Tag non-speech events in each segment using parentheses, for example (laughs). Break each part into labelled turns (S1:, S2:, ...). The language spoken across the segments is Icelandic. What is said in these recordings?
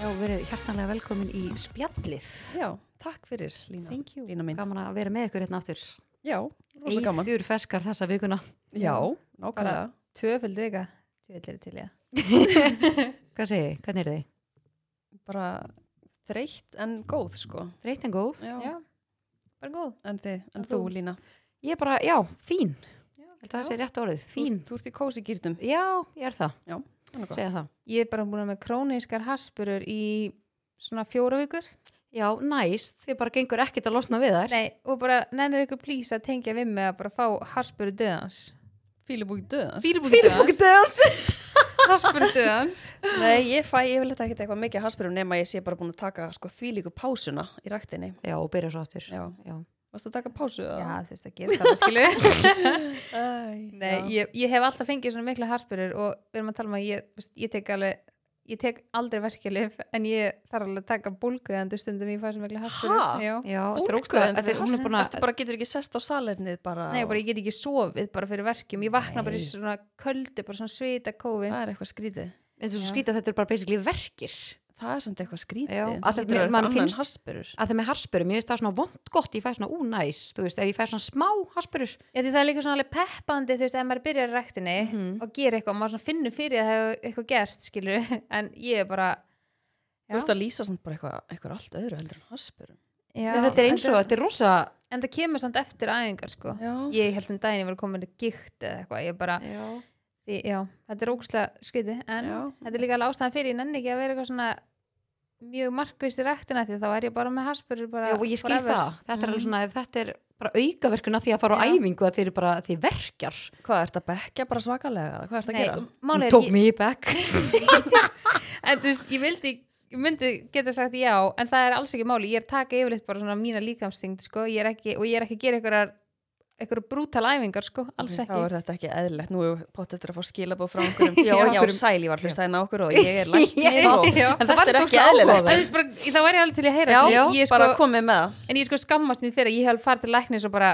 S1: Já, verið hjartanlega velkomin í spjallið.
S2: Já, takk fyrir Lína,
S1: Thank you.
S2: Lína mín.
S1: Gaman að vera með ykkur hérna aftur.
S2: Já, rosa gaman.
S1: Eitur feskar þessa vikuna.
S2: Já, nákvæmlega.
S3: Tvöföld vika, tjóðlir til ég.
S1: Hvað segir þið? Hvernig er þið?
S2: Bara þreytt en góð sko.
S1: Þreytt en góð?
S2: Já.
S3: bara góð.
S2: En þið, en
S3: En
S2: þú
S3: þú?
S2: Lína.
S1: Ég er bara, já, fín.
S3: Já,
S1: Ég held að það sé rétt orðið. Fín.
S2: Þú, þú ert í kósi gýrtum.
S1: Já, ég er það. Segja það.
S3: Ég er bara búin að með krónískar haspurur í svona fjóra vikur.
S1: Já, næst. Þið bara gengur ekkert að losna við þær.
S3: Nei, og bara nennir ykkur plís að tengja við mig að bara fá haspuru döðans.
S2: Fílubúk döðans.
S3: Fýrbúki döðans.
S1: döðs.
S3: Haspuru döðans.
S2: Nei, ég fæ yfirleitt ekkert eitthvað mikið harsbyrjum nema ég sé bara búin að taka sko þvílíku pásuna í ræktinni.
S1: Já, og byrja svo aftur.
S2: Já.
S1: Já.
S2: Varst að taka pásu?
S3: (laughs) Já, þú veist að gera það,
S2: (laughs)
S3: skilu.
S2: Æ,
S3: Nei,
S2: já.
S3: ég, ég hef alltaf fengið svona mikla haspurur og við erum að tala um að ég, þú veist, ég tek alveg Ég tek aldrei verkjalið en ég þarf alveg að taka bólguðandi stundum ég fæ svo mikla
S2: Ha?
S3: haspurur. Já.
S1: Já, þetta er ógst
S2: Bólguðandi
S1: að
S2: fyrir
S1: hún er búin
S2: Ertu
S1: að...
S2: bara, getur ekki sest á salernið bara?
S3: Nei, bara ég get ekki sofið bara fyrir verkjum. Ég vakna bara í
S2: Nei.
S3: svona köldu, bara svona svita kófi.
S2: Það er eitthvað skrítið.
S1: En þú
S3: Já.
S1: skýta að þetta er bara basically verkir.
S2: Það er samt eitthvað skrítið.
S1: Já, af
S2: það
S1: því
S2: hlýtur að
S1: mér-
S2: vera
S1: mann
S2: eitthvað annað en
S1: finnst-
S2: harsbyrjur.
S1: Að það með harspörum, ég veist það svona vond gott, ég fæ svona únæs, þú veist, ef ég fæ svona smá harspörur,
S3: Já, því það er líka svona alveg peppandi, þú veist, ef maður byrjar í ræktinni
S1: Mhm.
S3: og gerir eitthvað, maður svona finnur fyrir að það hefur eitthvað gerst, skilur, (laughs) en ég er bara,
S2: Þú ert að lýsa samt bara eitthvað, eitthvað allt öðru heldur en harsbyrjum.
S3: já,
S1: Já, þetta er eins og,
S3: en,
S1: þetta er rosa
S3: en það kemur samt eftir æfingar, sko.
S2: Já.
S3: Ég held um daginn ég var komin að gikt eða eitthvað, ég bara,
S1: Já,
S3: því, já, þetta er ógustlega skrítið, en
S2: Já.
S3: þetta er líka alveg ástæðan fyrir, ég nenni ekki að vera eitthvað svona mjög markvist í ræktina því þá er ég bara með harspurur bara
S1: og ég skil
S3: forever. Mhm.
S1: það Þetta er alveg svona, ef þetta er bara aukaverkun að því að fara á
S3: Já.
S1: æfingu að þeir eru bara, þeir verkjar
S2: Hvað ert að bekja bara svakalega? eða Hvað ert að
S3: Nei,
S2: gera?
S1: Hún
S3: málið er,
S1: tók
S3: ég-
S1: mig í bekk (laughs)
S3: en þú veist, ég vildi ég myndi geta sagt já, en það er alls ekki máli ég er að taka yfirleitt bara svona mína líkamstingd sko, ég er ekki, og ég er ekki að gera einhverjar einhverjar brútal æfingar sko, alls
S2: Þá
S3: ekki
S2: er þetta ekki eðlilegt. Nú er pott eftir að fá skilabóð frá einhverjum.
S1: Já,
S2: já, já,
S1: einhverjum-
S2: sæl, ég var að hlusta hérna á okkur og ég er læknir
S3: Já,
S2: og
S3: já.
S1: En
S2: þetta
S1: það
S2: er
S1: var
S2: ekki
S1: stókslega
S2: eðlilegt.
S3: En þú veist bara, þá væri ég alveg til í að heyra
S2: Já,
S3: því. ég,
S2: bara
S3: sko,
S2: komið með það.
S3: en ég sko skammast mér fyrir að ég hef farið til læknis og bara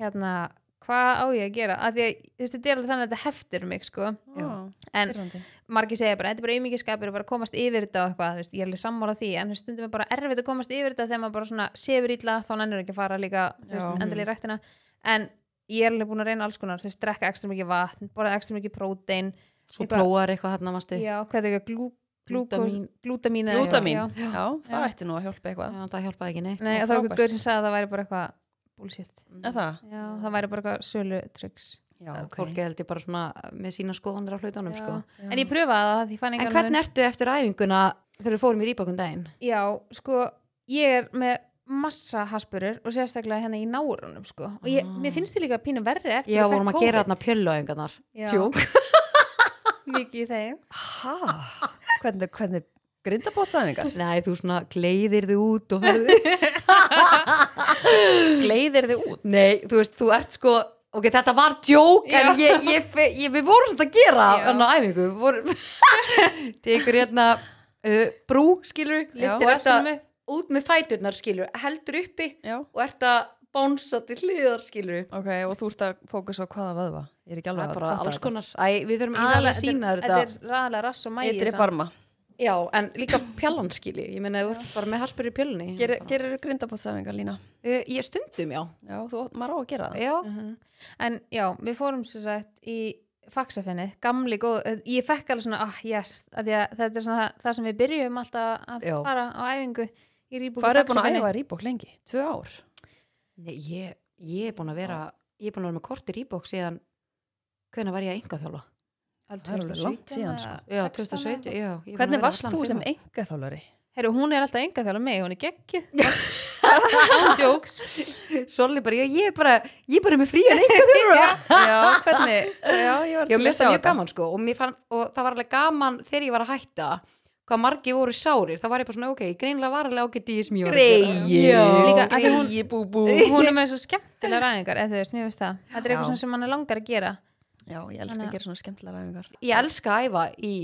S3: hérna, hvað á ég að gera af því að þú veist, þetta er alveg þannig að þetta heftir mig sko.
S1: Já.
S3: en
S2: Pirrandi.
S3: margir segja bara, þetta er bara auðmyggiskapur og bara komast yfir þetta og eitthvað, þú veist, ég er alveg sammála því en stundum er bara erfitt að komast yfir þetta þegar maður bara svona sefur illa, þá nennir ekki að fara líka þú
S2: Já.
S3: veist, endilega í rættina en ég er alveg búin að reyna alls konar, þú veist, drekka ekstra mikið vatn, borða ekstra mikið prótein
S1: Svo
S3: Eitthvað-
S1: prófar eitthvað hérna, mástu
S3: já, hvað er það ekki, glú, glúkó,
S1: Glútamín.
S3: glútamín eða
S2: Glútamín.
S3: eitthvað,
S2: Já, það
S3: Já.
S2: ætti nú að hjálpa eitthvað.
S1: Já, það hjálpaði ekki
S3: já.
S1: neitt
S3: Nei, og það var
S2: Frábært.
S3: eitthvað gaur sem sagði að það væri bara eitthvað bullshit,
S2: Er það?
S3: já, það væri bara eitthvað sölu
S2: Já, ok.
S1: Fólki held ég bara svona með sína skoðanir á hlutunum, sko
S3: en ég pröfaði það, því fann
S1: En
S3: ekki alveg-
S1: hvernig ertu eftir æfinguna þegar við fórum í rýbakun daginn?
S3: Já, sko, ég er með massa haspurur og sérstaklega hérna í nárunum, sko. Og ég,
S1: Ah.
S3: mér finnst þið líka pínu verri eftir
S1: Já,
S3: ég fékk
S1: vorum að
S3: COVID.
S1: gera þarna pjölluæfingarnar
S3: Já.
S1: Tjók
S3: Mikið í þeim.
S2: Hæ? Hvernig, hvernig (laughs) grindabótsæðingar?
S1: Nei, þú svona gleiðir þið út og ferð
S2: Gleiðir þið út?
S1: (laughs) Nei, þú veist, þú ert sko Ok, þetta var djók, en
S3: Já.
S1: ég, ég, ég, við vorum þetta að gera
S3: Já.
S1: hann á æfingu Við vorum- (laughs) Tekur hérna uh, brú, skilur
S2: Já.
S3: Lyftir
S1: Og ert að-
S3: rassinum upp.
S1: Út með fæturnar, skilur, heldur uppi
S2: Já,
S1: og ert að bánsa til hliðar, skilur
S2: ok, og þú ert að fókusa á hvaða vöðva? Ég er ekki
S1: Það
S2: alveg
S1: er
S2: að
S1: bara
S2: fatta
S1: alls
S2: þetta.
S1: konar Æ, við þurfum íðalega að sína þér
S3: þetta.
S1: þetta
S3: Þetta er ræðilega rass og mægi.
S2: Eitri barma.
S1: Já, en líka pjallan, skilur Ég meina, þú ert bara með harspur í pjölunni
S2: Gerir, gerir grindabótsæðingar, Lína?
S1: uh, Ég stundum, já
S2: Já, þú, átt- maður á að gera það.
S1: Já,
S3: Mhm. En já, við fórum svo sagt í faxafinnið, gamli góð, eh, ég fekk alveg svona, ah, yes, að því að þetta er svona það, það sem við byrjum alltaf að
S1: Já.
S3: fara á æfingu í rýbúku
S2: Hvað er búin að æfa rýbók lengi? Tvö ár?
S1: Nei, ég, ég er búin að vera Ég er búin að vera með kortir íbók síðan Hvenær var ég að enga þjálfa?
S2: Það er alveg langt síðan, sko.
S1: Já, 2017, já ég er búin að
S2: Hvernig
S1: vera
S2: varst
S1: allan
S2: þú
S1: tímann.
S2: sem enga þálari?
S3: Herru, hún er alltaf enga þjála mig, hún er geggju
S1: (laughs)
S3: Ándjóks
S1: Solli bara, ég, ég er bara, ég er bara með (laughs) frían enga þurfa
S2: Já, hvernig? Já, ég var
S1: Já, mér
S2: til að
S1: það
S2: sjá
S1: mjög
S2: þetta.
S1: gaman sko og, mér fann, og það var alveg gaman þegar ég var að hætta hvað margi voru sárir, þá var ég bara svona ok, greinlega var alveg ágætt í því sem ég var að gera.
S2: Greið,
S3: Líka af því hún-
S2: greið bú bú
S3: Hún er með svo skemmtilega ræðingar eða þú veist, mér veist það Þetta er
S2: Já.
S3: eitthvað svona sem hann er langar að gera
S2: (laughs) Já, ég elska
S3: Þannig
S2: að
S3: að-
S2: gera svona skemmtilega ræfingar
S1: Ég elska að æfa í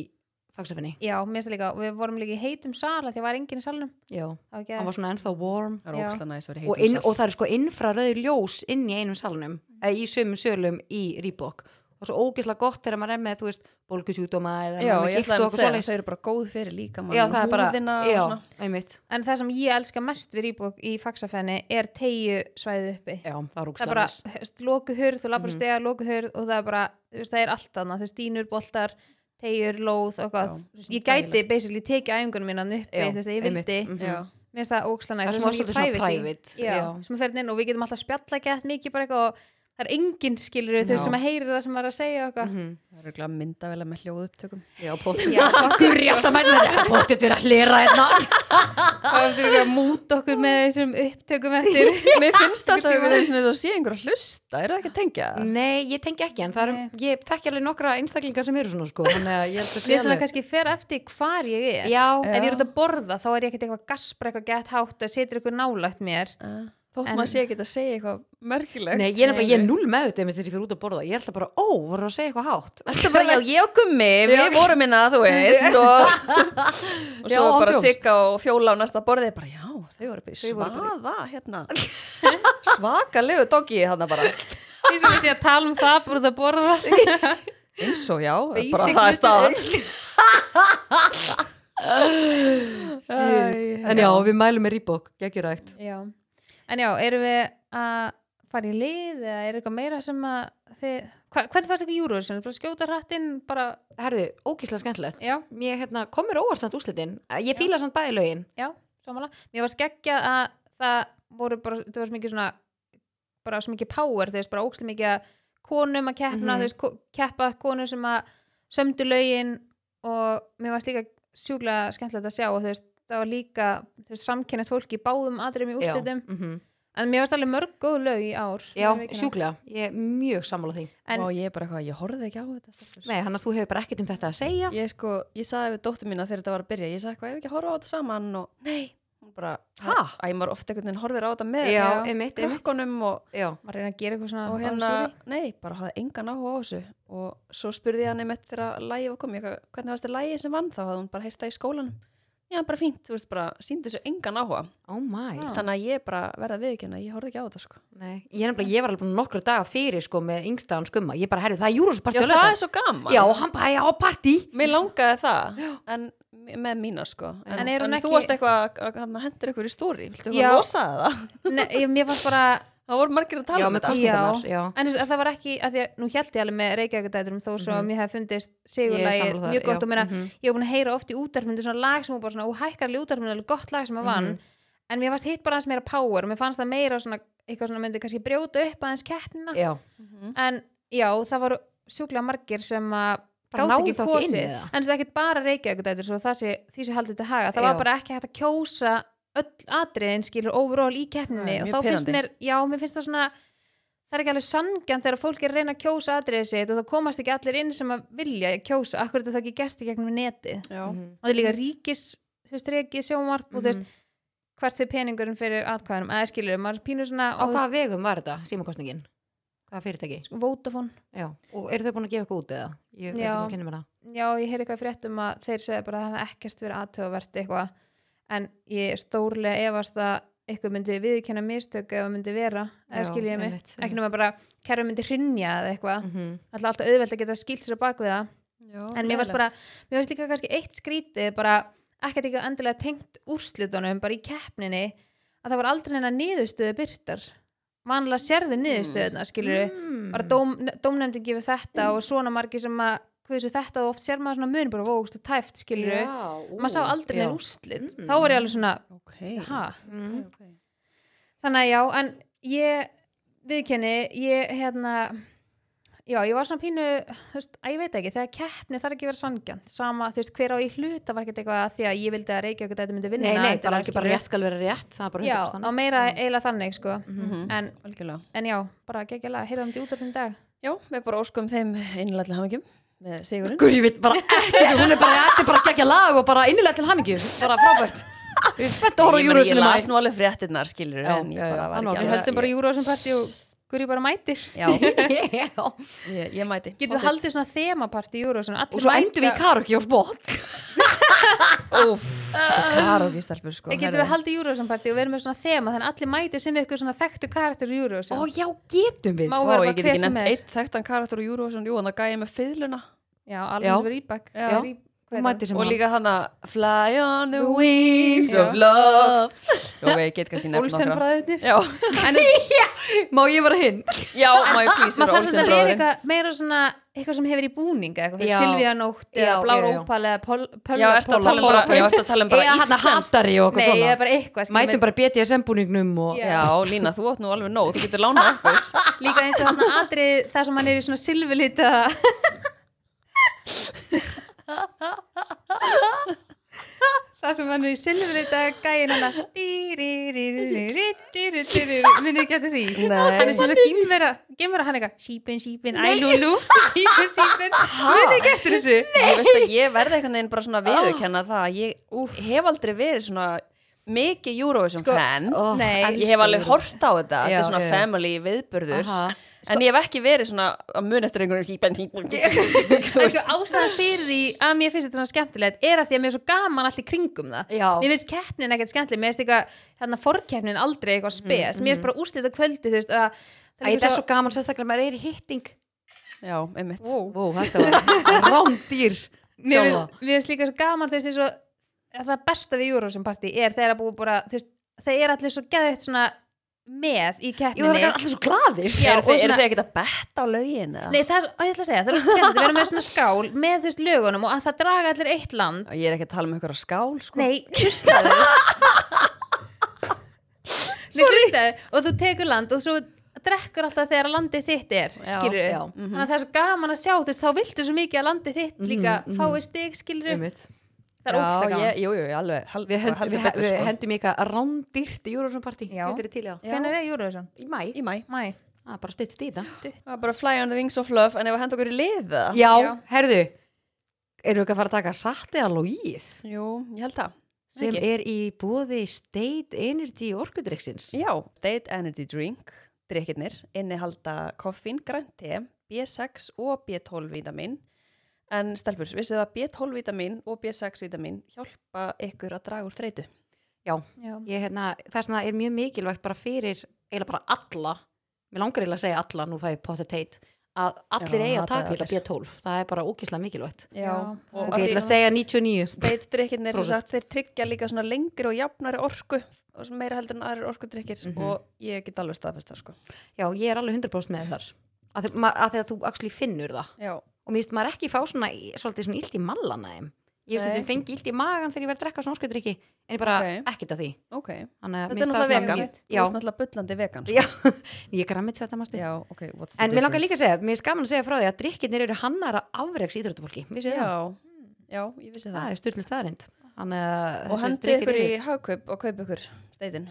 S1: fagsafinni
S3: Já, mér veist það líka, og við vorum líka í heitum sala því að var enginn í salnum
S1: Já,
S3: Það var
S1: hann
S3: ekki
S1: var svona ennþá warm
S2: Það er
S3: Já.
S2: ókslega næs að vera
S1: og, eh,
S2: heitum
S1: inn, og það er sko innfraröður ljós inn í einum salnum, eða í sömum sölum í Reebok og svo ógeðslega gott þegar maður er með, þú veist, bólkusjúdóma eða
S2: já,
S1: maður
S2: ég
S1: er
S2: ætlaði
S1: gikkt og
S2: að
S1: okkur
S2: segja, þau
S1: svoleiðis.
S2: eru bara góð fyrir líka
S1: Já, það er bara,
S2: húðina og
S1: já,
S2: svona.
S1: einmitt.
S3: En það sem ég elska mest við rýbók í faksafenni er tegju svæðið uppi.
S1: Já, það er
S3: Það er
S1: ógeðslega
S3: bara
S1: næs.
S3: lókuhurð, þú labbar
S1: Mhm.
S3: stega, lókuhurð og það er bara, þú veist, það er allt annað, þú veist, dýnur, boltar, tegjur, lóð og hvað.
S2: Já,
S3: Þú veist, Ég gæti
S2: þægilegt.
S3: basically tekið æfingunum mínan uppi,
S1: Já,
S3: þú veist, ef ég
S1: einmitt,
S3: vildi.
S1: mhm.
S2: Já,
S3: Mér finnst það óksla næst.
S1: Það er
S3: og
S1: smá svolítið svona private,
S3: Já,
S1: já.
S3: sem að ferðin inn og við getum alltaf spjalla gett mikið bara eitthvað og það er enginn skilur þau
S1: Já.
S3: sem að heyri það sem maður er að segja og eitthvað.
S1: Mhm.
S2: það eru glæð myndavela með hljóð (laughs) upptökum
S1: Já, pottit. Gurri alltaf mætna þetta. Pottit er að hlera hérna.
S3: Og þú veist, að múta okkur með þessum upptökum eftir.
S2: Mér finnst alltaf að við erum að sé einhver að hlusta, eru það ekki að tengja það?
S1: Nei, ég tengi ekki, en það er,
S3: Nei.
S1: ég þekki alveg nokkra einstaklingar sem eru svona, sko. Þannig að ég held að
S3: Við
S1: sé
S3: svona
S1: alveg.
S3: kannski fer eftir hvar ég er.
S1: Já,
S3: ef ég er út að borða þá er ég ekkert eitthvað gaspra eitthvað gett hátt að setja eitthvað nálægt mér
S2: Eh, Þótt
S3: En-
S2: maður sé ekki að segja eitthvað merkilegt
S1: Nei, ég er nefnilega, ég er null með þetta þegar ég fyrir út að borða. Ég ætla bara, ó, voru að segja eitthvað hátt.
S2: Þetta bara, já, ég og Gummi,
S1: (laughs)
S2: við vorum minna, þú veist og, og
S1: Já,
S2: svo
S1: án
S2: bara
S1: djóks.
S2: Sigga og Fjóla á næsta borðið bara, já, þau voru bara í
S1: Þau voru bara
S2: svaða hérna, svakalegu doggi þarna bara,
S3: því sem við sé að tala um það bara út að borða
S2: eins og já
S3: Basic
S2: bara það er staðan Æ, hérna.
S1: En já, við mælum með Reebok, geggjurægt.
S3: já. en já, erum við að fara í lið eða er eitthvað meira sem að þið, hva, hvernig fannst eitthvað júruður sem bara skjóta hrattinn bara,
S1: Herðu, ókíslega skemmtilegt.
S3: Já.
S1: Mér, hérna, komur óvart samt úslitin. Ég
S3: Já.
S1: fíla samt bæði lögin.
S3: já, samanlega mér var skeggja að það voru bara, það var svo mikið svona bara svo mikið power, þú veist, bara ókslega mikið að konum að keppna,
S1: Mhm.
S3: þú veist, ko- keppa konum sem að sömdu lögin og mér varst líka sjúklega skemmtilegt að sjá og þú veist, það var líka þú veist, samkennið fólki í báðum atriðum í úrslitum
S1: Já, mhm.
S3: en mér varst alveg mörg góð lög í ár
S1: já
S3: um vikuna.
S1: sjúklega. Ég er mjög sammála því.
S3: en-
S2: og ég er bara eitthvað, ég horfði ekki á þetta stelpur.
S1: Nei, hann að þú hefur bara ekkert um þetta að segja.
S2: ég sko, ég saði við dóttur mína þegar þetta var að byrja, ég sagði eitthvað, ég hef ekki að horfa á þetta saman og nei, hún bara,
S1: Ha?
S2: æ, maður oft einhvern veginn horfir á þetta með
S1: Já,
S3: Já.
S1: einmitt, einmitt.
S2: krökkunum og
S1: Já,
S3: maður reyna að gera eitthvað svona
S2: og
S3: bara
S2: hérna,
S3: sorry.
S2: nei, bara hafði engan áhuga á þessu og svo spurði ég hann einmitt þegar lægi var komið, eitthvað, hvernig varst þið lægi sem vann þá hafði hún bara heyrt það í skólanum já, bara fínt, þú veist, bara síndi þessu engan áhuga
S1: oh my.
S3: Já.
S2: þannig að ég bara verða viðkjöna, ég horfði ekki á þetta sko.
S1: Nei, ég, er nefnilega, ég var alveg búin nokkra daga fyrir sko með yngstaðan skumma. Ég bara, herru, það er
S2: já,
S1: júrósparti
S2: það er svo gaman
S1: Já, og hann bara, já, partí.
S2: mér langaði það, en með mína sko, en,
S3: En er hún ekki-
S2: þú varst eitthvað að- að hendur ykkur í stóri, viltu
S3: Já.
S2: eitthvað losaði það (laughs)
S3: Nei, ég- mér fannst bara
S2: það voru margir að tala
S1: Já,
S2: um
S1: með
S2: þetta
S1: kostningarnar, já.
S3: En þú veist, að það var ekki, að því að nú held ég alveg með Reykjavíkudæturum þó svo að mér hef fundist
S1: Mhm. Ég er
S3: sigurlagi
S1: sammála þar,
S3: mjög gott
S1: já,
S3: og meina,
S1: mhm.
S3: ég hef búin að heyra oft í útarfmyndu svona lag sem hún bara svona, og hækkar alveg útarfmyndu alveg gott lag sem að vann
S1: Mhm.
S3: en mér fannst hitt bara aðeins meira power og mér fannst það meira svona, eitthvað svona myndi kannski brjóta upp aðeins keppnina,
S1: Já,
S2: Mhm.
S3: en já, það voru sjúklega margir sem að
S1: Bara
S3: gátu
S1: náðu
S3: ekki
S1: þá ekki inn í
S3: kosið,
S1: það.
S3: en það er ekkit bara Reykjavíkudætur svo það sé, því sé haldið til haga,
S1: Já.
S3: það var bara ekki hægt að kjósa öll atriðin skilur overall í keppninni
S2: Nei,
S3: og
S2: mjög
S3: þá finnst
S2: pirrandi.
S3: mér, já, mér finnst það svona það er ekki alveg sangjant þegar fólk er að reyna að kjósa atriðið sitt og þá komast ekki allir inn sem að vilja kjósa, akkur er það ekki gert í gegnum netið
S2: já,
S1: Mhm.
S3: og það er líka ríkis, þú veist, ríkis sjómarp og þú veist,
S1: Mhm.
S3: hvert fyrir peningurinn fyrir atkvæðanum, eða skilur, maður pínur svona
S1: Á
S3: og, þú
S1: hvaða vegum var þetta, símakostningin? Hvaða fyrirtæki?
S3: veist, Vodafone
S1: Já, og eru þau búin að gefa eitthvað út eða? Ég er
S3: Já.
S1: ekki að kynna mér það.
S3: já, ég heyrði eitthvað í fréttum að þeir segja bara að það hafa ekkert verið aðtöfavert eitthvað en ég stórlega efast að eitthvað myndi viðkjanna mistök ef það myndi vera, eða
S1: Já,
S3: skilja ég mig
S1: einmitt,
S3: ekki
S1: einmitt.
S3: nema bara kerfi myndi hrinja eða eitthvað, mm.
S1: Mhm.
S3: alltaf auðvelt að geta skilt sér á bak við það,
S2: já,
S3: en mér varst
S2: leiðilegt.
S3: bara mér varst líka kannski eitt skrítið bara ekkert eitthvað endilega tengt úrslitunum bara í keppninni, að það var aldrei neina niðurstöðu byrtar vanlega sérðu niðurstöðuna, skilur
S1: Mm.
S3: bara dóm, dómnefndin gefur þetta og svona margir sem að hversu þetta og oft sér maður svona mun bara vókslega tæft skilur við,
S1: Já, ú,
S3: maður sá aldrei
S1: já.
S3: neinn úrslit
S1: Mm.
S3: þá var ég alveg svona,
S2: okay.
S3: ha Mhm.
S1: Mm.
S2: okay.
S3: þannig að já, en ég viðkenni, ég hérna já, ég var svona pínu þú veist, að ég veit ekki, þegar keppni þarf ekki að vera sangjant, sama, þú veist, hver á í hluta var ekkert eitthvað að því að ég vildi að reykja okkur þetta myndi vinna
S1: Nei, nei, bara
S3: endilega,
S1: ekki bara
S3: skilurðu.
S1: rétt skal vera rétt, það er bara
S3: já,
S1: 100%.
S3: á meira eiginlega þannig, sko
S1: Mm.
S2: Mhm.
S3: en,
S2: Algjörlega.
S3: en já, bara geggjulega, heyrðum þetta út af þinn dag
S2: Já, við bara óskum þeim innlega til hamingjum með sigurinn.
S1: Guri veit bara ekki, hún er bara, þetta er bara geggja lag og bara innilega til hamingju, bara (laughs) frábært. Við erum spennt að horfa á
S2: Ég meina,
S1: júrósinu
S2: Ég las nú alveg fréttinnar, skilur,
S1: Já,
S2: en ég
S1: já, já,
S2: bara var
S1: hann
S2: ekki
S1: var-
S2: alveg-
S3: við höldum bara júru á þessum parti og Guri bara mætir
S2: Já,
S1: (laughs) Já. og
S2: ég, ég mæti
S3: Getum við haldið svona þemaparti í Eurovision allir
S1: svo
S3: mæta-
S1: endur við í karaoke á spott
S2: Úf, karóki stelpur sko
S3: Getum við
S2: herðu.
S3: haldið Eurovision parti og verðum með svona þema þannig að allir mæti sem ykkur svona þekktu karakter í Eurovision
S1: ó já, getum við (laughs)
S3: Má-
S2: Ó,
S3: vera bara
S2: ég get
S3: hver
S2: ekki
S3: sem
S2: nefnt
S3: er.
S2: eitt þekktan karakter úr Eurovision, jú, hann að gæja með fiðluna
S3: Já,
S1: Já.
S3: alveg rýbak
S2: Já.
S1: Hún mætir sem
S2: og
S1: hann.
S2: líka hann að Fly on the wings
S3: Já.
S2: of love Jó, ég get kannski nefnt
S3: Olsen
S2: nokkra
S3: bræðurnir
S2: Já,
S3: En maður
S1: má ég vera hinn
S2: já, má ég please vera
S3: þarf svona
S2: Olsen
S3: að vera
S2: bróðin
S3: eitthvað meira svona eitthvað sem hefur í búning eitthvað fyrir
S1: Já.
S3: Silvíanótt
S1: Já,
S3: eða
S1: já,
S3: Blár
S1: já.
S3: ópal eða Pöl-
S2: Já,
S3: Pölva-
S2: ertu að tala um
S1: Pól-
S2: bara,
S1: Pól-
S2: já, ertu að tala um bara
S1: eða hann að
S2: íslenskt?
S1: hatari og
S3: Nei,
S1: eitthvað
S3: ég er
S1: svona
S3: bara eitthvað skilur
S1: mætum
S3: við.
S1: bara BDSM búningnum og
S3: Já.
S2: Já, Lína, þú átt nú alveg nóg, þú getur lánað okkur
S3: Líka eins og þarna atrið það sem hann er í svona silvilita Það sem hann er í silvilita gæin hann að minnið ekki eftir því
S2: Nei.
S3: Hann er svona gimmera, gimmera hann eitthvað sípin, sípin, ælúlú sípin, sípin, minnið ekki eftir þessu
S2: Ég veist að ég verði einhvern veginn bara svona
S1: Ah.
S2: viðurkenna það að Ég hef aldrei verið svona mikið Eurovision
S3: Sko,
S2: fan
S1: Ó,
S3: Nei.
S1: elsku
S2: Ég hef alveg
S1: Júró.
S2: hort á þetta, þetta
S1: Já,
S2: er svona
S1: já.
S2: family viðburður
S1: Aha. Sko-
S2: En ég hef ekki verið svona að mun eftir einhvern
S1: (laughs)
S2: veginn
S3: En sko ástæðan fyrir því að mér finnst þetta svona skemmtilegt er að því að mér er svo gaman allir kringum það.
S1: Já.
S3: Mér finnst keppnin ekkert skemmtileg, mér finnst eitthvað, hérna forkeppnin aldrei eitthvað spes. Mér finnst bara úrslita kvöldi, þú veist, að
S1: Mm, Æ, þetta er svo gaman sérstaklega maður er í hitting
S2: Já, einmitt
S3: Wow.
S1: Ó, þetta var rándýr (laughs)
S3: Mér finnst- mér finnst líka svo gaman, þú veist, eins og að það besta við Eurovision party er þegar að búið bara, þú veist, þeir eru allir svo geðveitt svona með í
S1: Jú, það
S3: keppninni.
S1: er allir svo glaðir
S3: Já,
S2: Eru
S3: og
S2: þið,
S3: svona-
S2: eru þið ekkert að betta á lögin? eða?
S3: Nei, það er, ó, ég ætla að segja, það er skemmt, við erum með svona skál með þú veist lögunum og að það draga allir eitt land
S2: Ég er ekki að tala um einhverja skál sko.
S3: Nei, hlustaðu Nei, hlustaðu og þú tekur land og svo drekkur alltaf þegar landið þitt er
S1: Já,
S3: skilur
S1: já.
S3: þannig að það er svo gaman að sjá þú veist, þá viltu svo mikið að landið þitt líka mm
S1: mhm.
S3: -hmm. fáið stig, skilur
S1: Einmitt.
S3: það er ógsta
S2: Já,
S3: gaman
S2: ég, jú, jú, alveg hal,
S1: Við, hend,
S2: heldur
S1: við,
S2: betur
S1: við
S2: sko.
S1: hendum ykkar rándýrt í Eurovision Party
S3: Já.
S1: Þetta er til í það
S3: Hvernig er Júruvísan?
S1: Í mæ,
S2: Í mæ
S3: Mæ
S1: það er bara stitt stíta
S2: Það var bara fly on the wings of love En ef að henda okkur í liða
S1: Já,
S3: Já.
S1: herðu Eru ekki að fara að taka satt eða logið
S2: Jú, ég held það
S1: sem
S2: Ekki?
S1: er í bóði State Energy orkudrykksins
S2: Já, date energy drink Drikkirnir Innihalda koffín, grænt te B6 og B12 vítamin En stelpur, vissu það að B12 vítamin og B6 vítamin hjálpa ykkur að draga úr þreytu
S3: Já.
S1: Ég, hérna, það er, svona, er mjög mikilvægt bara fyrir eiginlega bara alla mér langar eiginlega að segja alla, nú fæ ég potið teit að allir
S2: Já,
S1: eigi að
S2: það
S1: taka
S2: er
S1: eiginlega B12 það er bara ógislega mikilvægt
S3: Já,
S2: og
S3: ok,
S1: ok,
S2: að
S1: ég
S2: því
S1: ætla að segja 99
S2: date drikkirnir sem
S1: Prósent.
S2: sagt, þeir tryggja líka svona lengri og jafnari orku og svona meira heldur en aðrir orkudrykkir
S1: Mhm.
S2: og ég get alveg staðfest það sko
S1: Já, ég er alveg 100% með þar að, þe- ma- að þegar þú actually finnur það
S2: Já,
S1: og mér finnst maður ekki fá svona, í- svolítið svona illt í mallana þeim ég finnst
S2: Nei.
S1: þetta fengi illt í magan þegar ég verð að drekka svona orkudrykki en ég bara
S2: Ok.
S1: ekkert að því
S2: ok
S1: Þannig, að
S2: Þetta
S1: mér
S2: er
S1: finnst það
S2: náttúrulega
S1: svona
S2: vegan,
S1: mjög-
S2: þú ert náttúrulega bullandi vegan sko.
S1: Já, já ég grammit þetta mástu
S2: Já, ok, what's the
S1: En mér langar líka að
S2: difference?
S1: segja, mér er skaman að segja frá því að drikkinir eru hannar af afreks íþróttufólki, vissu það?
S2: Já, já, ég vissi það
S1: Hmm. Það er styrlist staðarind. Þannig að
S2: Og
S1: þessi
S2: hendi
S1: drykkir
S2: ykkur í
S1: eru-
S2: hagkaup og kaup ykkur steitin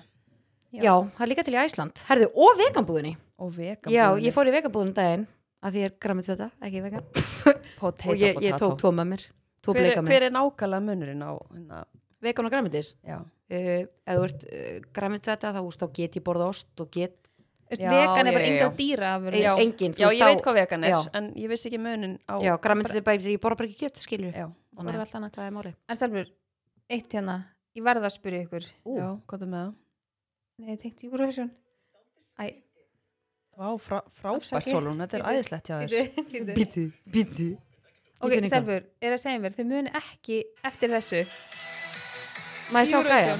S1: Já, það er líka til í Æsland. Herðu, og veganbúðinni.
S2: og vegan
S1: Já, ég fór í veganbúðin um daginn að því ég er grammit þetta, ekki vegan.
S2: potato,
S1: Og ég, ég
S2: potato.
S1: tók tvo með mér, tvo
S2: hver,
S1: bleika
S2: er-
S1: með.
S2: hver er nákvæmlega munurinn á hérna,
S1: Vegan og grammitis.
S2: já,
S1: Uh, ef þú ert uh, grammit þetta, þá, úst, þá get ég borða ost og get
S3: Þú veist,
S2: Já,
S3: Vegan
S2: já,
S3: er bara
S2: já,
S3: enga
S2: já.
S3: dýra
S2: Já.
S3: afurðir.
S1: engin. E- þú
S2: já,
S1: veist,
S2: ég
S1: þá-
S2: veit hvað vegan er
S1: Já.
S2: en ég vissi ekki munin á
S1: Já, grammitis er bara, ég borða bara ekki kjött, skilju.
S2: já,
S3: Bara allt annað.
S1: Það er máli.
S3: En stelfur, eitt hérna Ég verða að spyrja ykkur
S1: Ú.
S2: já, gott með það
S3: Nei, ég tengt Júruvísan Æ,
S2: Vá, frá, frábært
S3: Afsakið.
S2: Solon, þetta er
S3: Bíddu,
S2: æðislegt hjá þér
S3: bíddu, bíddu.
S1: Bíti, bíti.
S3: Ok,
S1: Ég finn eitthvað.
S3: stelpur, er að segja mér, þau muni ekki eftir þessu
S1: Má ég sjá gæja?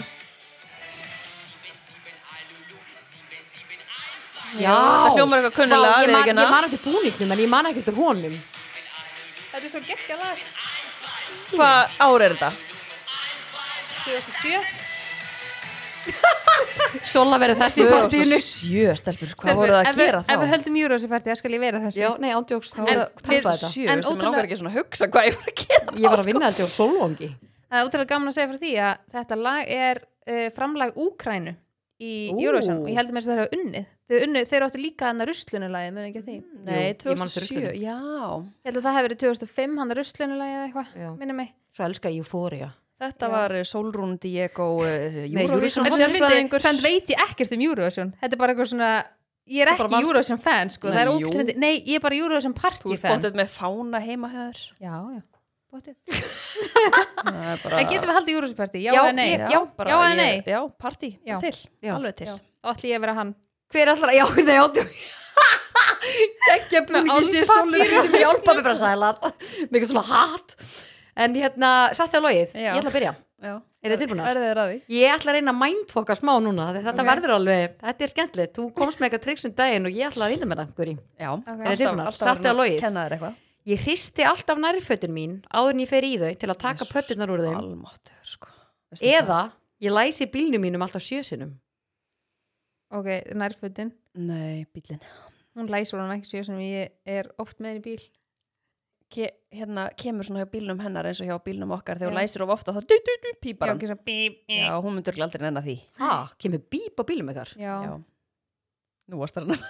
S1: Já.
S2: Það hljómar eitthvað kunnulega,
S1: Vá, ég, man-
S2: viðurkenna.
S1: ég man eftir búningnum en ég man ekki eftir honum
S3: Þetta er svo gekkja lag
S2: Hvað ár er þetta?
S3: 2007
S1: Sola verið þessi í partíinu
S2: 2007 stelpur, hvað voru það að gera þá?
S3: Ef við höldum Eurovision-parti, það skal ég vera þessu
S1: Já, nei, ándjóks
S2: Hvað voru
S1: Ég
S2: það-
S3: við-
S2: 2007,
S3: en
S2: veistu, mér
S3: ótrúlega-
S2: langar ekki svona að hugsa hvað ég voru að gera þá,
S1: var að
S2: sko.
S1: vinna þetta á Solvangi
S3: Það er útrúlega gaman að segja frá því að þetta lag er uh, framlag Úkrænu í
S1: Ú.
S3: Eurovision og ég heldur mér að það er unnið Þau, unnu, þeir áttu líka hann að russlunulagi, mun ekki að því
S2: sko. Nei,
S1: Jú, ég man eftir
S2: 2007,
S1: ruglinu.
S2: já
S3: Ég held að það hefur verið 2005, hann að russlunulagi eða
S1: Já.
S3: eitthvað, minni mig
S1: Svo elska ég Euphoria
S2: Þetta
S3: Já.
S2: var eh, Solrún Diego eh,
S1: Eurovision
S2: Eurovision
S3: En sem myndi,
S2: sérfræðingur
S3: samt veit ég ekkert um Eurovision Þetta er bara eitthvað svona ég er
S1: Þú bara
S3: ekki
S1: manst-
S3: Eurovision fan sko,
S2: Nei,
S3: það er
S2: jú.
S3: ógæslega nei, ég er bara Eurovision
S2: Þú
S3: party
S2: ert
S3: fan
S2: bóttið með fána heima hér.
S3: já, já, bóttið
S2: Það er bara...
S3: en getum við haldið Eurovision party, já,
S1: Já,
S3: eða nei
S1: ég-
S2: Já, bara,
S3: já eða
S2: ég-
S3: nei,
S2: Já, partí,
S3: Já.
S2: til,
S1: Já.
S2: alveg til.
S3: já, þá ætlum ég að vera hann
S1: hver allra, já, (laughs) nei, átjú geggja búningi sé
S3: álpappír
S1: sólur í álpapibrasælar með eitthvað svona hatt en hérna, satt þér að logið,
S2: Já.
S1: ég ætla að byrja
S2: Já.
S1: Eru þið tilbúnar?
S2: Verðið þið ræði?
S1: ég ætla að reyna að mindfoka smá núna því þetta
S3: Ok.
S1: verður alveg, þetta er skemmtilegt þú komst með eitthvað tryggsum daginn og ég ætla að vinna með það Guri.
S2: Já, okay.
S1: Eru þið tilbúnar? Satt þið á logið?
S2: Kennaður eitthvað.
S1: ég hristi alltaf nærfötin mín áður en ég fer í þau til að taka
S2: Jesus,
S1: pöttunar úr þeim
S2: Almáttur, sko. Veistu
S1: eða ég læsi bílnum mínum alltaf sjösinum
S3: ok, nærfötin,
S2: það? Nei, bílinn.
S3: hún læsur hann ekki sér sem ég er oft með henni í bíl
S2: Ke hérna kemur svona hjá bílnum hennar eins og hjá bílnum okkar þegar hún
S3: Já.
S2: læsir of ofta þá du, du, du, pípar
S3: já,
S2: hann.
S3: ekki svo bíp,
S2: Já,
S3: bíp.
S2: hún myndur aldrei nenn að því.
S1: ha, kemur bíp á bílum ykkar
S3: já,
S2: Já.
S3: já.
S2: Nú varst það hann.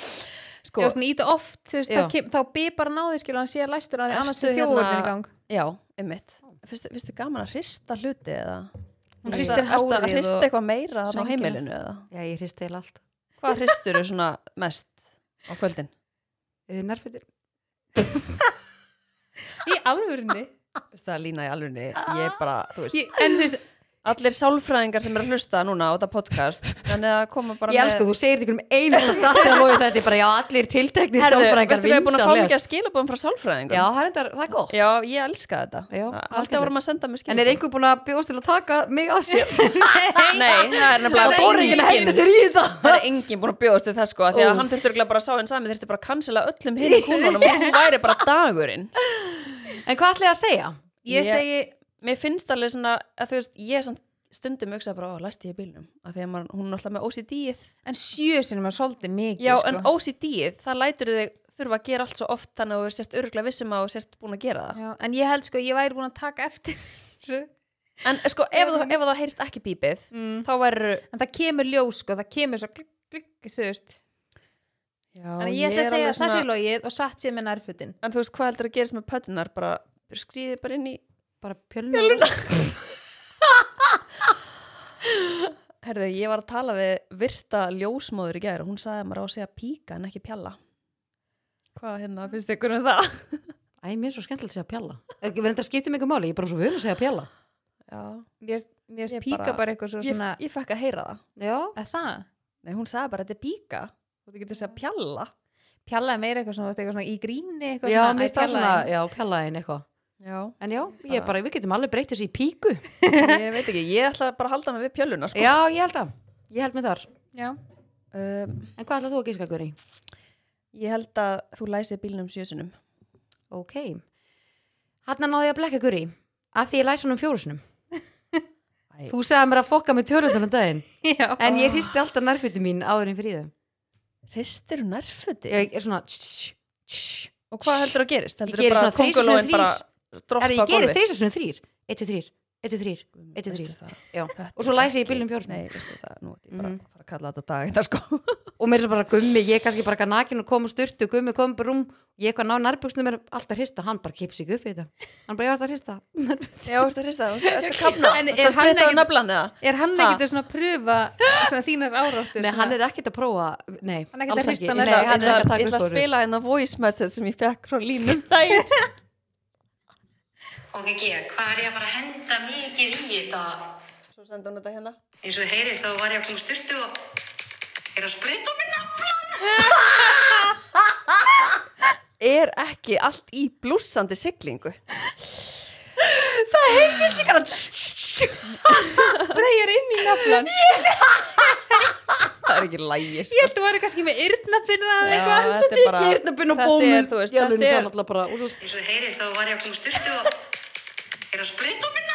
S3: Sko,
S2: sko,
S3: ég íta oft, þú veist,
S1: Já.
S3: þá, kem, þá bípar hann á því skilur hann sé að læstur að því annars
S2: Ertu
S3: til þjóður
S2: hérna-
S3: þinn í gang
S2: já, einmitt. Finnst þið- finnst þið gaman að hrista hluti eða?
S3: Hún
S2: Ertu-
S3: hristir
S2: ertu að
S3: hárið
S2: hrista
S3: og-
S2: eitthvað meira þann á
S3: sængina.
S2: heimilinu eða?
S1: já, ég hristi eða allt
S2: Hvað hristur þau svona mest á kvöldin?
S1: Eh, nærfötin,
S3: í alvörinni
S2: Veistu það, Lína í alvegni, ég bara, þú veist,
S3: en þú veist,
S2: allir sálfræðingar sem er að hlusta núna á þetta podcast, þannig að koma bara
S1: ég elsku, þú segir þetta um einu að satt þér að logið þetta, ég bara, já, allir tiltekni
S2: Herðu,
S1: sálfræðingar
S2: veistu hvað ég er búin að fá
S1: vinsamlegast.
S2: mikið að skilabóðum frá sálfræðingum?
S1: já, það er, enda- það er gott
S2: Já, ég elska þetta.
S1: Já,
S2: Alltaf vorum að senda mér
S1: en
S2: skilabóð.
S1: er einhver búin að bjóðast til að taka mig að sér (laughs)
S2: Nei, það er
S1: það
S2: nefnilega
S1: voru ekki að hætta sér í þetta
S2: Það er enginn búin að bjóðast til þess sko, af því að
S1: Úff.
S2: hann þurftur bara að sá henn sami, þurftur bara að cancela öllum hinn kúnunum og hún væri bara dagurinn.
S1: en hvað ætla ég að segja?
S3: ég
S2: Ég-
S3: segi
S2: Mér finnst alveg svona, að þú veist, ég samt stundum hugsa bara, ó, læsti ég bílnum, af því að man, hún er alltaf með OCD-ið.
S3: en sjö sinum er svolítið mikið
S2: Já,
S3: sko.
S2: en OCD-ið, það lætur þig þurfa að gera allt svo oft þannig að þú sért öruglega vissum að þú sért búin að gera það.
S3: Já, en ég held sko, ég væri búin að taka eftir (laughs) þessu.
S2: En sko, ef, þú, ef það heyrst ekki bípið,
S3: Mm.
S2: þá væri...
S3: en það kemur ljós sko, það kemur svo glugg, glugg, þú veist
S2: Já,
S3: en ég ætla
S2: er
S3: að
S2: alveg
S3: segja að það sé logið og satt sér með nærfutin
S2: En þú veist, hvað heldur að gerist með pötunar? Bara skrýðið bara inn í...
S1: bara pjölun
S2: Herðu, ég var að tala við virta ljósmóður í gæri og hún sagði að maður á að segja píka en ekki pjalla. Hvað hérna, finnst ykkur um það?
S1: æ, mér er svo skemmtilegt að segja pjalla við erum þetta skiptum ykkur máli, ég er bara svo völu að segja pjalla
S2: Já,
S3: mér mér
S2: Ég
S3: píka
S2: bara-
S3: bara eitthvað svo
S2: ég,
S3: svona
S2: ég fekk að heyra það.
S1: já,
S3: að það,
S2: Nei, hún sagði bara þetta er píka og þú getur að segja pjalla.
S3: pjallaði meira eitthvað svona, þú veist, eitthvað svona í gríni eitthvað
S1: já,
S3: æ,
S1: mér stað
S3: pjallaði.
S1: svona já, pjalla einn eitthvað
S2: Já,
S1: en já, ég er bara, við getum alveg breytt þessu í píku
S2: ég veit ekki, ég ætla bara að halda mig við pjöluna sko.
S1: já, ég held að, ég held með þar
S3: já,
S2: Um,
S1: en hvað ætla þú að gíska, Guri?
S2: ég held að þú læsir bílnum sjösunum.
S1: ok, hann náði ég að blekka Guri að því ég læs honum fjórusunum
S2: Æ,
S1: þú sagði mér að fokka með tölundunum daginn
S3: já.
S1: en ég hristi alltaf nærfutum mín áður en fyrir þau
S2: hristir hún nærföti?
S1: ég er svona tss, tss.
S2: Og hvað heldur að gerist? Heldur
S1: geri
S2: bara
S1: svona þrisvar sinnum
S2: kóngulóin
S1: þrír.
S2: bara droppa
S1: er ég gerir þrísa svona þrýr 1, 2, 3, 1, 2, 3 1, 2, 3 Já. Og svo læsi ég í bílnum fjórum.
S2: Nei, veistu það, nú ætlum ég bara
S1: Mhm.
S2: að fara að kalla þetta dag þetta sko
S1: og mér er svo bara gummi, ég er kannski bara eitthvað nakin og kom og styrtu, gummi kom bara rúm ég eitthvað ná nærbuksnum er alltaf að hrista hann bara kipsi ekki upp í þetta, hann bara ég var alltaf að hrista
S2: Já, ertu að hrista það, ertu að kapna
S3: En
S2: Ertu
S3: er
S2: að
S3: hann
S2: spritta á
S3: ekkit-
S2: naflan eða?
S3: er hann
S2: Ha?
S3: ekkert að svona pröfa svona þínar áráttur
S1: nei,
S3: svona-
S1: hann er ekkert að prófa, nei
S3: Hann er ekkert að
S1: alls
S3: hrista
S1: ekki.
S3: hann,
S1: nei,
S3: er
S1: hann er
S2: Ég ætla-
S1: ekki að
S2: Ég ætla
S1: taka
S2: að
S1: upp úr
S2: spila hérna voice message sem ég fekk frá
S3: (laughs)
S2: línum daginn
S4: Ok, Gia, hvað er ég að fara að henda mikið í þetta?
S2: Svo sendi hún þetta hérna
S4: Eins og þið heyrið þá var ég að koma styrtu og er að sprita á minna.
S2: Er ekki allt í blúsandi siglingu?
S3: spreyjar inn í naflan
S2: Það er ekki lægi
S3: ég
S2: sko
S3: held að það væri kannski með yrnapinna eða
S2: Já,
S3: eitthvað
S2: þetta
S1: svo
S2: er bara-
S1: tekið hérna byrn og
S2: þetta
S1: bómum
S2: er, þú veist,
S1: í alveg
S2: þetta
S1: það
S2: er-
S1: er alltaf bara og svo
S4: Eins og þið heyrið þá var ég að koma styrtu og er að sprita á minna.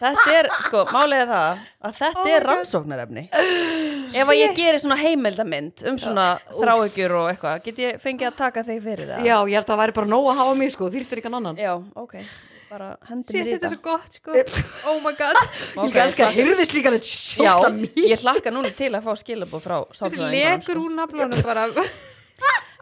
S2: Þetta er, sko, málega það að
S3: Oh
S2: þetta er rannsóknarefni
S3: (gasps)
S2: Ef að ég geri svona heimildamind um svona þráhyggjur og eitthvað get ég fengið að taka þig fyrir það?
S1: já, ég held að það væri bara nóg að hafa mig sko, þýrtir eitthvað annan
S2: Já, ok, bara hendi mér í
S3: Sér þetta er
S2: þetta
S3: svo gott sko Oh my god
S2: Ok,
S1: ég elskar
S2: klass.
S1: að hyrðist líka alveg
S2: Já,
S1: sjókla mikið
S2: ég hlakka núna til að fá skilabóð frá
S3: Þessi
S2: sálfræðingunum
S1: (laughs)
S3: legur
S2: sko.
S3: úr naflanum bara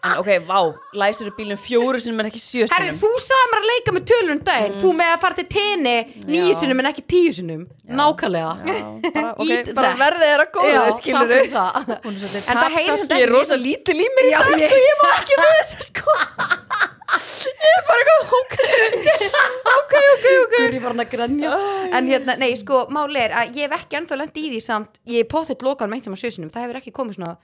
S2: En ok, vá, læsir upp bílum fjóru sinum en ekki sjö
S1: Herri,
S2: sinum
S1: þú sagði mér að leika með tölun daginn Þú með að fara til tenni nýju
S2: Já.
S1: sinum en ekki tíu sinum Nákvæmlega
S2: Já,
S1: (laughs)
S2: bara, okay,
S1: Ít
S2: bara
S1: rétt.
S2: verðið er að góða
S1: Já,
S2: þau skilur
S1: takk fyrir
S2: (laughs)
S1: það. En það heyrir samt
S2: Ég er
S1: ekki-
S2: rosa lítil í mér í
S1: Já,
S2: dag
S1: ég-
S2: sko, ég má ekki með þessu
S1: (laughs)
S2: sko Ég er bara eitthvað ok, ok, ok, ok
S1: Guri var hann að grænja En hérna, nei, sko, máli er að ég hef ekki ennþá lendi í því samt Ég er pottet lokan með eintum á sjösunum Það hefur ekki komið svona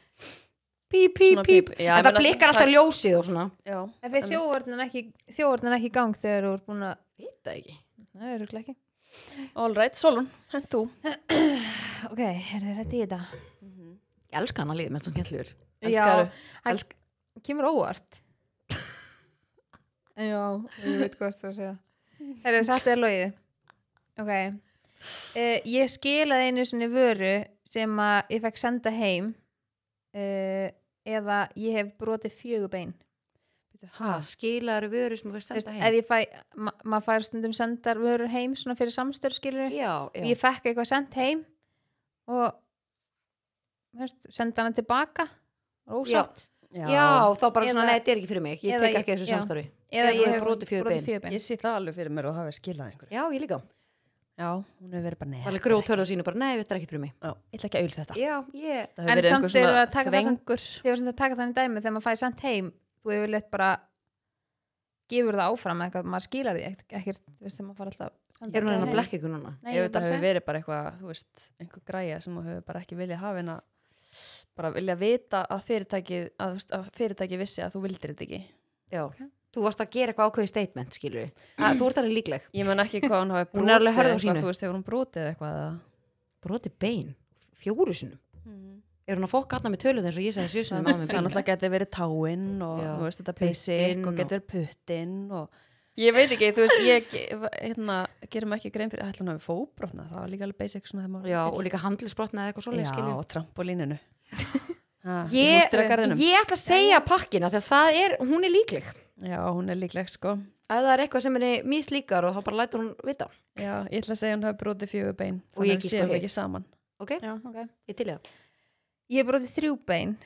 S1: Píp, píp,
S2: Svona
S1: píp
S2: píp, já, ég
S1: En það
S2: meina,
S1: blikkar alltaf
S2: það-
S1: ljósið og svona
S2: Já,
S3: En fyrir þjóðvörnin ekki, þjóðvörnin ekki í gang þegar þú ert búin að,
S2: veit það ekki
S3: það eru ekki.
S2: All right, Solon, henn þú
S3: Ok, er þið rétt í þetta?
S1: Ég elska hann að liða með þessan hellur
S2: Elskaðu.
S3: Já, hann kemur óvart. (laughs) Já, ég veit hvað það að segja. Það er satt eða logið. Ok. Uh, ég skilaði einu sinni vöru sem að ég fekk senda heim uh, eða ég hef brotið fjögubein.
S1: ha, Skilaður vöru sem þú veist
S3: Veist,
S1: senda
S3: ef
S1: heim
S3: ég fæ, ma maður fær stundum sendar vörur heim svona fyrir samstöru skilur
S1: Já, já
S3: ég fekk eitthvað sendt heim og veist, senda hana tilbaka ósátt
S1: Já, þá bara svona,
S3: Eða-
S1: nei, þetta er ekki fyrir mig Ég
S3: eða
S1: tek
S3: ég-
S1: ekki þessu
S3: já.
S1: samstarfi
S3: eða
S1: Eða þú
S3: ég
S1: hefur
S3: hef
S1: brotið fjögur bein.
S3: fjögubein
S2: Ég sé það alveg fyrir mér og það hefur skilað einhverju
S1: Já, ég líka
S2: Já, hún hefur verið bara
S1: Það er
S2: neð
S1: alveg grjótörðu sínu bara, nei, þetta er ekki fyrir mig
S2: Já, ég ætla ekki að auðvitað þetta
S1: Já, ég
S2: Það
S3: En
S2: hefur verið
S3: samt
S2: einhver svona
S3: eru að taka það samt-
S2: þvengur
S3: þegar sem það taka þannig dæmi þegar maður fæði sendt heim þú hefur leitt bara gefur það áfram eða eitthvað, maður skilar því ekkert- ekkert þú veist þegar maður fara alltaf senda
S1: Er hún
S3: það
S1: enn að
S3: heim.
S1: blekka ykkur núna?
S3: Nei,
S2: Ef
S3: ég
S2: þetta
S3: bara
S2: hefur
S3: segi-
S2: verið bara eitthvað, þú veist, einhver græja sem þú hefur bara ekki viljað hafa en að bara vilja vita að fyrirtækið að, þú veist, að fyrirtækið vissi að þú vildir þetta ekki
S1: Já, þú varst að gera eitthvað ákveðið statement, skilur við Þú ert alveg líkleg
S2: Ég man ekki hvað hún
S1: (laughs)
S2: hafi
S1: Hún er
S2: brotið
S1: alveg hörð á
S2: eitthvað,
S1: sínu.
S2: þú veist, hefur hún brotið eitthvað eða
S1: Broti bein, fjóru sinum
S2: Mhm.
S1: Er hún að fokka hann með töluð eins og ég sagði sjösunum á
S2: (laughs) Það
S1: mig
S2: náttúrulega getur verið táinn og
S1: Já,
S2: þú veist, þetta
S1: puttinn
S2: pissik og
S1: og-
S2: getur verið puttinn og ég veit ekki, þú veist, ég hérna, gerum ekki grein fyrir, ætla hún hafi fóbrotna það var líka alveg basic svona þegar maður
S1: Já, og
S2: vill.
S1: líka handlisbrotna eða eitthvað svoleið,
S2: Já,
S1: skilur
S2: og
S1: (laughs)
S2: trampolíninu Ha, í
S1: Ég,
S2: músteragarðinum.
S1: ég ætla að segja pakkina þegar það er, hún er líkleg
S2: Já, hún er líkleg sko
S1: Ef það er eitthvað sem henni mislíkar og þá bara lætur hún vita
S2: Já, ég ætla að segja hann hafi brotið fjögur bein
S1: Og ég
S2: þannig að við
S1: gíska
S2: séum
S1: hitt.
S2: ekki saman
S1: Ok,
S3: Já, ok.
S1: ég til ég
S3: ég hef brotið þrjú bein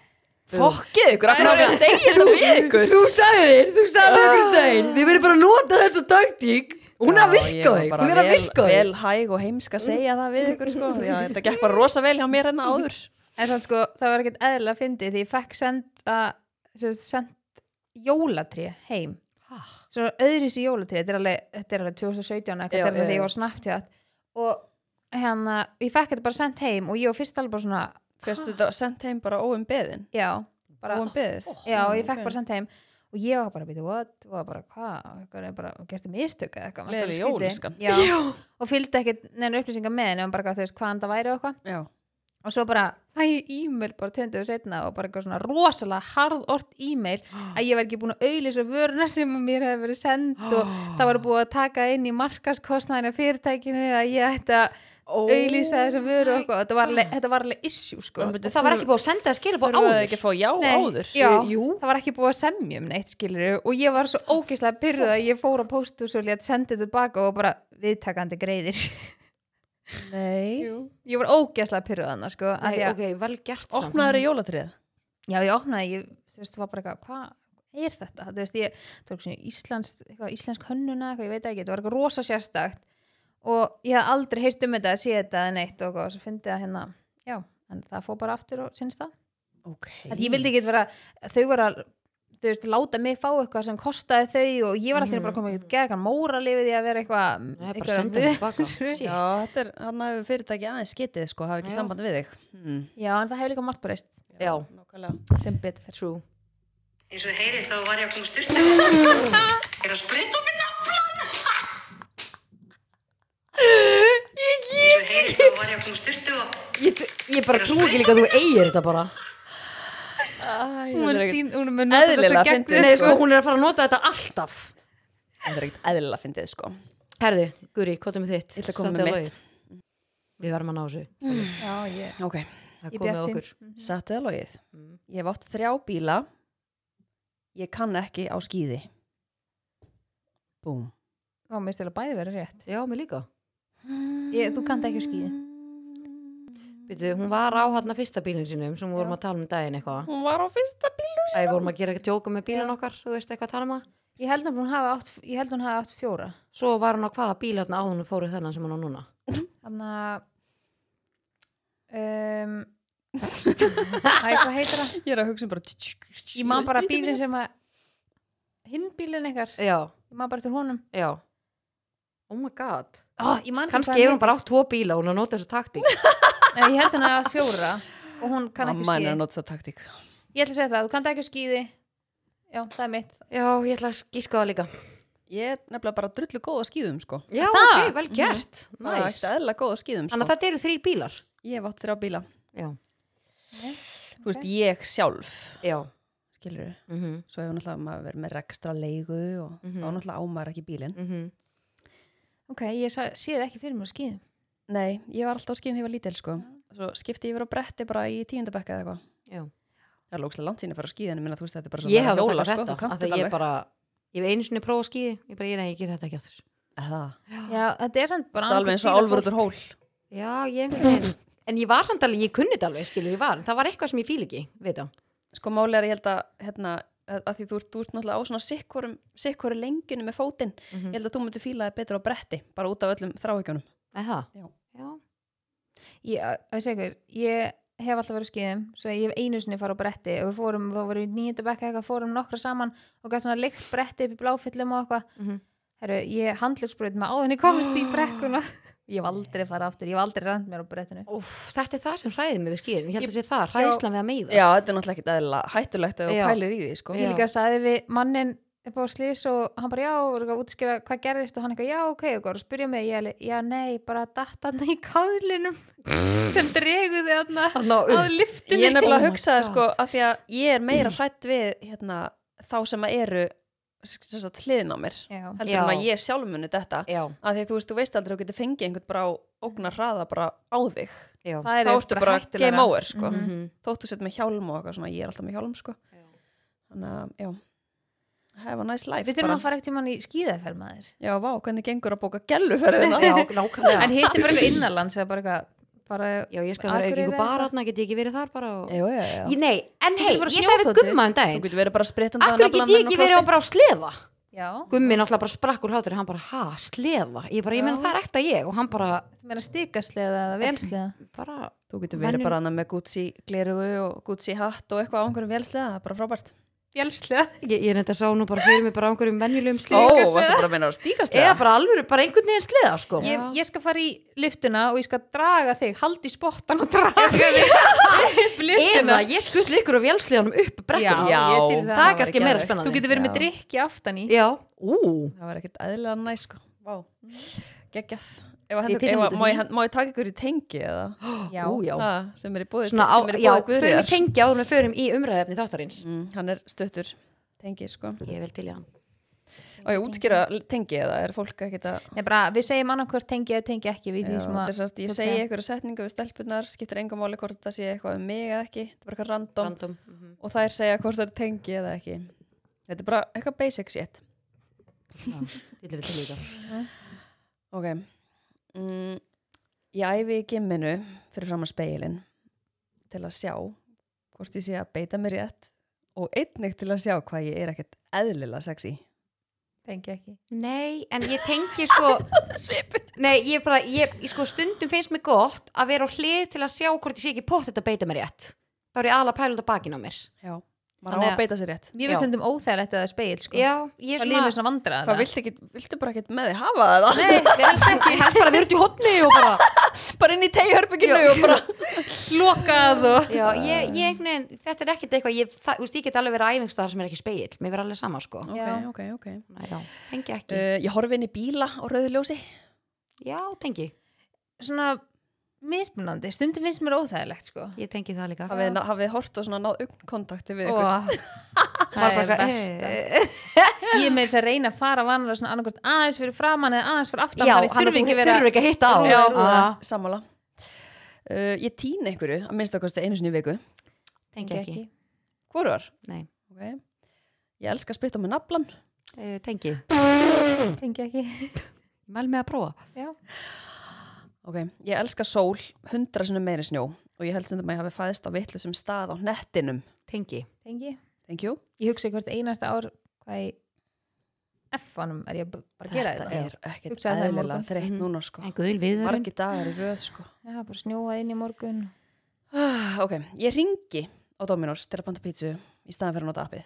S2: Fokkið ykkur, af hverju að segja það við ykkur
S1: Þú sagðir, þú sagðir einhvern daginn Þið verður bara að nota þessa taktík Hún er að
S2: Já, ég
S1: virka
S2: var
S1: þig,
S2: bara
S1: hún er að
S2: vel-
S1: virka þig
S2: Vel hæg og heimsk að segja það við ykkur sko Já, þetta gekk bara rosa vel hjá mér hérna áður
S3: En sann sko, það var ekkert eðlilega fyndið því ég fekk send að send jólatré heim
S1: Ha?
S3: svo öðru sér jólatré þetta er alveg, þetta er alveg
S1: Já,
S3: 2017 eitthvað
S1: já,
S3: þegar
S1: já.
S3: ég var snabbt hjá og hérna, ég fekk þetta bara sendt heim og ég var fyrst alveg bara svona
S2: Fyrstu þetta sendt heim bara óum beðin
S3: já, bara,
S2: Óum beðið
S1: Oh,
S3: já, ég fekk
S2: ok.
S3: bara sendt heim og ég var bara, býta, what, og var bara, hvað hvað er bara, gerstu mistök eða eitthvað fannst
S2: Gleðileg
S3: alveg
S2: jól,
S3: skrítið.
S2: elskan. (laughs)
S3: já, og fylgdi ekkert neina upplýsingar með nefnum bara hvað þú veist hvaðan það væri og eitthvað
S2: Já,
S3: og svo bara fæ ég e-mail bara 20 og setna og bara eitthvað svona rosalega harðort e-mail að ég var ekki búin að auðlýsa vöruna sem að mér hefði verið send
S2: (gasps)
S3: og það var búið að taka inn í markaskostnæðina fyrirtækinu að ég ætti að auðlýsa þessa vöru og eitthvað þetta var alveg, þetta var alveg issue sko
S1: Og það var ekki búið að senda að skilja búið
S2: Þurfa þau
S1: áður
S2: ekki að fá já
S3: Nei,
S2: áður
S3: já,
S1: Jú.
S3: það var ekki búið að semja um neitt skilur og ég var svo ógeðslega pyrruð að ég fór á póstus og létt sendið tilbaka og bara viðtakandi greiðir (laughs)
S2: Nei
S3: ég var ógeðslega pyrruð þannig sko, af því
S1: Nei,
S3: að-
S1: ok, vel gert samt.
S2: Opnaður í jólatrið
S3: já ég opnaði ég, þú veist, var bara eitthvað, hvað er þetta þú veist, ég, það var eitthvað íslensk eitthvað, íslensk hönnuna, eitthvað, ég veit það ekki, það var eitthvað rosa sérstakt og ég hafði aldrei heyrt um þetta að sé þetta eða neitt og, og svo fyndi það hérna, já, en það fór bara aftur og sinnst það,
S2: Ok
S3: að ég vildi ekki vera þau voru að, þú veist, láta mig fá eitthvað sem kostaði þau og ég var alltaf bara komið eitthvað gegn móra lifið í að vera eitthvað
S1: Nei, Mm. bara
S3: eitthvað-
S1: senda hann tilbaka. Shit.
S2: Já, þetta er, hann hefur fyrirtæki aðeins getið sko, hafi ekki
S1: Já.
S2: samband við þig hmm.
S3: (laughs) já, en það hefur líka margt breyst
S1: Já,
S2: Nákvæmlega
S3: sem betur fer
S1: true
S4: Eins og heyrið þá var ég að koma styrtu Er að sprita á minna plan Eins og heyrið þá var ég að koma styrtu
S1: Ég, ég bara trú ekki líka að þú eigir þetta bara
S2: Æ,
S3: hún
S2: þetta
S3: er
S2: er ekkert-
S3: sín, hún mun nota þetta svo
S2: (laughs) Eðlilega
S3: gegn-
S2: fyndið.
S1: Nei,
S2: sko.
S1: sko, hún er að fara að nota þetta alltaf
S2: þetta er ekkert eðlilega fyndið sko
S1: Herðu, Guri, hvað er með þitt?
S2: Ég ætla að koma
S1: Satt
S2: með
S1: eða
S2: mitt.
S1: logið? Við verðum að ná þessu
S3: já, ég,
S2: Ok,
S1: Það
S3: ég
S1: er komið
S3: bjart
S1: að okkur
S2: satt eða logið
S1: Mm.
S2: Ég hef átt þrjá bíla Ég kann ekki á skýði Búm
S3: og mér stila bæði vera rétt
S1: Já, mér líka
S3: Ég, þú kannt ekki á skíði.
S1: Býtu, hún var á hann fyrsta bílinn sinum sem við vorum að tala um daginn eitthvað
S2: Hún var á fyrsta bílu
S1: að við vorum að gera eitthvað tjóka með bílinn okkar þú veist eitthvað að tala um það
S3: Ég held að hún hafi átt, ég held að hún hafi átt fjóra
S1: svo var hann á hvaða bíl hann áðun og fóru þennan sem hann á núna
S3: Þannig að um, Æ, hvað heitir það?
S2: Ég er að hugsa um bara Ég
S3: Ég man bara bílinn sem að hinn bílinn ykkar,
S1: já,
S3: ég man bara til honum
S1: já oh my god
S3: oh, Ég man
S1: kannski hefur hún bara átt tvo bíla og hún er að nota þessu
S2: (laughs)
S1: taktík
S3: Nei, Ég held að hún hafi átt fjóra og hún kann ekki
S2: Mamma er
S3: skýði
S2: að nota það taktík
S3: Ég ætla að segja það, þú kannt ekki skýði Já, það er mitt
S1: já, ég ætla að gíska það líka
S2: Ég er nefnilega bara drullu góð á skýðum sko Mhm.
S1: já,
S3: Það?
S1: ok, vel gert,
S2: Bara
S1: næs
S2: ekki eðla góð á skýðum
S1: þannig að
S2: sko
S1: þetta eru þrýr bílar
S2: Ég hef átt þrjá bíla
S1: já,
S2: Þú veist, ég sjálf
S1: já,
S2: Skilur
S1: mhm mm
S2: Svo hefur náttúrulega maður verið með rekstra leigu og
S1: Mhm.
S2: þá náttúrulega ámar ekki bílinn.
S3: Ok, ég sá, sé það ekki fyrir mér á skýðum
S2: Nei, ég var alltaf á skýðum þegar ég var lítil sko. Svo skipti ég verið á bretti bara í tíundabekka eða eitthvað.
S1: Já.
S2: Það er lókslega langt sín að fara á skýðinu minna, þú veist, þetta er bara
S1: ég
S2: að
S1: hefði
S2: hjóla,
S1: takað
S2: þú
S1: þetta
S2: kannt
S1: af því
S2: þetta
S1: ég
S2: alveg.
S1: bara, ég hef einu sinni prófa að skýði ég bara, ég, nei, ég get þetta ekki aftur
S2: Það,
S3: Já, þetta er samt bara
S2: það er alveg eins og
S3: annað hvort
S2: álfur út
S3: fílar
S2: úr hól.
S1: já, ég einhvern veginn en ég var samt alveg, ég kunni þetta alveg, skilur, ég var en það var eitthvað sem ég fíl ekki, veit það
S2: Sko máli er að ég held að, hérna, að að því þú ert, þú ert náttúrulega á svona sikkorum, sikkoru lenginu með fótinn,
S1: Mhm.
S2: ég held að þú myndir fíla það betur á bretti, bara út af öllum þráhyggjunum.
S1: eða það,
S2: Já.
S1: já,
S3: Ég, að segja ykkur, ég hef alltaf verið á skýðum svo ég hef einu sinni farið á bretti og við fórum, þá vorum við nýjönda bekka eitthvað fórum nokkra saman og gæt svona lykt bretti upp í bláfyllum og eitthvað
S1: Mhm.
S3: Herru, ég handlugsbröð með áðinni komst í (gasps) brekkuna Ég hef aldrei farið aftur, ég hef aldrei rand mér á brettinu
S1: Úf, þetta er það sem hræði mig við skýðin, ég held
S3: Ég-
S1: að sé það, hræðislan við að meiðast
S2: Já, þetta er náttúrulega ekkit eðla hættulegt að þú
S1: Já.
S2: pælir í því, sko.
S1: Já.
S3: Ég líka sagði við mannin upp á slís og hann bara já, og voru eitthvað að útskýra hvað gerðist og hann eitthvað já, ok, og góður að spyrja mig ég alveg, já, nei, bara dattana í kaðlinum (laughs) sem dreguði aðna
S1: Þarna á-
S3: að
S2: um.
S3: lyftunni
S2: Ég nefnilega
S1: Oh my
S2: hugsaði
S1: God.
S2: sko að því að ég er (clears throat) meira hrætt við hérna, þá sem að eru sem sagt, hliðin á mér
S3: (laughs) Já.
S2: heldur
S1: Já.
S2: en að ég sjálf muni þetta
S1: já,
S2: að því að þú veist, þú veist aldrei að þú getur fengið einhvern bara á ógnar hraða bara á þig
S1: já,
S3: Það
S2: þá
S3: er
S2: ertu bara
S3: hættulegra.
S2: game over sko
S3: Mhm.
S1: Mhm.
S2: þóttu sett með hjálm og eitthvað svona, ég er alltaf með hjálm sko
S1: Já.
S2: þannig að, já have a nice life
S3: Við þurfum
S2: bara.
S3: að fara ekkert tímann í skíðaferð maður
S2: Já, vá, hvernig gengur að bóka (laughs) gelluferðina
S1: já, nákvæmlega
S3: En hittum bara eitthvað innanlands eða bara eitthvað bara,
S1: já, ég skal vera ekki
S3: Akureyri
S1: ykkur
S3: eða
S1: bara
S3: eitthvað.
S1: þarna, get ég ekki verið þar bara og...
S2: Já, já, já.
S1: ég, nei, en
S3: Þú
S1: hei,
S3: getur bara
S1: ég sagði við
S3: snjóþotu.
S1: gumma um
S2: Þú
S1: daginn
S2: getur verið bara sprittandi
S1: akkur get ég ekki verið á bara á sleða
S3: Já,
S1: gummi náttúrulega bara sprakk úr hlátur hann bara, ha, sleða, ég bara, ég meina
S3: Já.
S1: það er ekta ég og hann bara,
S3: þú meina stikasleða eða velsleða
S1: bara
S2: Þú getur verið
S1: Venjul-
S2: bara annað með Gucci glerugu og Gucci hatt og eitthvað á einhverjum vélslega, það er bara frábært.
S3: Velsleða
S1: Ég, ég nefndi að sá nú bara fyrir mig bara á einhverjum venjulegum
S2: Ó,
S1: sleða
S2: varstu bara að meina að stíkast
S1: Eða bara alvöru, bara einhvern veginn sleða sko
S3: ég,
S2: Já.
S3: ég skal fara í lyftuna og ég skal draga þig haldi í spottan og draga þig
S2: (laughs)
S3: upp lyftuna
S1: Eða ég skull ykkur á vélsleðanum upp brekkuna
S3: Já, ég til í
S1: Það
S3: það.
S1: er kannski meira spennandi
S3: Þú getur verið
S2: Já.
S3: með drikki aftan í
S1: Já, ú,
S2: Það var ekkert eðlilega næ, sko. Vá, geggjað. Ef að
S1: Við
S2: hendur,
S1: finnum
S2: ef
S1: út
S2: að,
S1: úr
S2: má
S1: því.
S2: ég, hend- má ég taka ykkur í tengi eða?
S3: Já.
S1: ú, já
S2: Ha, sem er í búið,
S1: Svona á,
S2: sem er í
S1: já,
S2: búið
S1: förum við
S2: guðriðar.
S1: tengja áður en við förum í umræðefni þáttarins
S2: Mm, hann er stuttur tengi, sko.
S1: Ég vil til í hann
S2: Og ég útskýra tengi eða, er fólk ekkert að...
S3: Nei, bara, við segjum annarkvort tengi eða tengi ekki við því
S2: Já,
S3: sem
S2: þetta er
S3: að
S2: sem sagt, ég
S3: þú
S2: segi
S3: segir.
S2: einhverja setningu við stelpunar, skiptir engum máli hvort það sé eitthvað um mig eða ekki, þetta er bara eitthvað random
S1: Random mhm.
S2: og þær segja hvort það er tengi eða ekki. Þetta er bara eitthvað basic shit.
S1: Ég vil til í það
S2: Ok. Mm, ég æfi í gimminu fyrir fram að speilin til að sjá hvort ég sé að beita mér rétt og einnig til að sjá hvað ég er ekkert eðlilega sexy.
S3: tengi ekki
S1: Nei, en ég tengi sko (laughs) Nei, ég bara, ég, ég sko stundum finnst mér gott að vera á hlið til að sjá hvort ég sé ekki pott þetta beita mér rétt Þá er ég aðla pæluð á bakinn á mér
S2: Já. Maður á
S1: Þannig
S2: að
S1: að-
S2: beita sér rétt.
S3: Mér finnst
S1: Já.
S3: stundum óþægilegt að það er speil sko.
S1: Já, ég er
S3: Það líður mér svona vandræða
S2: Hvað, viltu, ekki, viltu bara ekkert með þig hafa það það?
S1: Nei, það er alls ekki, ég held bara að við erum í hotni og bara,
S2: (laughs) bara inn í tegihörbygginu og bara...
S3: Lokað og
S1: já, ég, ég einhvern veginn, þetta er ekkert eitthvað, ég, það, þú veist, ég get alveg verið æfingstöðar sem er ekki speill, mér verður alveg sama, sko.
S2: ok,
S3: Já.
S2: ok, ok.
S1: Næ, já, tengi
S3: Eh.
S1: ekki,
S2: Uh, ég horfi inn í bíla á rauðu ljósi.
S1: já, tengi,
S3: Svona mismunandi Stundum finnst mér óþægilegt sko.
S1: ég tengi það líka.
S2: Hafið hafið hort og svona náð ugnkontakti við ykkur.
S1: (laughs)
S3: Ó, Það er besta
S1: eh,
S3: Ég er með þess að reyna að fara vanlega svona annarkvort aðeins fyrir framann eða aðeins fyrir aftan
S1: eh, Já,
S3: þannig
S1: hann
S3: þurfi
S1: þurfi
S3: ekki að vera
S1: ekki að hitta á.
S3: Rúða,
S2: Já,
S3: rúða.
S1: Ah,
S2: Sammála. Uh, ég týn einhverju, að minnst okkar einu sinni í viku.
S1: Tengi ekki,
S2: Hvoruar?
S1: nei,
S2: Ok. Ég elska að spritta með naflan.
S1: uh, tengi,
S3: Tengi ekki (laughs)
S1: mæl með að prófa.
S3: Já.
S2: Ok, ég elska sól hundra sinnum meiri snjó og ég held sem að ég hafi fæðist á vitlu sem stað á nettinum.
S1: tengi
S3: tengi
S2: Thank you.
S3: ég hugsa hvert einasta ár hvað í F-anum er ég b- bara að gera
S2: Þetta
S3: þetta
S2: er ekkert
S3: Hugsaði það í
S2: eðlilega
S3: morgun.
S2: þreytt
S1: Mhm.
S2: núna sko.
S1: en guðul viðvörun
S2: Margi dagar í röð sko.
S3: Já, bara snjóað inn í morgun
S2: Ah, Ok, ég ringi á Dominos til að panta pítsu í staðan fyrir að nota appið.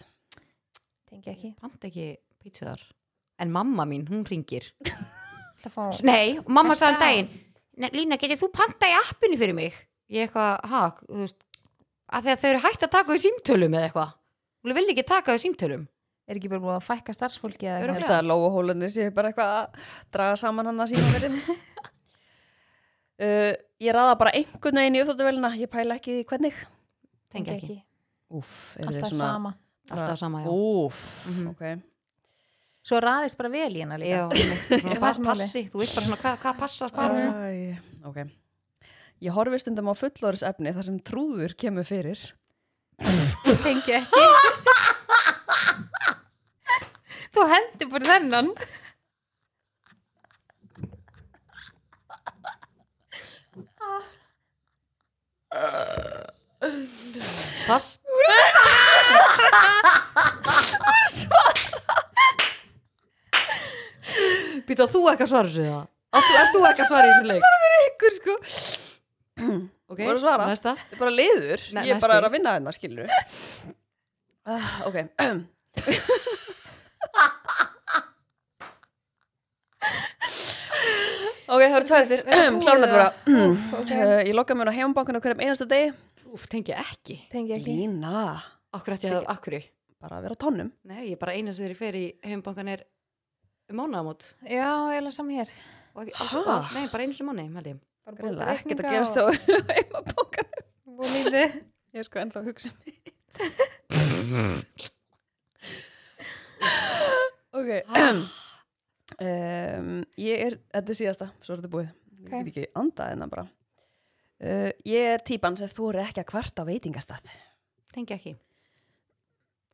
S3: tengi ekki
S1: panta ekki pítsuðar en mamma mín, hún ringir
S3: Ætla að fá-
S1: Nei, mamma
S3: En
S1: sagði um
S3: þá?
S1: daginn "Nei, Lína, getur þú panta í appinu fyrir mig? Ég eitthvað, ha, þú veist að þegar þau eru hægt að taka þau símtölum eða eitthvað Hún vil ekki taka þau símtölum
S3: er ekki bara búið að fækka starfsfólki eða
S2: Ég
S1: Örugglega.
S3: eitthvað?
S2: held að lóahólunni séu bara eitthvað að draga saman hann að síma verðin.
S3: (laughs)
S2: uh, ég raða bara einhvern veginn í uppþáttuvelina, ég pæla ekki í því hvernig.
S1: Tengi ekki,
S2: Úf, er þið
S3: alltaf
S2: svona...
S3: sama
S1: alltaf sama, já
S2: Úf,
S1: Mhm.
S2: ok.
S3: svo raðist bara vel í hana
S1: Já,
S3: líka
S1: einmitt,
S3: Já,
S1: svona bara
S3: það er
S1: passi, þú veist bara svona hvað, hvað passar hvað svona.
S2: Æ, ok Ég horfi stundum á fullorðis efni þar sem trúður kemur fyrir
S3: (laughs)
S2: (laughs)
S3: tengi ekki þú hendur bara þennan
S1: Pass, býta þú ekki að svara þessu það Áttu, ert þú ekki að svara í þessu leik?
S2: Ekkur sko,
S1: Ok,
S2: Þú voru að svara.
S1: næsta
S2: þetta er bara liður
S1: Ne-
S2: Ég er bara
S1: næsti.
S2: er að vinna þarna, skilur uh, Ok Ok, það eru tvær eftir Klárum þetta bara uh, Ég lokka mér á heimabankinu á hverjum einasta degi
S1: Úf, tengi ekki
S3: tengi ekki
S2: Lína,
S1: Akkur ætti ég að, akkur
S2: bara að vera á tónum
S1: Nei, ég er bara eina sem þeirri fer í heimbankan er um mánaðamót
S3: já, eiginlega saman hér
S1: og ekki,
S2: Ha?
S1: aldrei, aldrei, nei, bara einu sem mánuði, held ég
S3: Bara búið
S2: Greinlega
S3: reikninga
S2: ekkert að gerast á (laughs)
S3: og-
S2: heimabankinu
S3: og lítið.
S2: Ég er sko ennþá að hugsa um því Ok um, Ég er, þetta er síðasta Svo er þetta búið Ég
S3: Ok.
S2: get ekki andað hennar bara uh, Ég er típan sem þú eru ekki að kvarta á veitingastað
S1: tengi ekki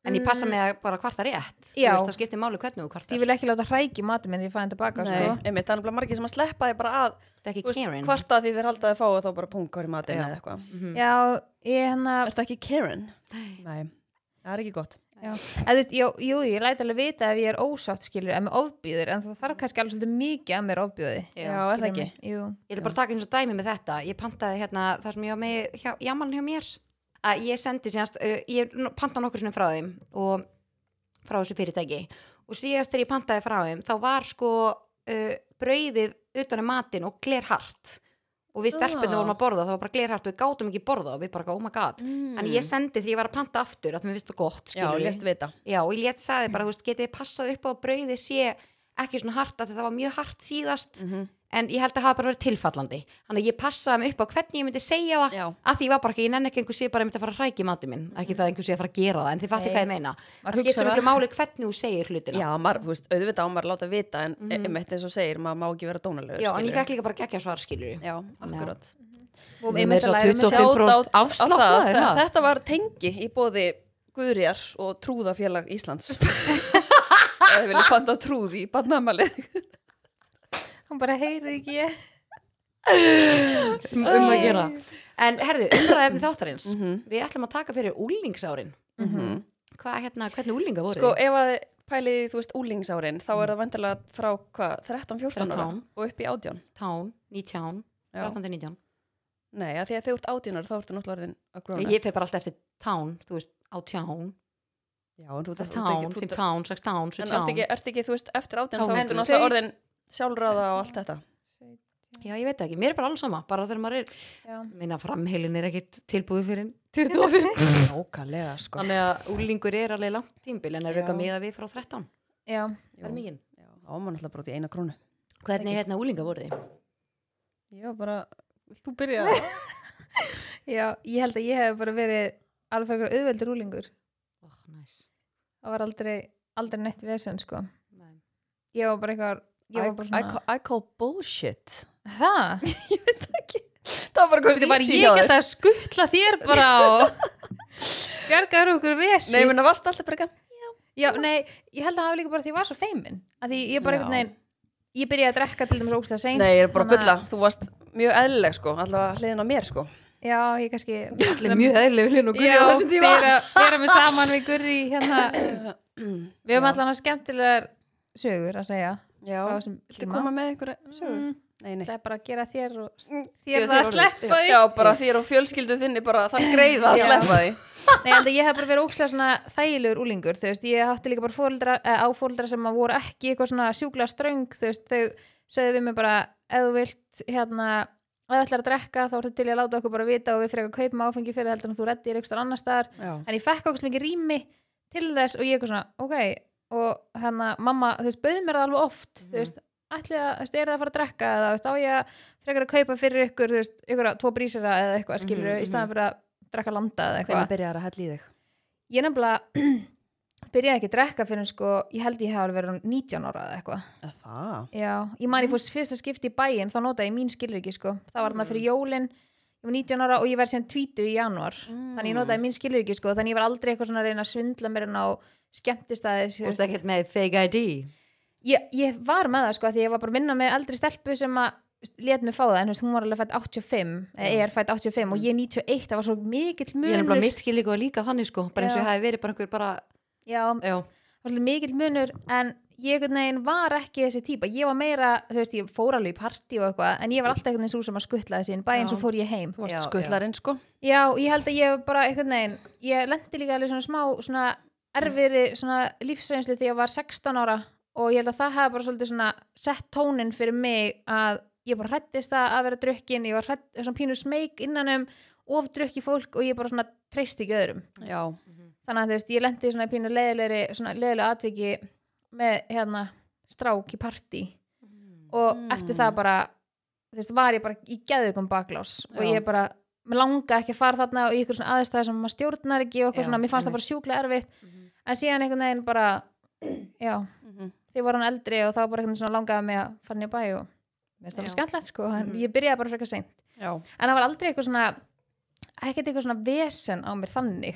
S1: en ég passa mig að bara kvarta rétt Þú
S3: Mm. Já.
S1: veist, það skiptir máli hvernig þú
S3: ég
S1: kvartar
S3: vil ekki láta hræki matum en ég fæði þetta baka sko.
S2: Nei, einmitt, það er nefnilega margir sem að sleppa þið bara að
S1: þetta er
S2: þú
S1: ekki Karen
S2: kvarta því þeir halda þið fá og þá bara pungar í matinn
S1: Já.
S2: eða eitthvað
S1: Mhm.
S3: já, ég hérna
S2: Er það ekki Karen?
S1: Nei.
S2: Nei, það er ekki gott
S3: Já, eða þú veist, jú, jú, ég læti alveg vita ef ég er ósátt skilur, ef mér ofbýður, en það þarf kannski alveg svolítið mikið að mér ofbýði.
S1: Já.
S2: Já, er það ekki?
S3: Jú,
S1: ég vil bara taka eins og dæmi með þetta ég pantaði hérna þar sem ég var með hjá, jaman hjá mér að ég sendi síðast uh, ég no- pantaði nokkur sinni frá þeim og frá þessu fyrirtæki og síðast þegar ég pantaði frá þeim þá var sko uh, brauðið utan um matinn og glerhart og við stelpunni
S2: Já.
S1: vorum að borða það var bara glerhart og við gátum ekki borða og við bara oh my god
S2: mm.
S1: en ég sendi því ég var að panta aftur að mér finnst það gott
S2: Já,
S1: skilurðu.
S2: lest vita
S1: Já, og ég létt sagði bara, þú veist, getið þið passað upp á að brauðið sé ekki svona hart af því það var mjög hart síðast
S2: mm -hmm.
S1: en ég held að hafa bara verið tilfallandi þannig að ég passaði mig upp á hvernig ég myndi segja það
S2: Já,
S1: að því ég var bara ekki, ég nenni ekki að einhver sé bara að myndi að fara að hrækja í matið minn, ekki það að einhver sé að fara að gera það en þið fattu
S3: Nei.
S1: hvað ég meina, það skiptir
S3: maður hugsa
S1: svo
S3: það.
S1: miklu máli hvernig þú segir hlutina
S2: Já, maður, þú veist, auðvitað á maður að láta vita en mm
S1: Mhm.
S2: einmitt eins og segir, maður má ekki vera dónalegur
S1: Já, en ég
S2: skilurðu.
S1: fekk líka bara geggja svar skilur
S2: Já, akkurat
S3: Og
S1: Mér er
S3: einmitt
S1: svo
S3: að læra mig
S1: 25 25%
S3: sjálf.
S2: Shout out
S1: afslátt,
S2: á það.
S1: maður,
S2: Þe-
S1: það.
S2: Þetta var tengi í bóði Guðrjar og Trúðafélag
S1: (laughs)
S2: Íslands Eða vilja panta trúð í barnamalið
S3: Hún bara heyrið ekki ég.
S1: um um að gera En herðu, umræðefni þáttarins
S2: Mhm.
S1: við ætlum að taka fyrir úlingsárin Hvað, hérna, hvernig úlinga voru
S2: Sko, ef að pælið í, þú veist, úlingsárin þá er það vandilega frá, hvað, 13-14 ára
S1: 13.
S2: og upp í 18
S1: Tán, 19,
S2: Já.
S1: 13 19
S2: Nei, að því að þegar þú ert 18 ára þá ertu náttúrulega orðin að gróna
S1: Ég fer bara alltaf eftir tán, þú veist, á tján
S2: Já, en þú ert þú ert
S1: tán,
S2: þú ert-
S1: 15, 16,
S2: En ertu
S1: 17
S2: ekki, ert ekki, þú veist, eftir 18
S1: Þá
S2: þá
S1: er
S2: ertu
S1: þú-
S2: náttúrulega orðin sjálfráða og allt þetta
S1: Já, ég veit það ekki, mér er bara alls sama bara þegar maður er,
S3: Já.
S1: minna framheilin er ekkit tilbúið fyrir 25 (laughs)
S2: Nákvæmlega, sko
S1: Þannig að úlingur er alveg langt tímbil en er
S2: Já.
S1: auka miða við frá 13
S3: Já.
S1: Það er mikið
S2: Já, þá var maður náttúrulega bara út í eina krónu.
S1: Hvernig hérna úlinga voru þið?
S2: Ég var bara, vilt þú byrja að...
S3: Já, ég held að ég hef bara verið alveg fyrir auðveldur úlingur.
S1: Oh, nice.
S3: Það var aldrei, aldrei neitt vesen, sko.
S1: Nei.
S3: Ég var bara eitthvað, ég var bara
S2: I,
S3: svona,
S2: ca- I call bullshit.
S3: það?
S2: Það var bara
S3: Þetta er bara ég get að skuttla þér bara
S2: (laughs)
S3: og bjargaður okkur vesi.
S2: Nei, menn að varst alltaf bara eitthvað.
S3: Já, nei, ég held að það var líka bara því ég var svo feimin að því ég
S2: Já.
S3: bara einhvern veginn ég byrjaði að drekka til dæmis ógstlega seint
S2: Nei, ég er bara að
S3: þannig
S2: bulla.
S3: að-
S2: Þú varst mjög eðlileg sko, allavega hliðin á mér sko
S3: já, ég kannski
S1: Allir mjög eðlileg hlun og gulli á þessum tíma
S3: vera með saman við Gurri hérna við
S2: (clears throat) Já.
S3: höfum allan að skemmtilegar sögur að segja
S2: Já,
S3: frá þessum
S2: viltu
S3: tíma.
S2: koma með einhverja sögur?
S3: Mm,
S2: Nei, nei
S3: það er bara að gera þér og
S1: Gera þér
S3: þér það að
S1: orðið.
S3: sleppa því
S2: Já, bara þér og fjölskyldu þinni bara það greiða að
S3: Já.
S2: sleppa því
S3: Nei, en ég hef bara verið ókslega svona þægilegur úlingur, þú veist, ég átti líka bara fóldra, á fóldra sem að voru ekki eitthvað svona sjúklega ströng, þú veist, þau sögðu við mig bara, ef þú vilt hérna, ef þú ætlar að drekka þá ertu til í að láta okkur bara vita og við frekar kaupum áfengi fyrir það heldur en þú reddir eitthvað annar staðar
S2: Já,
S3: en ég fekk okkur mikið rými til þess og ég eitthvað svona, ok og hérna, mamma, þú veist, bauð mér það alveg oft
S1: Mhm.
S3: þú veist, ætli að, þú veist, er það að fara að drekka eða, þú veist, á ég að frekar að kaupa fyrir ykkur, þú veist, ykkur að tvo brísera eða eitthvað skilur,
S1: Mhm,
S3: í staðan fyrir að drekka landa eða eitthvað
S2: hvernig byrjar að hella í þig?
S3: ég nefnilega (clears throat) byrjaði ekki að drekka fyrir en sko, ég held ég hef alveg verið orðin 19 ára eða eitthvað
S2: Að Það?
S3: já,
S1: Mhm.
S3: ég man ég fórst fyrsta skipti í bæinn þá notaði ég mín skilriki sko, það var
S1: Mm.
S3: þarna fyrir jólin ég var 19 ára og ég verði síðan 20 í janúar þannig
S1: Mm.
S3: ég notaði mín skilriki sko þannig ég var aldrei eitthvað svona að reyna að svindla mér en á skemmtistæði
S1: Þú veist ekkert með fake ID
S3: ég, ég var með það sko af því ég var bara að vinna með eldri stelpu sem að let mig fá það, en þú veist, hún var alveg fætt 85 eða er fætt 85 og ég 91 það var svo mikill
S1: Ég er nefnilega
S3: munur
S1: mitt skil líka og líka þannig sko bara eins og
S3: Já.
S1: ég hafi verið bara einhver bara
S3: já,
S1: já,
S3: var svolítið mikill munur en ég einhvern veginn var ekki þessi típa ég var meira, þú veist, ég fór alveg í partí og eitthvað, en ég var alltaf einhvern veginn svo sem að skuttla þessi en bæinn
S2: Já.
S3: svo fór ég heim
S2: Þú
S1: Já,
S2: varst skuttlarinn sko
S3: já, ég held að ég bara einhvern veginn ég lendi líka alveg svona smá svona erfiðri svona lífsreynslu þegar ég var 16 ára og ég held að það hefði bara svolítið svona sett tónin fyrir mig að ég bara hrættist það að vera drukkin ég var hrætt, svona pínu smeyk innanum of drukki fólk og ég bara svona treysti ekki öðrum
S2: Já,
S3: þannig að þú veist, ég lendi í svona pínu leiðilegri svona leiðilegu atviki með hérna strák í partí
S1: Mhm.
S3: og
S2: Mm.
S3: eftir það bara þú veist, var ég bara í geðugum baklás og
S2: Já.
S3: ég bara, mér langa ekki að fara þarna og í ykkur svona aðstæði sem maður stjórnar ekki og
S1: Já,
S3: eitthvað svona, mér fannst það
S1: einmitt.
S3: bara sjúklega erfitt en síðan einhvern veginn bara (clears throat) já,
S2: Mhm.
S3: því voru hann eldri og þá bara einhvern veginn svona langaði mig að fara niður bæ og mér finnst
S1: Já.
S3: það alveg skemmtlegt sko, en
S1: Mhm.
S3: ég byrjaði bara frekar seint
S2: já
S3: en það var aldrei eitthvað svona ekkert eitthvað svona vesen á mér þannig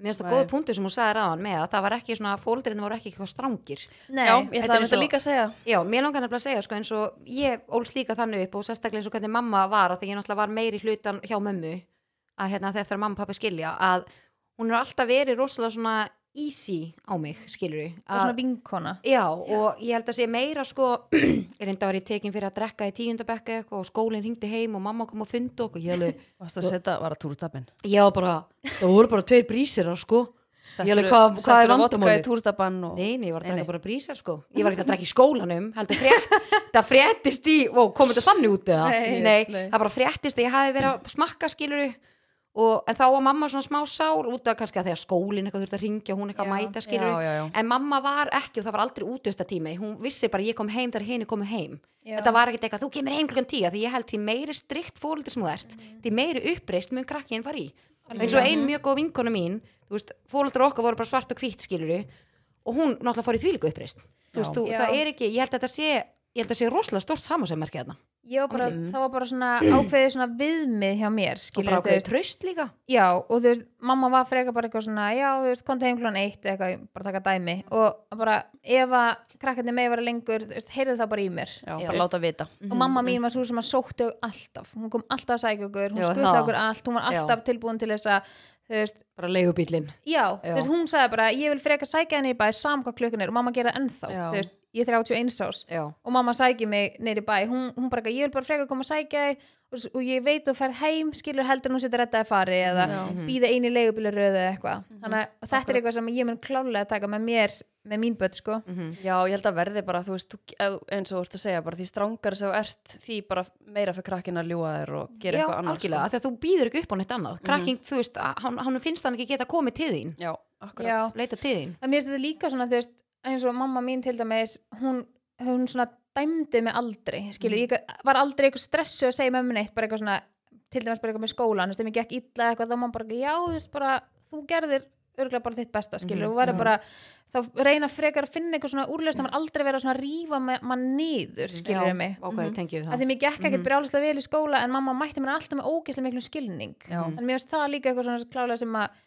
S1: Mér finnst það
S2: Nei.
S1: góða punktu sem hún sagði ráðan með að það var ekki svona, fóldurinn voru ekki eitthvað strangir
S3: Nei,
S2: Já, ég
S1: þetta
S2: ætlaði
S1: er
S2: með þetta
S1: svo-
S2: líka að segja
S1: Já, mér langar nefnilega að segja sko eins og ég ólst líka þannig upp og sérstaklega eins og hvernig mamma var að því ég náttúrulega var meiri hlutan hjá mömmu að hérna þegar eftir að mamma og pappi skilja að hún er alltaf verið rosalega svona easy á mig, skilur
S3: það var svona vinkona
S1: Já, og ég held að sé meira sko, (clears throat) ég reynda var ég tekin fyrir að drekka í tíundabekka eitthvað og skólinn hringdi heim og mamma kom að funda okkur, ég
S2: (laughs)
S1: alveg,
S2: Varst að setja, var að túrtabinn
S1: ég var bara, það voru bara tveir brísirar sko, ég alveg, hvað, hvað er
S2: Settur
S1: vandamálið?
S2: í túrtabann og
S1: Nei, nei, ég var að
S2: Nei,
S1: drekka
S2: nei.
S1: bara brísar sko, ég var ekkert að drekka í skólanum, heldur
S2: (laughs)
S1: frétt, það fréttist í, ó, kom þetta þannig út eða?
S3: Nei,
S2: nei.
S1: það bara fréttist að ég hafi verið að smakka skiluru og en þá var mamma svona smá sár út af kannski að þegar skólinn eitthvað þurfti að ringja, hún eitthvað að
S3: Já,
S1: mæta skiluru
S2: Já, já, já
S1: en mamma var ekki og það var aldrei útvistatími hún vissi bara ég kom heim þegar henni komu heim
S3: Já.
S1: þetta var ekkert eitthvað, þú kemur heim klukkan tíu af því ég held því meiri strikt fólöldur sem þú ert
S2: Mm.
S1: því meiri uppreist mun krakkinn var í eins og ein mjög góð vinkona mín þú veist, fólöldur okkar voru bara svart og hvítt skiluru og hún náttúrulega fór í þvílíku uppreist þú veist, þú,
S3: Já.
S1: það er ekki, ég held að þetta sé ég held að sé rosalega stórt samasemmerki þarna
S3: ég var bara,
S2: Andlitið.
S3: það var bara svona ákveðið svona viðmið hjá mér
S1: og
S3: skilur
S1: bara
S3: þú
S1: ákveðið
S3: veist,
S1: tröst líka
S3: já, og þú veist, mamma var freka bara eitthvað svona, já, þú veist, konti heim klón eitt eða eitthvað, ég bara taka dæmi og bara, ef að krakkarnir með vera lengur þú veist, heyrðu það bara í mér
S2: Já, bara láta vita
S1: Mhm.
S3: og mamma mín var svo sem að sóttu alltaf, hún kom alltaf að sækja okkur hún
S1: Já,
S3: skuðla
S1: það.
S3: okkur allt, hún var
S1: Já.
S3: alltaf tilbúin til þess að, þú veist,
S1: bara leigubílin Já.
S3: já, Þú veist, hún sagði bara, ég vil freka sækja henni í bæ sam hvað klukkan er og mamma gera það ennþá,
S2: Já.
S3: þú veist, ég er 31 árs
S1: já,
S3: og mamma sækir mig neyri bæ hún, hún bara, eitthvað, ég vil bara freka koma að sækja þig og, s- og ég veit þú ferð heim, skilur heldur en hún setja redda að fari eða
S1: Mhm.
S3: býða einu leigubilaröðu eða eitthvað þannig að og þetta er eitthvað sem ég mun klálega að taka með mér, með mín börn sko
S1: Mhm.
S2: Já, ég held að verði bara, þú veist, þú, ef- eins og þú ert að segja, bara því strangar sem þú ert, því bara meira fyrir krakkin að ljúa þér og gera
S1: já
S2: eitthvað sko. annars.
S1: algjörlega, af því að þú býður ekki upp á neitt annað krakking, þú veist, að- hann, hann finnst hann ekki geta komið til þín
S2: Já, akkurat.
S3: Já.
S1: leita til þín
S3: en mér finnst þetta líka svona, þú veist, eins og mamma mín til dæmis, hún, hún svona dæmdi mig aldrei, skilur,
S2: Mhm.
S3: ég var aldrei eitthvað stressu að segja mömmu neitt bara eitthvað svona, til dæmis bara eitthvað með skólan þú veist, ef mér gekk illa eitthvað, þá má bara eitthvað, já, þú veist, bara þú gerðir örgulega bara þitt besta,
S2: Mhm,
S3: skilur, þú verður bara þá reyna frekar að finna eitthvað svona úrlöst það var aldrei verið að svona rífa ma- mann niður skilur
S2: Já. Mhm.
S3: mig,
S1: ákveðið mm. tengjum við
S3: Eh, af því
S1: það
S3: mér gekk ekkert brjálislega vel í skóla en mamma mætti mér alltaf með ógeðslega miklum skilning
S2: Já.
S3: en mér finnst það líka eitthvað svona klálega sem að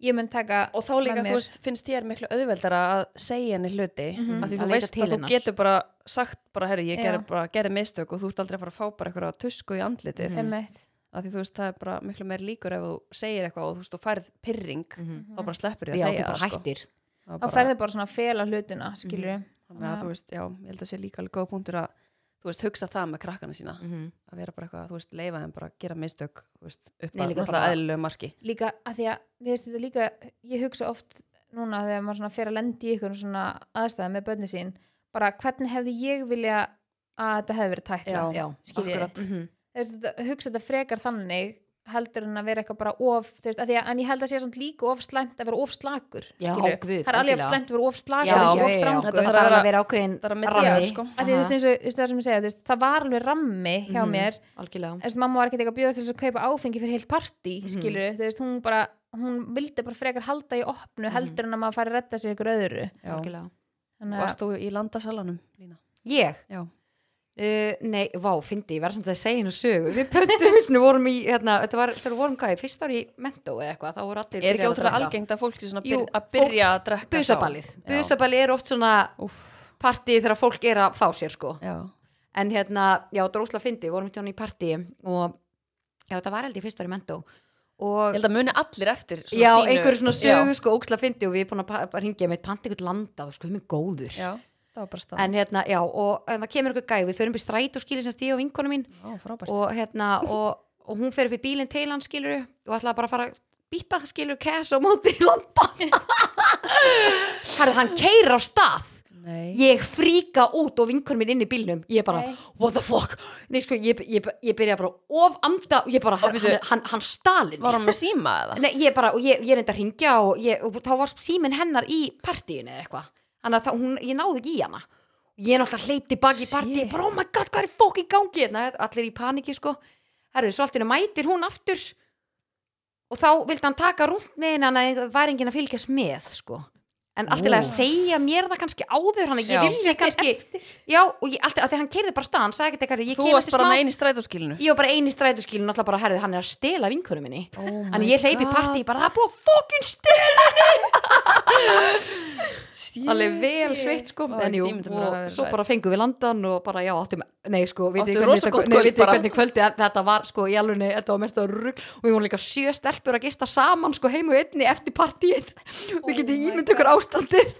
S3: ég mun taka
S2: og þá líka,
S3: með mér.
S2: þú veist, finnst þér miklu auðveldara að segja henni hluti
S3: Mhm.
S2: af því
S1: Að
S2: þú
S1: leita
S2: veist
S1: til
S2: að þú
S1: hennar.
S2: getur bara sagt bara, herri, ég
S3: Já.
S2: gerði bara, gerði mistök og þú ert aldrei að fara að fá bara eitthvað tusku í andlitið
S1: Mhm.
S3: Einmitt.
S2: af því þú veist, það er bara miklu meir líkur ef þú segir eitthvað og þú veist, þú færð pyrring
S1: Mhm.
S2: þá bara sleppur því að
S1: já, þú
S2: segja
S1: bara
S2: það, sko.
S1: hættir
S2: Það er
S3: þá
S2: bara-
S3: ferðu bara svona að fela hlutina
S1: Mhm.
S3: skilur
S2: þannig að þú veist, já, ég held að sé líka alveg góð punktur að þú veist, hugsa það með krakkana sína
S1: Mhm.
S2: að vera bara eitthvað, þú veist, leifa þeim bara að gera mistök, þú veist, upp
S1: Nei,
S2: að
S1: líka
S2: náttúrulega
S1: bara-
S2: eðlilegu marki
S3: líka að því að við veist þetta líka ég hugsa oft núna þegar maður svona fer að lendi í ykkur svona aðstæða með bönni sín bara hvernig hefði ég vilja að þetta hefði verið tækla
S2: Já,
S1: já,
S3: skiljiði
S2: akkurat.
S1: Mhm.
S3: Þess, þetta, hugsa þetta frekar þannig heldur en að vera eitthvað bara of þú veist, að því að, en ég held að sé svona líka of slæmt að vera of slakur
S1: Já,
S3: skilurðu.
S1: guð,
S3: það er alveg
S1: algjörlega.
S3: of slæmt að vera of slakur
S1: já,
S3: og
S1: já,
S3: of
S1: já, já.
S3: strangur
S1: það þarf að vera ákveðin
S2: það er að milli
S1: rammi.
S2: þar, sko.
S3: að því þú veist, eins og, þú veist, það sem ég segja þú veist, það var alveg rammi hjá
S1: Mhm.
S3: mér
S1: algjörlega
S3: þess að mamma var ekkert eitthvað að bjóða til þess að kaupa áfengi fyrir heilt partí,
S1: Mhm.
S3: skilur þú veist, hún bara, hún vildi bara frekar halda í opnu
S1: Mhm.
S3: heldur en að maður fari að redda sér ykkur öðru
S2: Já.
S1: algjörlega.
S3: þannig
S2: Varst þú í landasalanum, Lína?
S1: ég
S2: Já.
S1: Uh, nei, vá, fyndi, ég verða samt að segja hennu sögu Við pöntum, við vorum í, hérna, þetta var, þegar við vorum hvað, í fyrsta ári í mentó eða eitthvað, þá voru allir
S2: Er
S1: byrjaðir
S2: ekki
S1: að
S2: ótrúlega
S1: drekka.
S2: algengt að fólk sé svona að
S1: Jú,
S2: byr- að byrja að drekka
S1: Busaballið,
S2: þá? Já.
S1: busaballið er oft svona
S2: Úff,
S1: partí þegar fólk er að fá sér sko
S2: já.
S1: En hérna, já, drósla fyndi, vorum við í partí og já, þetta var held ég fyrsta ári í mentó
S2: Ég
S1: og
S2: held að muni allir eftir svona
S1: já,
S2: sínu-
S1: einhverju svona sögu
S2: Já,
S1: sko, óksla fyndi og við erum búin að pa- hringja meitt panta ykkur landað, sko, við erum góður
S2: já, það var bara stað
S1: En hérna, já, og en það kemur eitthvað gæ, við förum upp í stræt og skilir sem stíð og vinkonu mín
S2: Já, frábært
S1: og hérna og, og hún fer upp í bílinn til hann skilur og ætlaði bara að fara að býta skilur cash á móti í landa
S2: (laughs)
S1: Herðu, hann keirir á stað
S2: Nei,
S1: ég fríka út og vinkur minn inn í bílnum ég bara,
S3: Nei.
S1: what the fuck Nei, sko, ég, ég, ég byrja bara of anda ég bara, hann,
S2: bíddu.
S1: hann, hann, hann stalin
S2: var hann með síma eða?
S1: Nei, ég bara, og ég, ég reyndi að ringja og, ég, og þá var síminn hennar í partíinu eða eitthvað þannig að það, hún, ég náði ekki í hana ég er náttúrulega hleypti baki í
S2: Shit.
S1: partíi bara, oh my god, hvað er fókin gangi hérna allir í paniki, sko herðu, svo alltaf mætir hún aftur og þá vildi hann taka rúnt með henni en það væri enginn að fylgjast með, sko en allt í lagi að
S2: Nú.
S1: segja mér það kannski áður hann
S2: Já.
S1: ég vissi kannski
S2: (laughs)
S1: já, og ég, allt, allt, hann keirði bara af stað, hann sagði ekkert eitthvað ég
S2: Þú
S1: kem
S2: varst
S1: eftir
S2: bara
S1: smá-
S2: með einu strætóskilinu
S1: ég var bara eini strætóskilin náttúrulega bara herði hann er að stela vinkurum minni
S2: Oh my
S1: Þannig ég hleyp í
S2: God.
S1: partí bara það er búið að fókin stið
S2: Shit.
S1: Alveg vel sveitt sko
S2: Ó,
S1: En jú,
S2: tíminn til að
S1: og
S2: vera
S1: svo
S2: rædd.
S1: bara fengum við landan og bara já, áttum Nei sko,
S2: Áttu
S1: vitið
S2: rosa
S1: þetta-
S2: gott
S1: nei,
S2: kvöld
S1: vitið
S2: bara.
S1: hvernig kvöldi þetta var sko í alveg Þetta var mest að rugg og við vorum líka sjö stelpur að gista saman sko heim og einni eftir partíið
S2: Oh
S1: Þú getið ímynd ykkur ástandið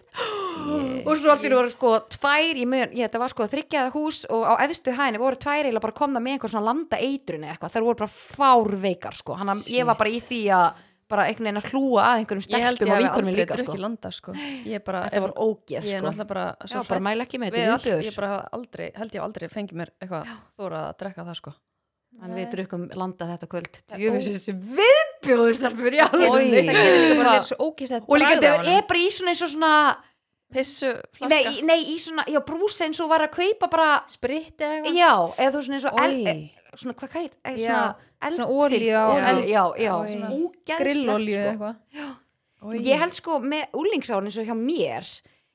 S1: og svo allir voru sko tvær í mun, ég, þetta var sko þryggjaða hús og á efstu hæðinni voru tvær eiginlega bara komna með einhver svona landa eitrun eða eitthvað, þær voru bara fárveikar sko, hann að ég var bara í því að bara einhvern veginn að hlúa að einhverjum
S2: Ég held
S1: stelpum
S2: ég
S1: og
S2: hef
S1: vinkurum
S2: aldrei
S1: líka sko,
S2: drukkið landa sko Ég er bara
S1: þetta var ógeð
S2: Ég er
S1: sko,
S2: náttúrulega bara
S1: já
S2: svo
S1: bara
S2: hrædd
S1: mæla ekki með
S2: við
S1: þetta
S2: allt,
S1: viðbjöður,
S2: ég bara hef aldrei, held ég hef aldrei fengið mér eitthvað þóra að drekka það sko
S1: en við drukum landa þetta kvöld,
S3: Það er
S1: jöfum þessi viðbjöður stelpur í
S2: Oj.
S1: alveg
S3: það getur líka bara
S2: Hvað?
S3: verið svo ókist
S1: og líka þetta er bara í svona, eins og svona
S2: Pissu, flaska
S1: nei, í- nei, í svona, já brúsa eins og var að kaupa bara,
S3: spritt eða eitthvað
S1: já, eða þú veist, svona eins og el, e-
S2: Oj.
S1: svona hvað heit, eh,
S3: Já,
S1: svona,
S3: svona
S1: eldfyllt
S3: olíu á-
S1: olíu, já, já,
S2: Oj.
S1: svona
S2: Svona
S1: ógeðslegt,
S3: grillolju eða
S1: sko.
S3: eitthvað
S2: Oj.
S1: ég held sko með úlingsárun eins og hjá mér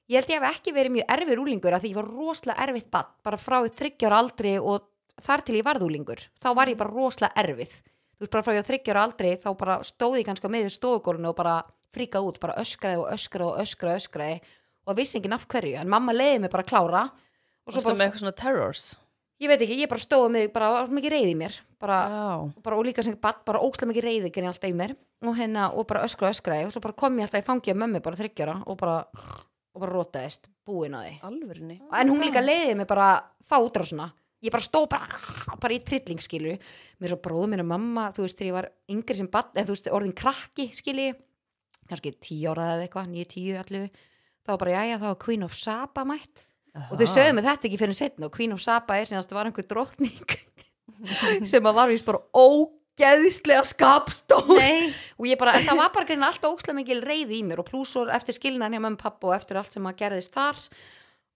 S1: ég held ég hef ekki verið mjög erfur úlingur af því ég var rosalega erfitt bann bara frá þryggjára aldri og þar til ég varð úlingur þá var ég bara rosalega erfið þú veist bara frá ég þryggjára aldri þá bara stóði ég kannski á meðið stofugólinu og bara fríka út, bara öskraði og öskraði og öskraði, öskraði og vissi enginn af hverju en mamma leiði mig bara að klára og
S2: Varstu
S1: svo bara,
S2: með eitthvað svona terrors
S1: ég veit ekki, ég bara stóði mig bara, var mikið reyði mér bara,
S2: Já,
S1: bara, og líka sem bad, bara ókslega mikið reyði genið alltaf í mér og hérna, og bara öskra og öskraði og svo bara kom ég alltaf í fangið á mömmu bara þryggjara og bara, og bara rótaðist búin að því
S2: alvörinni
S1: en hún líka leiðið mig bara fá útrásuna ég bara stóð bara, bara í trilling skilu mér svo bróðu mín og mamma þú veist þegar ég var yngri sem barn eða þú veist orðin krakki skili kannski tíu ára eða eitthvað, nýju tíu allu þá var bara jæja þá var Queen of Saba mætt og
S2: Ah.
S1: þau sögðu mig þetta ekki fyrir setna og Queen of Saba er sinast var einhver drottning (laughs) sem að var vist bara ógeðslega
S3: (laughs)
S1: skapstór
S3: nei,
S1: (laughs) og ég bara, en það var bara greina alltaf ókslega mikil reyði í mér og pluss og eftir skilnan hjá mömmu pappa og eftir allt sem að gerðist þar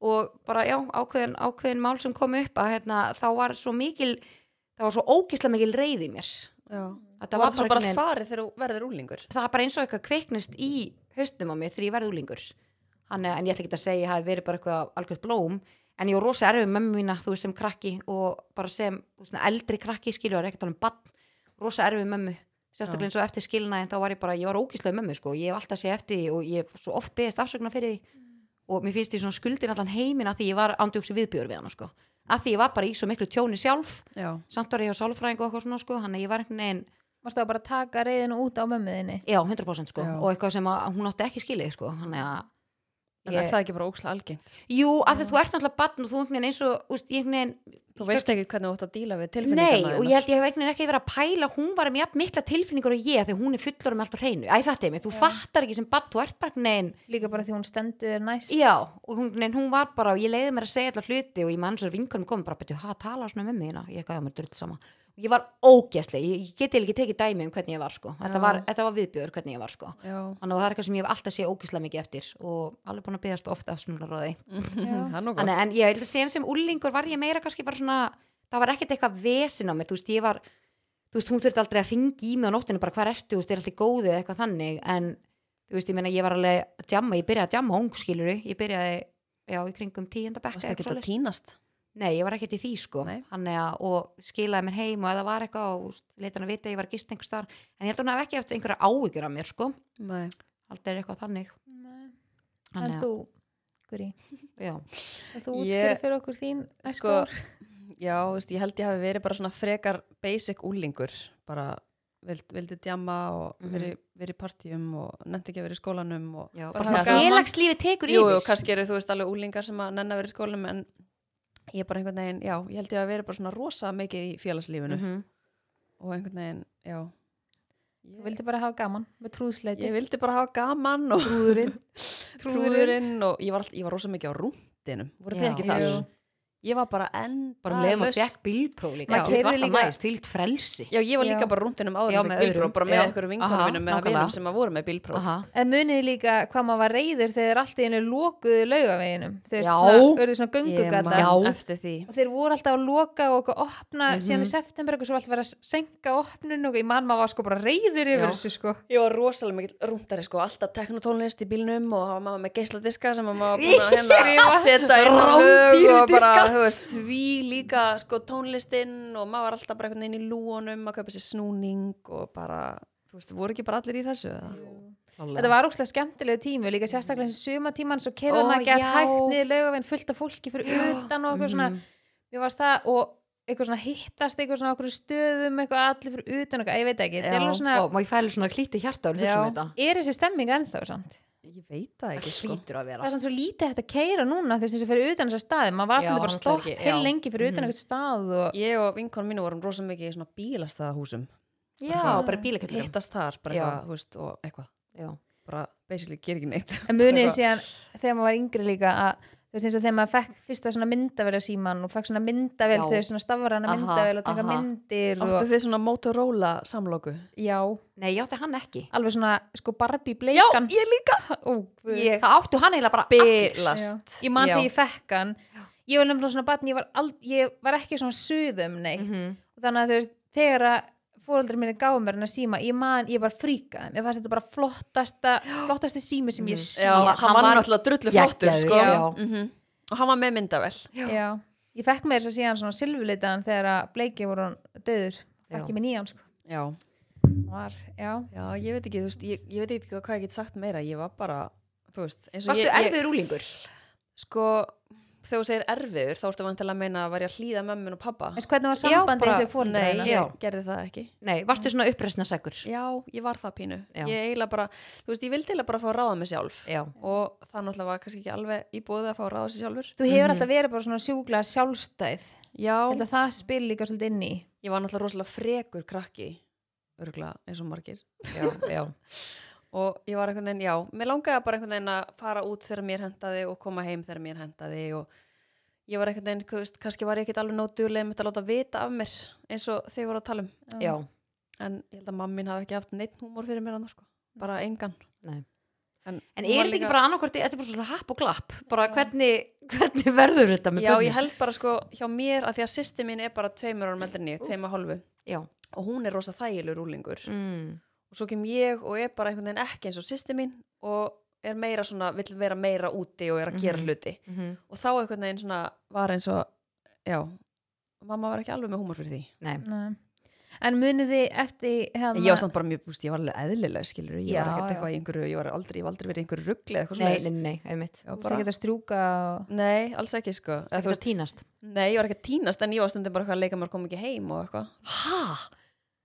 S1: og bara já, ákveðin, ákveðin mál sem kom upp að hérna, þá var svo mikil það var svo ógeðslega mikil reyði í mér Þetta
S2: Það var það bara
S1: einhvern veginn-
S2: farið þegar þú verður úlingur
S1: það var bara eins og eitthvað kveiknist í haustum á mér þegar ég verði úlingur en, en ég ætla ekki að segja að ég hafi verið bara eitthvað algjörð blóm en ég var rosa erfið með mömmu mína þú veist sem krakki og bara sem þú veist, svona, eldri krakki skilur ekkert alveg bann um rosa erfið með mömmu sérstaklega eins og eftir skilnaðin þá var ég bara, ég var ógíslega mömmu sko, ég hef alltaf sé eftir því og ég hef svo oft beðist afsögnar fyrir því og mér finnst því svona skuldin allan heiminn að því ég var ándjóksi viðbjör við hana sko að því ég var bara í svo miklu tjóni sjálf
S2: já,
S1: samt var ég á sálfræðingu og eitthvað svona sko hann að ég var einhvern veginn,
S3: Mástu að bara taka reyðinu út á mömmuðinni
S1: já 100% sko
S2: Já.
S1: og eitthvað sem að hún átti ekki skilið sko hann að
S2: en er það ekki bara ókslega algengt
S1: jú að því þú ert náttúrulega barn og þú einhvern veginn eins og, úst, ég einhvern veginn
S2: þú veist ekki hvernig þú átt að díla við
S1: Nei,
S2: tilfinningarna
S1: og ég held ég hef einhvern veginn ekki verið að pæla hún var með jafn mikla tilfinningur og ég þegar hún er fullur með allt á hreinu, æ þetta er mig, þú fattar ekki sem barn, þú ert bara einhvern veginn
S3: Líka bara því hún stendur þér næst
S1: já, og hún, nein, hún var bara og ég leiði mér að segja allar hluti og ég mann svo vinkunum kom bara, betur, hvað tala svona með mig hérna?" ég gæði mér drull sama, og ég var ógæsli ég, ég geti ekki tekið dæmi um hvernig ég var sko þetta
S2: Já.
S1: var, þetta var viðbjör hvernig ég var sko
S2: já,
S1: þannig að það er eitthvað sem ég hef alltaf séð ógæsla mikið eftir og alveg búin að byggast ofta af svona ráði
S2: það er nú gott
S1: Þannig, en ég held að sem sem úlingur var ég meira kannski bara svona, það var ekkert eitthvað vesin á mér, þú veist, ég var þú veist, hún þurfti aldrei að ringi í mig á nóttinu bara hvað ertu, þú veist, er alltaf góðið eða eitthvað þannig en, þú veist, ég meina, ég var alveg að djamma, ég byrjaði að djamma ung, skiluru ég byrjaði, já, í kringum tíunda bekk
S2: varst
S1: eitthvað
S2: ekki að
S1: svoleiðis.
S2: týnast
S1: Nei, ég var ekkert í því sko
S2: Nei.
S1: Þannig að, og skilaði mér heim og eða var eitthvað og úst, leita hann að vita að ég var að gist einhvers þar en ég held að hún hef ekki eftir einhverja áhyggjur af mér sko
S2: Nei.
S1: aldrei er eitthvað þannig
S3: Nei. En
S1: Þannig
S3: þú, Guri
S1: að- já.
S3: og Þú
S2: Ég-
S3: útskýri fyrir okkur þín næstu
S2: Sko,
S3: ár.
S2: já, veist, ég held ég hafi verið bara svona frekar basic úlingur, bara vild, vildi djama og
S1: Mhm.
S2: verið veri partíum og nefndi ekki að vera í skólanum og
S1: Já,
S3: Bara
S1: bara svona
S3: hafa gaman.
S1: félagslífi tekur
S2: Jú,
S1: yfir
S2: jú, kannski eru þú veist alveg úlingar sem að nenn að vera í skólanum en ég bara einhvern veginn, já, ég held ég að vera bara svona rosa mikið í félagslífinu
S1: Mhm.
S2: og einhvern veginn, já
S3: Þú
S2: ég,
S3: vildi bara hafa gaman með trúðsleiti
S2: ég vildi bara hafa gaman
S1: (laughs)
S2: og
S3: Trúðurinn
S2: trúðurinn og ég var, all, ég var rosa mikið á rúndinum, voru þið
S1: Já.
S2: ekki þar?
S3: Jú.
S2: Ég var bara enn
S1: bara um leiðum að fekk bílpróf líka
S3: Maður
S1: maður
S3: keyrði
S1: keirði líka
S3: líka-
S1: næst, fyllt frelsi
S2: Já, ég var
S3: Já.
S2: líka bara rúndinum áður
S1: Já,
S2: en
S1: með
S2: fékk bílpróf,
S1: öðrum.
S2: bara
S1: Já.
S2: með einhverjum vinkonum
S1: Aha,
S2: mínum eða
S1: nákvæmlega.
S2: vinum sem að voru með bílpróf
S1: Aha.
S3: En muniði líka hvað maður var reyður þegar þeir allt í hennu lokuðu laugaveginum þeir
S1: Já.
S3: eru svona
S2: Ég man
S3: göngugata
S1: Já.
S2: eftir því
S3: og þeir voru alltaf að loka og eitthvað opna
S1: Mhm.
S3: síðan í september eitthvað svo alltaf verið að senka opnun og ég man maður var sko bara reyður yfir
S1: Já.
S3: þessu sko
S2: Ég var rosalega mikill rúndari sko, alltaf teknotónlist í bílnum og hafa mamma með geisladiska sem að maður búin
S1: (laughs)
S2: að hérna
S3: Skrifa.
S2: setja inn lög
S1: Rándýr
S2: og bara,
S1: diska.
S2: þú veist, því líka sko tónlistinn og maður var alltaf bara einhvern veginn í lúunum að kaupa sér snúning og bara, þú veist, voru ekki bara allir í þessu?
S3: Þetta var ókslega skemmtilegu tími og líka sérstaklega þessi sumatíman svo
S1: Ó,
S3: kerðan að geta
S1: já. Mhm.
S3: hægt niður laugaveginn fullt af fólki fyrir utan og eitthvað svona
S2: Mm.
S3: mér varst það og eitthvað svona hittast eitthvað svona okkur stöðum eitthvað allir fyrir utan og eitthvað, ég veit ekki þetta er
S2: Já.
S3: alveg svona,
S1: og maður fæli svona klíti hjarta og hugsa um þetta
S3: er þessi stemming ennþá samt?
S2: Ég veit það
S1: það
S2: ekki sko.
S1: hlýtur að
S3: það
S1: vera
S3: er samt svo lítið hægt að keira núna þess að fyrir utan þessa staði, maður var
S1: Já,
S3: svolítið bara
S1: náttúrulega
S3: stopp
S1: ekki,
S3: heil
S1: já.
S3: lengi fyrir
S1: Mhm.
S3: utan eitthvað stað og
S2: Ég og vinkonum mínu vorum rosalega mikið í svona bílastæðahúsum,
S1: já, bara bílakallum
S2: hittast þar bara
S1: Já.
S2: eitthvað, þú veist, og eitthvað, bara basically ger ekki neitt.
S3: en munið
S2: Bara
S3: síðan þegar maður var yngri líka að þú veist eins og þegar maður fekk fyrsta svona myndavel á síman og fekk svona myndavel
S1: Já.
S3: þegar svona stafrana
S1: Aha,
S3: myndavel og taka
S1: aha.
S3: myndir
S2: Áttu
S3: og,
S2: þið svona Motorola samlóku?
S3: já,
S1: nei, ég átti hann ekki
S3: alveg svona sko Barbie bleikan
S2: ég líka
S3: Ó, guð.
S2: Ég
S1: það áttu hann eiginlega bara allir
S2: bylast
S3: Já. ég man
S2: Já.
S3: þegar ég fekk hann ég var nefnilega svona batn, ég var, ald, ég var ekki svona suðum neitt
S1: Mhm.
S3: þannig að þú veist, þegar að fóröldrar minni gáðu mér hennar síma, ég man, ég var fríkaði ég fannst þetta bara flottasta flottasti sími sem ég
S1: Mm,
S3: sé
S2: Já, hann,
S1: hann var
S2: var náttúrulega drullu flottur
S1: geggjaður,
S2: sko.
S1: já.
S2: Mhm. og hann var með myndavel
S3: Já. ég fekk mér þess að síðan svona silfurlitaðan þegar að bleiki voru hann döður
S1: Já.
S3: ekki með nýjan sko
S2: já.
S3: var, já,
S2: já, ég veit ekki, þú veist ég, ég veit ekki hvað ég get sagt meira, ég var bara þú veist, eins og
S1: varstu
S2: ég, ég
S1: erfiður úlingur
S2: sko, þegar þú segir erfiður þá ertu vantilega að meina að var ég að hlýða mömmun og pappa
S3: veist hvernig var
S1: Já,
S3: sambandi
S1: bara-
S3: þessu fóröldrar
S2: nei,
S3: hennar
S2: ég
S1: Já.
S2: gerði það ekki
S1: nei, varstu svona uppresna segur
S2: já, ég var það pínu
S1: Já.
S2: ég eiginlega bara, þú veist, ég vildi eiginlega bara fá að ráða mig sjálf
S1: já,
S2: og það náttúrulega var kannski ekki alveg í bóði að fá að ráða sig sjálfur
S3: þú hefur
S1: Mm.
S3: alltaf verið bara svona sjúkla sjálfstæð
S2: já,
S3: Ég held að það spil líka svolítið inn í
S2: ég var náttúrulega rosalega frekur krakki örgulega eins og margir
S1: já, já,
S2: og ég var einhvern veginn, já, mér langaði bara einhvern veginn að fara út þegar mér hendaði og koma heim þegar mér hendaði og ég var einhvern veginn, þú veist, kannski var ég ekkert alveg nóg dugleg með þetta að láta vita af mér eins og þið voru að tala um,
S1: já.
S2: en ég held að mammin hafi ekki haft neitt húmor fyrir mér annars sko, bara engan
S1: Nei.
S2: En,
S1: en
S2: hún
S1: er
S2: var
S1: þetta ekki
S2: líka-
S1: bara annarkvort þetta er bara svona happ og glapp bara hvernig, hvernig verður þetta með
S2: Já,
S1: börnin?
S2: ég held bara sko hjá mér að því að sýsti mín er bara tveimur árum eldri en ég, tveim og hálfu
S1: já,
S2: og hún er rosa þægilegur úlingur
S1: mm.
S2: og svo kem ég og er bara einhvern veginn ekki eins og sýsti mín og er meira svona, vill vera meira úti og er að gera
S1: Mhm.
S2: hluti
S1: mhm.
S2: og þá einhvern veginn svona var eins og já, mamma var ekki alveg með húmor fyrir því
S1: nei,
S3: Nei. en munið þið eftir hérna,
S2: Ég var samt bara mjög, búst, ég var alveg eðlilega, skilur Ég
S3: Já,
S2: var ekkert
S3: já.
S2: eitthvað í einhverju, ég var aldrei, ég var aldrei verið í einhverju ruggli eða eitthvað
S1: Nei,
S2: svoleiðis.
S1: nei, nei, einmitt
S2: Ég var
S3: þú veist
S2: bara-
S3: ekki að strjúka og...
S2: Nei, alls ekki sko
S1: Það
S2: eða, þú
S1: getur að
S2: veist,
S1: týnast
S2: Nei, ég var ekki að tínast en ég var stundum bara eitthvað að leika mér kom ekki heim og eitthvað
S1: Hæ?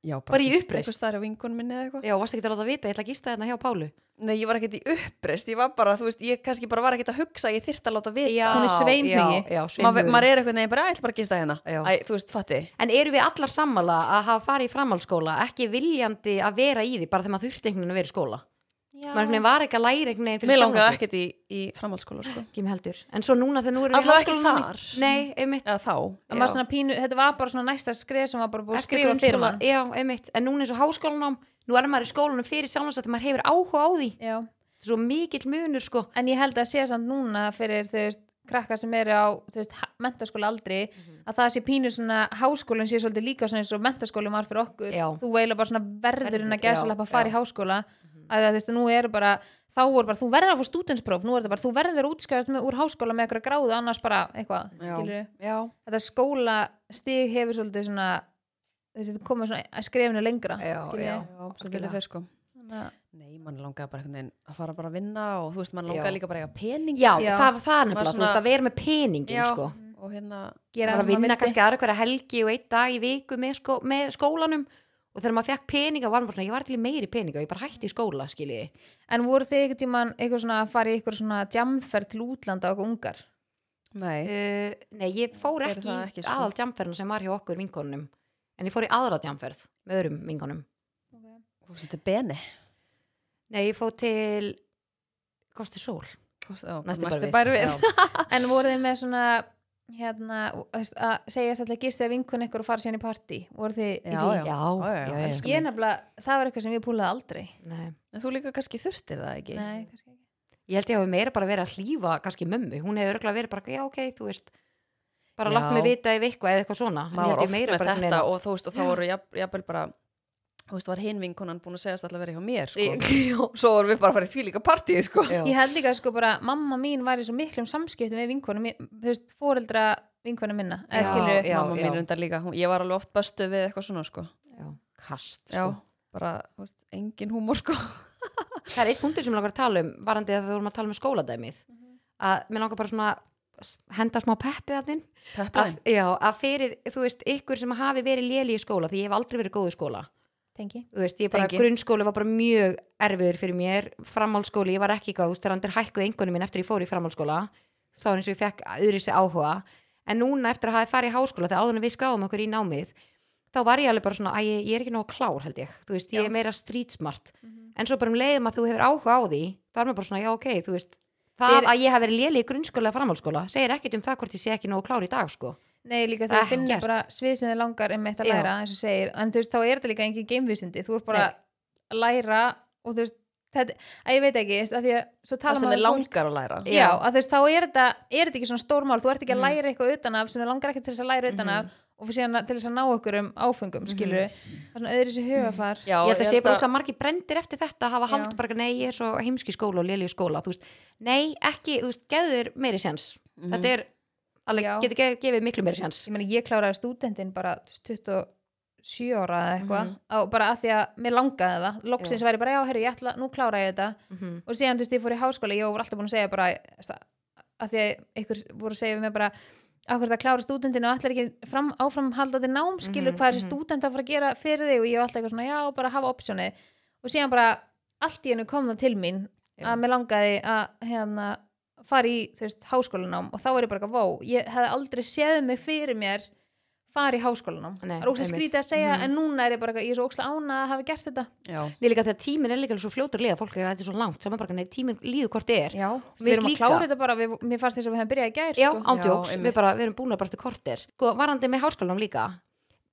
S2: Já,
S1: Bara í
S2: gist
S1: uppreisn?
S2: Eitthvað staðar á vingun minni eða eitthvað
S1: Já, varst ekki að láta vita, ég ætla að gista þarna hjá Pálu
S2: Nei, ég var ekkert í uppreist, ég var bara, þú veist, ég kannski bara var ekkert að hugsa að ég þyrfti að láta
S1: Já,
S2: vita
S3: Hún er sveimhugi.
S1: já, já,
S2: Maður
S1: sveimhugur.
S2: maður er eitthvað neginn bara, "Æ, ég ætla bara að gista hérna
S1: Já.
S2: Æ, þú veist, fatti
S1: En eru við allar sammála að hafa farið í framhaldsskóla ekki viljandi að vera í því bara þegar maður þurfti einhvern veginn að vera í skóla maður einhvern veginn var ekki að læra einhvern veginn fyrir
S2: Mér
S1: sjálfan
S2: langaði
S1: sig.
S2: ekkert í, í framhaldsskóla sko
S1: ekki mér heldur en svo núna þegar nú erum við í
S2: Allavega ekki
S1: háskólanum-
S2: þar.
S1: Nei, einmitt
S2: Eða þá
S3: Það var svona pínu, þetta var bara svona næsta skrið sem var bara búið að
S1: Eftir
S3: skrifa fyrir
S1: grunnskóla,
S3: mann
S1: Já, einmitt En núna eins og háskólanum nú er maður í skólanum fyrir sjálfans að maður hefur áhuga á því
S3: Já.
S1: svo mikill munur sko
S3: en ég held að sé samt núna fyrir þau veist krakkar sem eru á þú veist, mentaskóla aldri
S1: Mhm.
S3: að það sé pínu svona háskólinn sé svolítið líka svona eins og mentaskólinn var fyrir okkur
S1: Já.
S3: þú veila bara svona verðurinn
S1: Verður,
S3: að gæsa lappa
S1: já,
S3: að
S1: já.
S3: fara
S1: Mhm.
S3: í háskóla að það, þú veist, nú eru bara þá voru bara, þú verður að fá stúdenspróf nú er þetta bara, þú verður að útskjáðast með úr háskóla með eitthvað gráðu, annars bara eitthvað skilurðu.
S2: Já, já,
S3: þetta skólastig hefur svolítið svona þú veist, þetta komið svona skrefinu lengra
S1: Já,
S3: skilurðu.
S1: já.
S2: já, sem
S1: algjörlega.
S2: betur fer sko
S3: Þannig að-
S2: Nei, mann langaði bara einhvern veginn að fara bara að vinna og þú veist, mann
S1: Já.
S2: langaði líka bara að eiga pening
S1: Já,
S3: Já.
S1: það var það nefnilega,
S2: Maður
S1: þú veist
S2: svona-
S1: að vera með peningin
S2: Já,
S1: sko
S2: og hérna
S3: gera
S1: maður
S3: það
S1: var að
S3: sem maður
S1: vinna
S3: vildi.
S1: kannski aðra hverja helgi og einn dag í viku með, sko, með skólanum og þegar maður fekk peninga var maður svona, ég var til í meiri peninga ég bara hætti í skóla, skilji
S3: En voru þið einhvern tímann eitthvað svona að fara í eitthvað svona jamferð til útlanda og ungar?
S2: Nei,
S1: uh, Nei, ég fór
S2: Eru
S1: ekki í
S2: það ekki, sko?
S1: aðal jamferðina sem var hjá okkur vinkonunum en ég fór í aðra jamferð með öðrum vinkonum
S2: þú veist, þetta er beni
S1: Nei, ég fór til Kosti Sól, næsti,
S2: Næsti bær við
S1: Já.
S3: En voru þið með svona hérna, þú veist, að segja alltaf gistið að vinkun ykkur og fara síðan í partí? Voru þið í
S2: (laughs) Já,
S3: því?
S1: Já,
S2: Já, já,
S1: já,
S2: já,
S1: já,
S2: elskan.
S3: Ég nefnilega, það var eitthvað sem ég púlaði aldrei.
S1: Nei.
S2: En þú líka kannski þurftir það ekki
S3: Nei, kannski ekki.
S1: Ég held ég hafi meira bara verið að hlýfa kannski mömmu, hún hefur örgulega verið bara, já ok, þú veist bara
S2: Já.
S1: látt mig vita ef eitthvað eða eitthvað svona hérna- En ég
S2: Maður
S1: held ég
S2: var oft
S1: meira
S2: með
S1: bara einhvern
S2: þetta
S1: veginn-
S2: og þú veist, og þá voru jafn- jafnvel bara þú veist, var hinn vinkonan búin að segast alltaf að vera hjá mér
S1: (laughs)
S2: sko.
S1: Sko.
S2: Svo vorum við bara að fara í því líka partíð sko.
S1: Já.
S3: Ég held líka sko bara, mamma mín var í svo miklum samskiptum með vinkunum, þú veist, foreldra vinkunum minna.
S1: Já,
S3: Eða skilur,
S1: já,
S2: Mamma
S1: já.
S2: mín reyndar líka, hún, ég var alveg oft bestu við eitthvað svona sko.
S1: Já, kast
S2: Já,
S1: sko.
S2: bara, þú veist, engin húmor sko.
S1: það er eitt punktur sem ég langar að tala um varandi að það vorum að tala um skóladæmið
S2: Mhm.
S1: að mér langar bara svona að s- henda smá peppi að þinn
S2: Peppaðin
S1: já, að fyrir, þú veist, ykkur sem hafi verið léli í skóla, því ég hef aldrei verið góð í skóla
S3: tengi.
S1: þú veist, ég bara,
S2: Tengi.
S1: grunnskóli var bara mjög erfiður fyrir mér, framhaldsskóli ég var ekki góð, þú veist, þegar hann er hækkuð engunum minn eftir ég fór í framhaldsskóla, þá var eins og ég fekk öðru sér áhuga, en núna eftir að hafa farið í háskóla, þegar áður en við skráum okkur í námið þá var ég alveg bara svona, að ég, ég er ekki nóg klár held ég, þú veist, ég
S3: Já. Mhm.
S1: er meira street smart en svo bara um leiðum að þú hefur áhuga á því þá er maður bara svona, já ok, þú veist það
S3: Fyrir-
S1: að ég hafi verið léli í grunnskóla eða framhaldsskóla segir ekkert um það hvort ég sé ekki nóg klár í dag sko.
S3: Nei, líka þau finnir
S1: Ekkert.
S3: bara svið sem þið langar einmitt að
S1: Já.
S3: læra, eins og segir en þú veist, þá er þetta líka engin geimvísindi þú ert bara að læra og þú veist, þetta, að ég veit ekki veist, að því að svo
S2: Það
S3: tala
S2: sem
S3: maður
S2: þið
S3: við fólk-
S2: langar að læra
S1: Já.
S3: Já, að þú veist, þá er þetta, er þetta ekki svona stórmál þú ert ekki að læra eitthvað utan af sem þið langar ekki til þess að læra utan af og fyrir síðan að- til þess að ná okkur um áfengum, skilur við það er svona öðru sér hugafar
S2: Já,
S1: ég held að sé bara úrslega margir brendir eftir þetta að hafa
S3: Já.
S1: haldið bara, nei, ég er svo heimski í skóla og léli í skóla, þú veist, nei, ekki þú veist, gefður meiri séns
S2: Mhm.
S1: þetta er, alveg,
S3: Já.
S1: getur ge- gefið miklu meiri séns
S3: ég meni, ég kláraði stúdendin bara þú veist, 27 ára eða eitthvað mm bara að því að mér langaði það loksins væri bara, já, herri, ég ætla, nú klára ég þetta
S1: Mhm.
S3: og síðan þú veist ég fór í háskóla ég var alltaf búin að segja bara sta- að því að ykkur voru að segja við mig bara akkur það klára stúdendinu og allir ekki fram, áframhaldandi námskilur
S1: Mhm,
S3: mm -hmm, hvað er þessi stúdend að fara að gera fyrir þig og ég var alltaf eitthvað svona já bara hafa optionið og síðan bara allt í hennu kom það til mín
S1: Já.
S3: að mér langaði að hérna, fara í þú veist háskólanám og þá er ég bara eitthvað vó ég hefði aldrei séð mig fyrir mér fara í háskólanám
S1: Nei,
S3: það er ókslega
S1: einmitt. Mhm.
S3: skrítið að segja en núna er ég bara eitthvað ég er svo ókslega ánað að hafa gert þetta
S2: Já,
S1: Nei, líka þegar tíminn er líka svo fljótur liða, fólk er að þetta er svo langt, saman bara, nei, tíminn líður hvort er
S3: Já,
S1: Mér
S3: við erum að
S1: líka.
S3: klára þetta bara, við, mér fannst þess að við hefum byrjað í gær
S1: Já,
S3: sko.
S1: ándjóks,
S2: Já,
S1: við
S2: einmitt.
S1: bara, við erum búin að bara til kortir Sko, varandi með háskólanum líka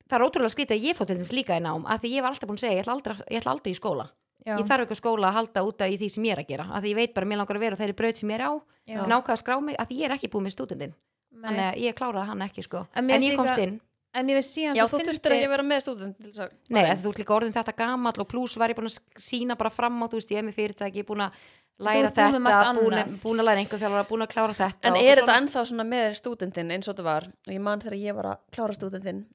S1: Það er ótrúlega skrítið að ég fór til þess líka í nám að því ég var alltaf búin að segja, ég ætla aldrei, ég ætla aldrei í skóla
S3: Já.
S1: Ég þarf ekki á skóla að halda út af í því sem ég er að gera að því ég veit bara, að mér langar að vera á þeirri braut sem ég er á
S3: Já.
S1: en ákvað að skrá mig, að því ég er ekki búin með stúdendin
S3: Nei.
S1: Þannig að ég kláraði hann ekki, sko
S3: En
S1: En,
S3: mér
S1: ég
S3: finnst
S1: komst
S3: líka-
S1: inn
S3: En mér veist síðan
S2: já
S3: svo
S2: þú þurftir ekki að vera með stúdent til þess að
S1: Nei, að þú ert líka orðin þetta gamall og pluss var ég búin að sína bara fram á, þú veist, ég er með fyrirtæki, búin að læra
S3: ert búin með
S1: þetta,
S3: margt
S1: búin,
S3: annað.
S1: búin að læra einhver þjálfara, búin að klára þetta
S2: En
S1: og
S2: er
S1: svona-
S2: þetta ennþá svona með stúdendin eins og þetta var og ég man þegar ég var að klára stúdendin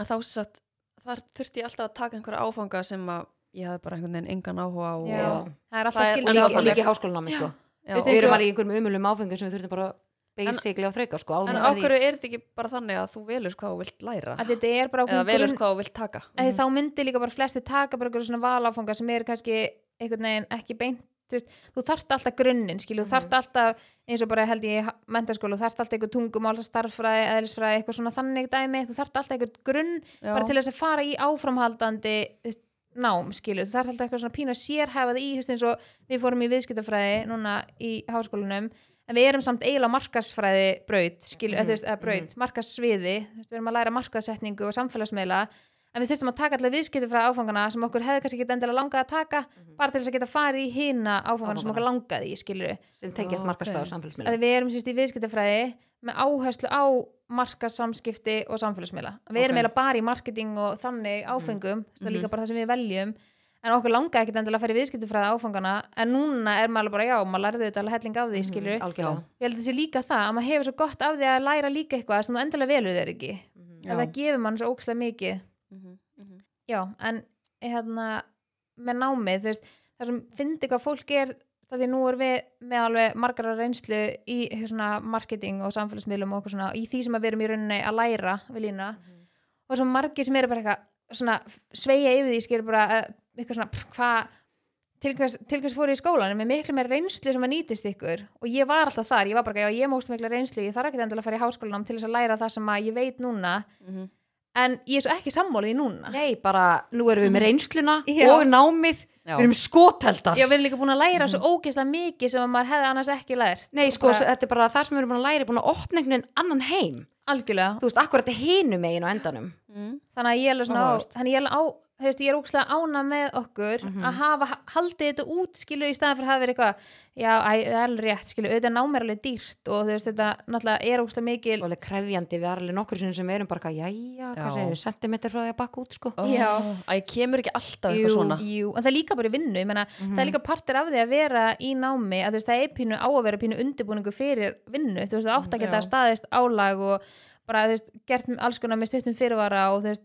S2: að þá satt þar þurfti ég alltaf að taka einhverja áfanga sem að ég hafði bara einhvern veginn engan áhuga á
S3: Já.
S2: og,
S3: það er
S2: Það er
S3: alltaf
S1: og
S2: En
S3: skilja
S2: ennþá
S1: líki,
S2: þannig.
S1: líki háskólanámi sko.
S2: já.
S3: Veistu,
S1: við erum
S3: svo-
S1: alveg í einhverjum umulum áfengum sem við þurfum bara basically að þrauka sko, áður
S2: en
S1: en
S2: á
S1: farið í-
S2: hverju er þetta ekki bara þannig að þú velur hvað þú vilt læra
S3: að þetta er bara
S2: eða
S3: ákveðin
S2: velur
S3: grunn-
S2: hvað þú vilt taka
S3: að þá myndi líka bara flesti taka bara einhverjum svona valáfanga sem eru kannski einhvern veginn ekki beint þú, veist, þú þarft alltaf grunnin, skilju, þú
S1: Mhm.
S3: þarft alltaf eins og bara held ég í mentaskóla þú þarft alltaf einhver tungumál, starffræði, eðlisfræði eitthvað svona þannig dæmi, þú þarft alltaf einhver grunn
S2: Já.
S3: bara til þess að fara í áframhaldandi þú veist, nám, skilju, þú þarft alltaf eitthvað svona pínu að sérhæfa það í, þú veist eins og við fórum í viðskiptafræði núna í háskólanum en við erum samt eiginlega á markasfræði braut, skilju, mm veist, eða braut, markasviði þú veist, við erum að læra markasetningu og samfélagsmeila en við þurftum að taka allir viðskipti frá áfangana sem okkur hefði kannski ekki endilega langað að taka bara til þess að geta farið í hina áfangana, sem okkur langaði í, skilju
S1: sem tengjast
S2: Ok.
S1: markarsfæð og
S3: að
S1: samfélagsmiðlum
S3: við erum sérst í viðskiptafræði með áherslu á markasamskipti og samfélagsmiðla. Við
S2: Ok.
S3: erum eiginlega bara í marketing og þannig áfengum, mm. það er líka bara það sem við veljum, en okkur langaði ekkert endilega að fara í viðskiptafræði áfangana, en núna er maður alveg bara, já, maður lærði þetta alveg helling af því, skilur.
S1: algjörlega
S3: Ég held að þessi líka það, að maður hefur svo gott af því að læra líka eitthvað sem þú endilega velur þér ekki.
S1: Mhm.
S2: Já.
S3: En það gefur mann svo ókslega mikið.
S2: Mhm, mhm.
S3: Já, en hérna, með námið, þú veist, það sem fyndi hvað fólk er, það því nú erum við með alveg margara reynslu í svona marketing og samfélagsmiðlum og okkur svona, í því sem að við erum í rauninni að læra við lína og svo margir sem eru bara eitthvað svona sveigja yfir því, skilur bara eh, eitthvað svona, pff, hvað til hvers, til hvers fóru í skólanum með miklu meir reynslu sem að nýtist ykkur og ég var alltaf þar, ég var bara, já, ég móst mikla reynslu ég þarf ekki endilega að fara í háskólanum til þess að læra það sem að ég veit núna,
S2: Mhm.
S3: en ég er svo ekki sammálið í núna
S1: Nei, bara nú erum við með reynsluna
S3: Já.
S1: og námið,
S2: Já.
S1: við erum skoteldar
S3: Já, við erum líka búin að læra svo ógeðslega mikið sem að maður hefði annars ekki lært.
S1: Nei, sko,
S3: bara-
S1: þetta er bara það sem við erum búin að læra er búin að opna einhvern veginn annan heim Þú
S3: Algjörlega.
S1: veist, akkurat hinum megin á endanum
S2: Mm.
S3: Þannig að ég er alveg svona á,
S2: Áhugavert.
S3: þannig að ég er alveg á, þú veist, ég er ógeðslega ána með okkur
S1: Mhm.
S3: að hafa, haldið þetta út, skilur, í staðan fyrir að hafa verið eitthvað, já, æ, það er alveg rétt, skilur, auðvitað námið er alveg dýrt og þú veist, þetta náttúrulega er ógeðslega mikil.
S1: Og alveg krefjandi, við erum alveg nokkur sinnum sem við erum bara eitthvað, Jæja,
S2: Já.
S1: hvað segir, sentimeter frá því að bakka út, sko
S2: Ó,
S3: Oh. Já.
S2: að ég kemur ekki alltaf
S1: Jú,
S2: eitthvað svona
S3: Jú, en það er líka bara í vinnu, ég meina,
S1: Mhm.
S3: það er líka partur af því að vera í námi, að þú veist, það er pínu á að vera pínu undirbúningu fyrir vinnu, þú veist, það átt að geta
S2: Já.
S3: staðist álag og bara, þú veist, gert alls konar með stuttum fyrirvara og þú veist,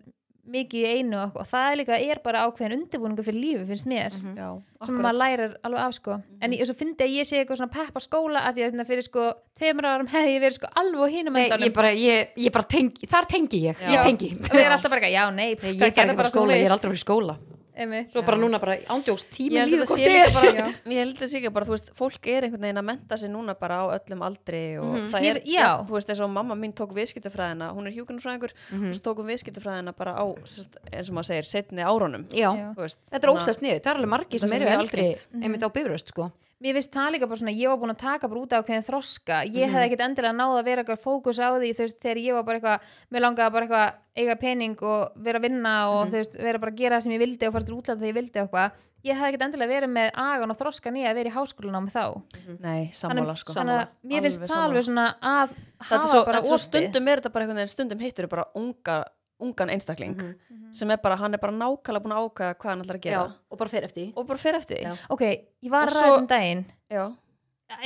S3: mikið í einu og, eitthvað. og það er líka, er bara ákveðin undirbúningu fyrir lífi, finnst mér,
S2: já,
S3: sem
S2: akkurat.
S3: maður lærir alveg af, sko. En ég, og svo fyndi að ég sé eitthvað svona peppa skóla, að því að þetta fyrir sko, tveimur árum (laughs) hefði ég verið sko alveg á hinum
S1: Nei,
S3: endanum.
S1: ég bara, ég, ég bara tengi, þar tengi ég,
S2: Já.
S1: ég
S3: (laughs)
S1: tengi
S3: Og ég er alltaf bara, eitthvað, já, nei,
S1: Nei,
S3: pff,
S1: ég
S3: það
S1: þarf
S3: gerði
S1: ekki að fara
S3: bara
S1: í skóla, ég er
S3: svoleiðis.
S1: aldrei að fara í skóla
S3: Einmitt.
S1: Svo bara núna bara ándjóks tími
S2: ég held
S1: líður
S2: að þetta
S1: hvort er
S2: sé líka bara
S3: Já.
S2: ég held að þetta sé líka bara, þú veist, fólk er einhvern veginn að menta sig núna bara á öllum aldri og það
S3: Ég-
S2: er,
S3: Mhm. já.
S2: þú veist, eins og mamma mín tók viðskiptafræðina, hún er hjúkunarfræðingur
S3: Mhm.
S2: og svo tók hún viðskiptafræðina bara á sest, eins og maður segir, setni árunum
S1: (laughs) Já,
S3: Já.
S2: þú veist,
S1: þetta er óslæst niður, það er alveg margir
S2: Það
S1: sem
S2: sem
S1: eru
S2: er
S1: eldri
S2: algengt.
S1: einmitt á
S3: Mhm.
S1: bifröst, sko
S3: Mér finnst það líka bara svona, ég var búin að taka bara út af hvernig þroska, ég
S2: Mhm.
S3: hefði ekkit endilega náð að vera eitthvað fókus á því, þú veist, þegar ég var bara eitthvað, mér langaði bara eitthvað að eiga pening og vera að vinna og
S2: Mhm.
S3: þú veist, vera bara að gera það sem ég vildi og fara til útlanda þegar ég vildi og eitthvað, ég hefði ekkit endilega verið með agan og þroskan í að vera í háskólanámi þá.
S2: nei, sammála sko
S3: þannig að mér finnst
S2: Alveg
S3: það
S2: sammála.
S3: alveg svona að
S2: þetta
S3: hafa
S2: er svo,
S3: bara
S2: þetta er svo
S3: opið.
S2: stundum er þetta bara einhvern veginn stundum hittur bara unga, ungan einstakling
S3: Mhm.
S2: sem er bara, hann er bara nákvæmlega búin að ákvæða hvað hann ætlar að
S1: Já,
S2: gera
S1: og bara fer eftir því.
S2: og bara fer eftir því
S1: Já.
S3: Ok, ég var
S2: Og
S3: að
S2: svo-
S3: ræða um daginn.
S2: Já.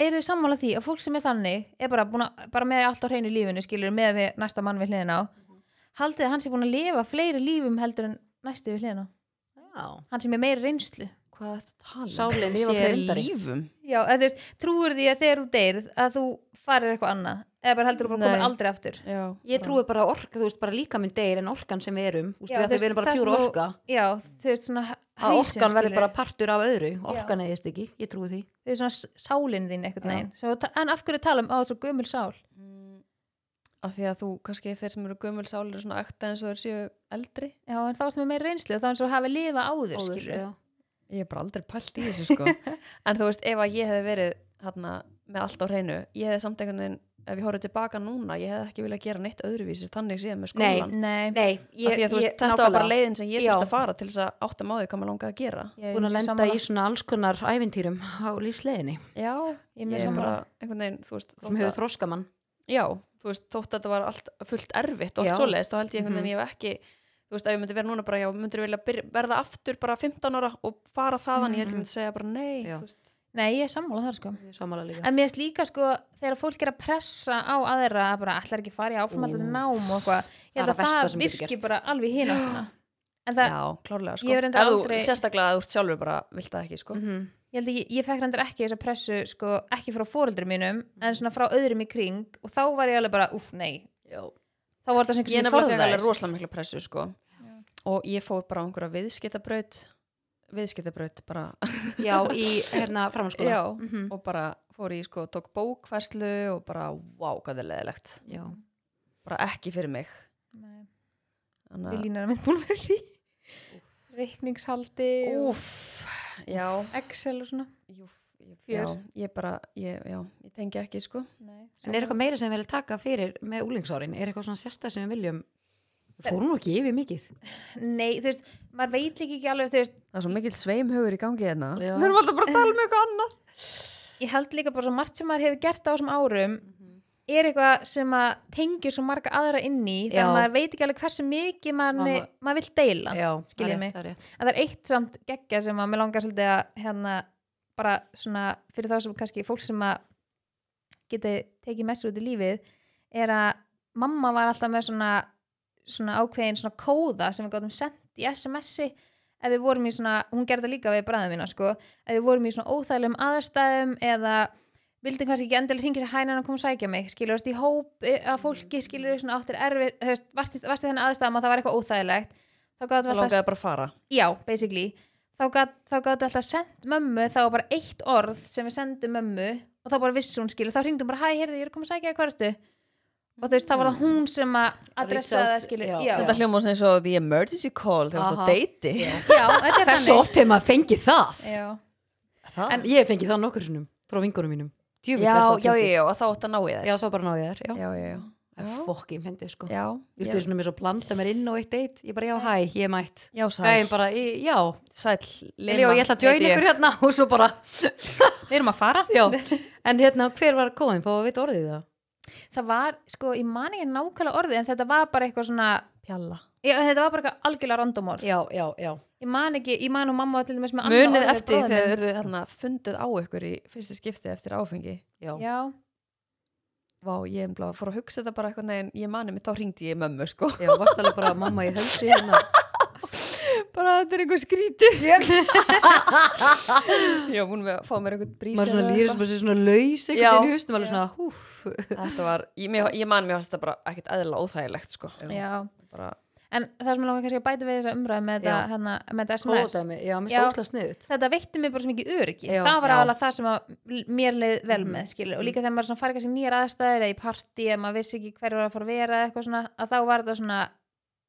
S3: er þið sammála því að fólk sem er þannig er bara, búna, bara með allt á hreinu í lífinu skilur með við næsta mann við hliðina á haldið að hann sé búin að lifa fleiri lífum heldur en næstu við hliðina á
S1: Já.
S3: hann sem er meiri reynslu
S2: hvað er þetta að tala um?
S1: Sálin
S2: Lifa
S1: sé
S2: fleiri
S1: reyndari.
S2: lífum
S3: Já, eða þú veist, trúur því að þegar þú deyrð að þú farir eitthvað annað eða bara heldur þú bara
S2: Nei.
S3: komir aldrei aftur
S2: Já,
S1: Ég trúi bara að orka, þú veist, bara líka minn deyr en orkan sem við erum, þú veist,
S3: Já,
S1: við,
S3: þú
S1: að við erum bara
S3: það sem
S1: pjúra
S3: þú-
S1: orka
S3: Já, þú veist svona
S1: að
S3: hausinn,
S1: orkan verður
S3: skilurðu.
S1: bara partur af öðru orkan eðist ekki, ég trúi því
S3: Þú veist svona s- sálin þín eitthvað
S1: Já.
S3: neginn Svo ta- En af hverju tala um á þessu gömul sál?
S2: af því að þú, kannski þeir sem eru gömul sálir eru svona ekta eins og þeir séu eldri
S3: Já, en þá sem er meiri reynslu þá eins og hafi lifa áður, áður
S1: Áður, já.
S2: ég hef bara aldrei pælt í þessu sko (laughs) en þú veist, ef að ég hef verið hana, með allt á hreinu, ég hef samt einhvern veginn ef ég horfði tilbaka núna, ég hef ekki viljað gera neitt öðruvísi þannig séð með skólan
S3: Nei,
S1: Nei, ég,
S2: af því að þú
S1: ég,
S2: veist, þetta var bara leiðin sem ég
S1: Já.
S2: þurfti að fara til þess að átta máði hvað maður langaði að gera
S3: ég er
S1: búin að lenda
S3: sammála.
S1: í svona alls konar ævintýrum á lífsleiðinni
S2: já,
S3: Ég er mjög
S2: ég er
S3: sammála.
S2: bara einhvern veginn, þú veist,
S1: sem
S2: þótt
S1: hefur
S2: að,
S1: þroska mann
S2: já, þú veist, þótt að þetta var allt fullt erfitt og
S1: Já.
S2: allt svoleiðis, þá held ég einhvern
S3: Mhm.
S2: veginn ég hef ekki þú veist, ef ég myndi vera núna bara, já, myndir vilja byrja, verða aftur bara 15 ára og fara þaðan,
S3: Mhm.
S2: ég held ég myndi segja bara nei,
S1: Já.
S2: þú veist,
S3: Nei, ég er sammála þar sko.
S1: Ég er sammála líka.
S3: En mér finnst líka sko, þegar fólk er að pressa á aðra að bara ætlar ekki að fara í áframhaldandi nám og eitthvað,
S1: Það er
S3: ég held
S1: það
S3: að
S1: versta
S3: það
S1: sem getur
S3: virki
S1: gerst.
S3: bara alveg hinn áttina. en það,
S2: já, klárlega sko.
S3: Ég hef reyndar
S2: Ef þú,
S3: aldrei-
S2: sérstaklega að þú ert sjálfur bara vilt það ekki sko.
S1: Mhm.
S3: ég held að ég, ég fekk hendur ekki þessa pressu, sko, ekki frá fóreldri mínum en svona frá öðrum í kring og þá var ég alveg bara, úff, nei
S1: Já.
S3: þá var þetta sem
S2: ég er
S3: sem
S2: nefnilega þegar alveg
S3: forðaðist
S2: rosalega mikla pressu sko. og ég fór bara á einhverja viðskiptabraut viðskiptabraut bara (laughs)
S1: Já, í hérna framhaldsskóla.
S2: já,
S1: Mhm.
S2: og bara fór í sko, tók bókverslu og bara, vá, hvað er leðilegt
S1: Já.
S2: bara ekki fyrir mig
S3: Nei,
S2: Þannig
S3: við
S2: að-
S3: línar að mynd búin að vera í því reikningshaldi og
S2: úff, já,
S3: Excel og svona
S2: jú, ég-
S3: Fjör.
S2: já ég bara, ég, já, ég tengi ekki sko
S3: nei,
S1: En er eitthvað meira sem við viljum taka fyrir með úlingsárin? Er eitthvað svona sérstæð sem við viljum? Fórum nú ekki yfir mikið.
S3: nei, þú veist, maður veit líka ekki alveg þú veist,
S2: það er svo mikill sveimhugur í gangi hérna
S1: Já.
S2: við erum alltaf bara að tala um eitthvað annað
S3: ég held líka bara svo margt sem maður hefur gert á þessum árum
S1: Mhm.
S3: er eitthvað sem að tengir svo marga aðra inn í þannig
S1: Já.
S3: að maður veit ekki alveg hversu mikið manni,
S1: Mamma-
S3: maður vill deila
S1: Já,
S3: skil ég
S1: það er rétt,
S3: mig.
S1: það er rétt.
S3: en það er eitt samt geggja sem að mér langar svolítið að hérna bara svona fyrir þá sem kannski fólk sem að geti tekið mestur út í lífið er að mamma var alltaf með svona, svona ákveðin svona kóða sem við gáttum sendt í SMS-i ef við vorum í svona, hún gerði það líka við bræðum mína sko, ef við vorum í svona óþægilegum aðstæðum eða vildi kannski ekki endilega hringja sér hænan að koma og sækja mig skilur, varst í hóp eh, af fólki skilur, svona áttir erfið, þú veist, varst í- varst í þennan aðstæðum að það var eitthvað óþægilegt þá gáttu
S2: það
S3: alltaf,
S2: langaði bara að fara
S3: já, basically þá gat- þá gáttu alltaf sendt mömmu þá var bara eitt orð sem við sendum mömmu og þá bara vissi hún skilur, þá hringdum bara hæ, heyrðu, ég er að koma að sækja þig, hvað ertu og þú veist, þá var það hún sem að adressa
S1: Mm. out,
S3: það skilur,
S1: já.
S3: já, já,
S2: þetta hljóma eins og the emergency call þegar þú
S1: Aha.
S2: ert á deiti
S3: þetta er
S1: Hversu oft hefur maður fengið það?
S3: já,
S2: Það-
S1: Ég hef fengið það nokkur sinnum frá vingunum mínum.
S2: já,
S1: Djöfull er það
S2: já,
S1: fyndið.
S2: já, já, og þá átt að ná í þess
S1: Já, þá bara náðu ég þér, já.
S2: já, já, já,
S1: Það er fokkin fyndið, sko.
S2: já,
S1: Ég
S2: já,
S1: fyrir svona mér svo blanda mér inn á eitt eitt. Ég bara, já, hæ, ég er mætt.
S2: já, sæl
S1: Gæðin bara, í- já,
S2: sæl,
S1: Lema, ég ætla að join
S2: heiti ég.
S1: ykkur hérna (laughs) og svo bara,
S3: við erum að fara
S1: já. En hérna, hver var kóðin? Fá að vita orðið það?
S3: (laughs) það var, sko, ég man ekki nákvæmlega orðið en þetta var bara eitthvað svona
S2: pjalla
S3: ég, þetta var bara eitthvað algjörlega random orð
S1: Já, já, já.
S3: ég man ekki, ég man og mamma var til dæmis með annað
S2: munið
S3: orðið
S2: eftir því
S3: bróður
S2: þegar
S3: minn.
S2: þið eruð funduð á ykkur í fyrsta skipti eftir áfengi
S1: Já,
S3: já,
S2: Vá, ég er bara fór að hugsa þetta bara eitthvað neginn, ég mani mig, þá ringdi ég í mömmu sko (laughs)
S1: já, varst alveg bara mamma í höldi hérna.
S2: bara þetta er einhver skrítið
S1: (laughs) Maður
S2: (laughs) ég var búin með að fá mér einhvern brís
S1: er svona
S2: eða
S1: lýður sem
S2: eitthvað.
S1: að sé svona laus
S2: Já.
S1: einhvern veginn í húsnum, alveg svona, húf.
S2: þetta var, ég, mér, ég man mér að þetta bara ekkert eðla óþægilegt sko
S3: já
S2: bara,
S3: en það sem ég langar kannski að bæta við þessa umræð með þetta
S1: Já.
S3: hérna, með þetta SMS
S1: Kóðaði mig, já, mér
S3: Já.
S1: stóðst það sniðut.
S3: þetta veitti mér bara svo mikið öryggi
S1: Já.
S3: það var
S1: Já. Mhm.
S3: alveg það sem að mér leið vel með skilur, og líka þegar maður svona farið kannski í nýjar aðstæður eða í partí, eða maður vissi ekki hver var að fara að vera eða eitthvað svona, að þá var þetta svona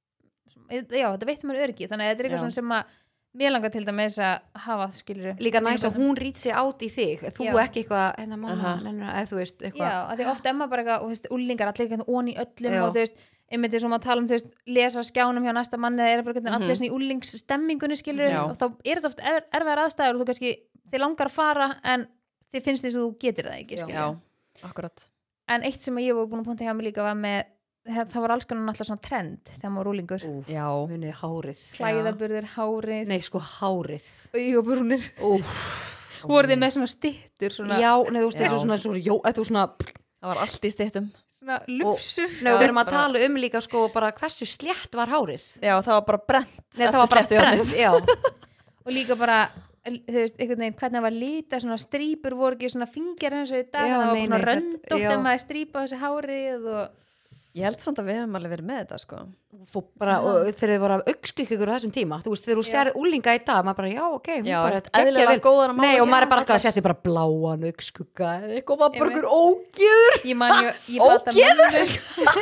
S3: já, þetta veitti mér öryggi þannig að þetta er
S2: Já.
S3: eitthvað svona sem að mér langar til dæmis að hafa skilur
S1: Líka næs að hún rít sig átt í þig, þú
S3: Já.
S1: ekki eitthvað, hérna mamma,
S2: Aha.
S1: nennur, eða þú veist, eitthvað.
S3: Já, af því oft emma bara eitthvað, og þú veist, ullingar allir eitthvað ón í öllum
S1: Já.
S3: og þú veist, einmitt eins og maður tala um, þú veist, lesa á skjánum hjá næsta manni, það er bara eitthvað
S1: Mhm.
S3: allir svona í ullingstemmingunni skilur
S2: Já.
S3: og þá er þetta oft er, erfiðar aðstæður og þú kannski, þið langar að fara en þið finnst þess að þú getur það ekki
S1: Já.
S3: skilur.
S2: já, akkurat
S3: En eitt sem ég var búin að punta hjá mig líka var með, það það var alls konar alltaf svona trend þegar maður var úlingur,
S1: Úf,
S2: já,
S1: munið hárið.
S3: klæðaburður, hárið,
S1: Nei, sko, hárið.
S3: augabrúnir,
S1: Úf.
S3: voruð þið með svona stittur, svona,
S1: Já, nei, þú veist,
S2: Já.
S1: þessu svona, svona, jó, eða þú svona,
S2: það var allt í stittum
S3: svona lufsur.
S1: Nei, og við erum að
S2: bara-
S1: tala um líka sko bara hversu slétt var hárið.
S2: já, það var bara brent
S1: Nei, það var bara brent, já.
S3: og líka bara þú veist, einhvern veginn, hvernig það var lita svona strýpur voru ekki svona fingjar eins og í dag
S1: Já,
S3: það var
S1: nei,
S3: svona
S1: nei, þetta-
S3: röndótt
S1: já.
S3: en maður strýpa þessi hárið og
S2: ég held samt að við hefum alveg verið með þetta sko
S1: Fó bara, og þegar þið voru að augskikk ykkur á þessum tíma, þú veist, þegar þú sérð úlinga í dag, maður bara, já, ok, hún
S2: Já,
S1: bara
S2: þetta eðlilega
S1: vel.
S2: góðan að mála
S1: Nei, og
S2: sig.
S1: maður er bara ekki að
S2: Þetta er-
S1: setja bara bláan augskugga, eða eitthvað var bara
S3: Einmitt.
S1: ykkur ógjöður.
S3: ég man ég, ég bara alltaf
S2: Ógeður!
S3: mömmu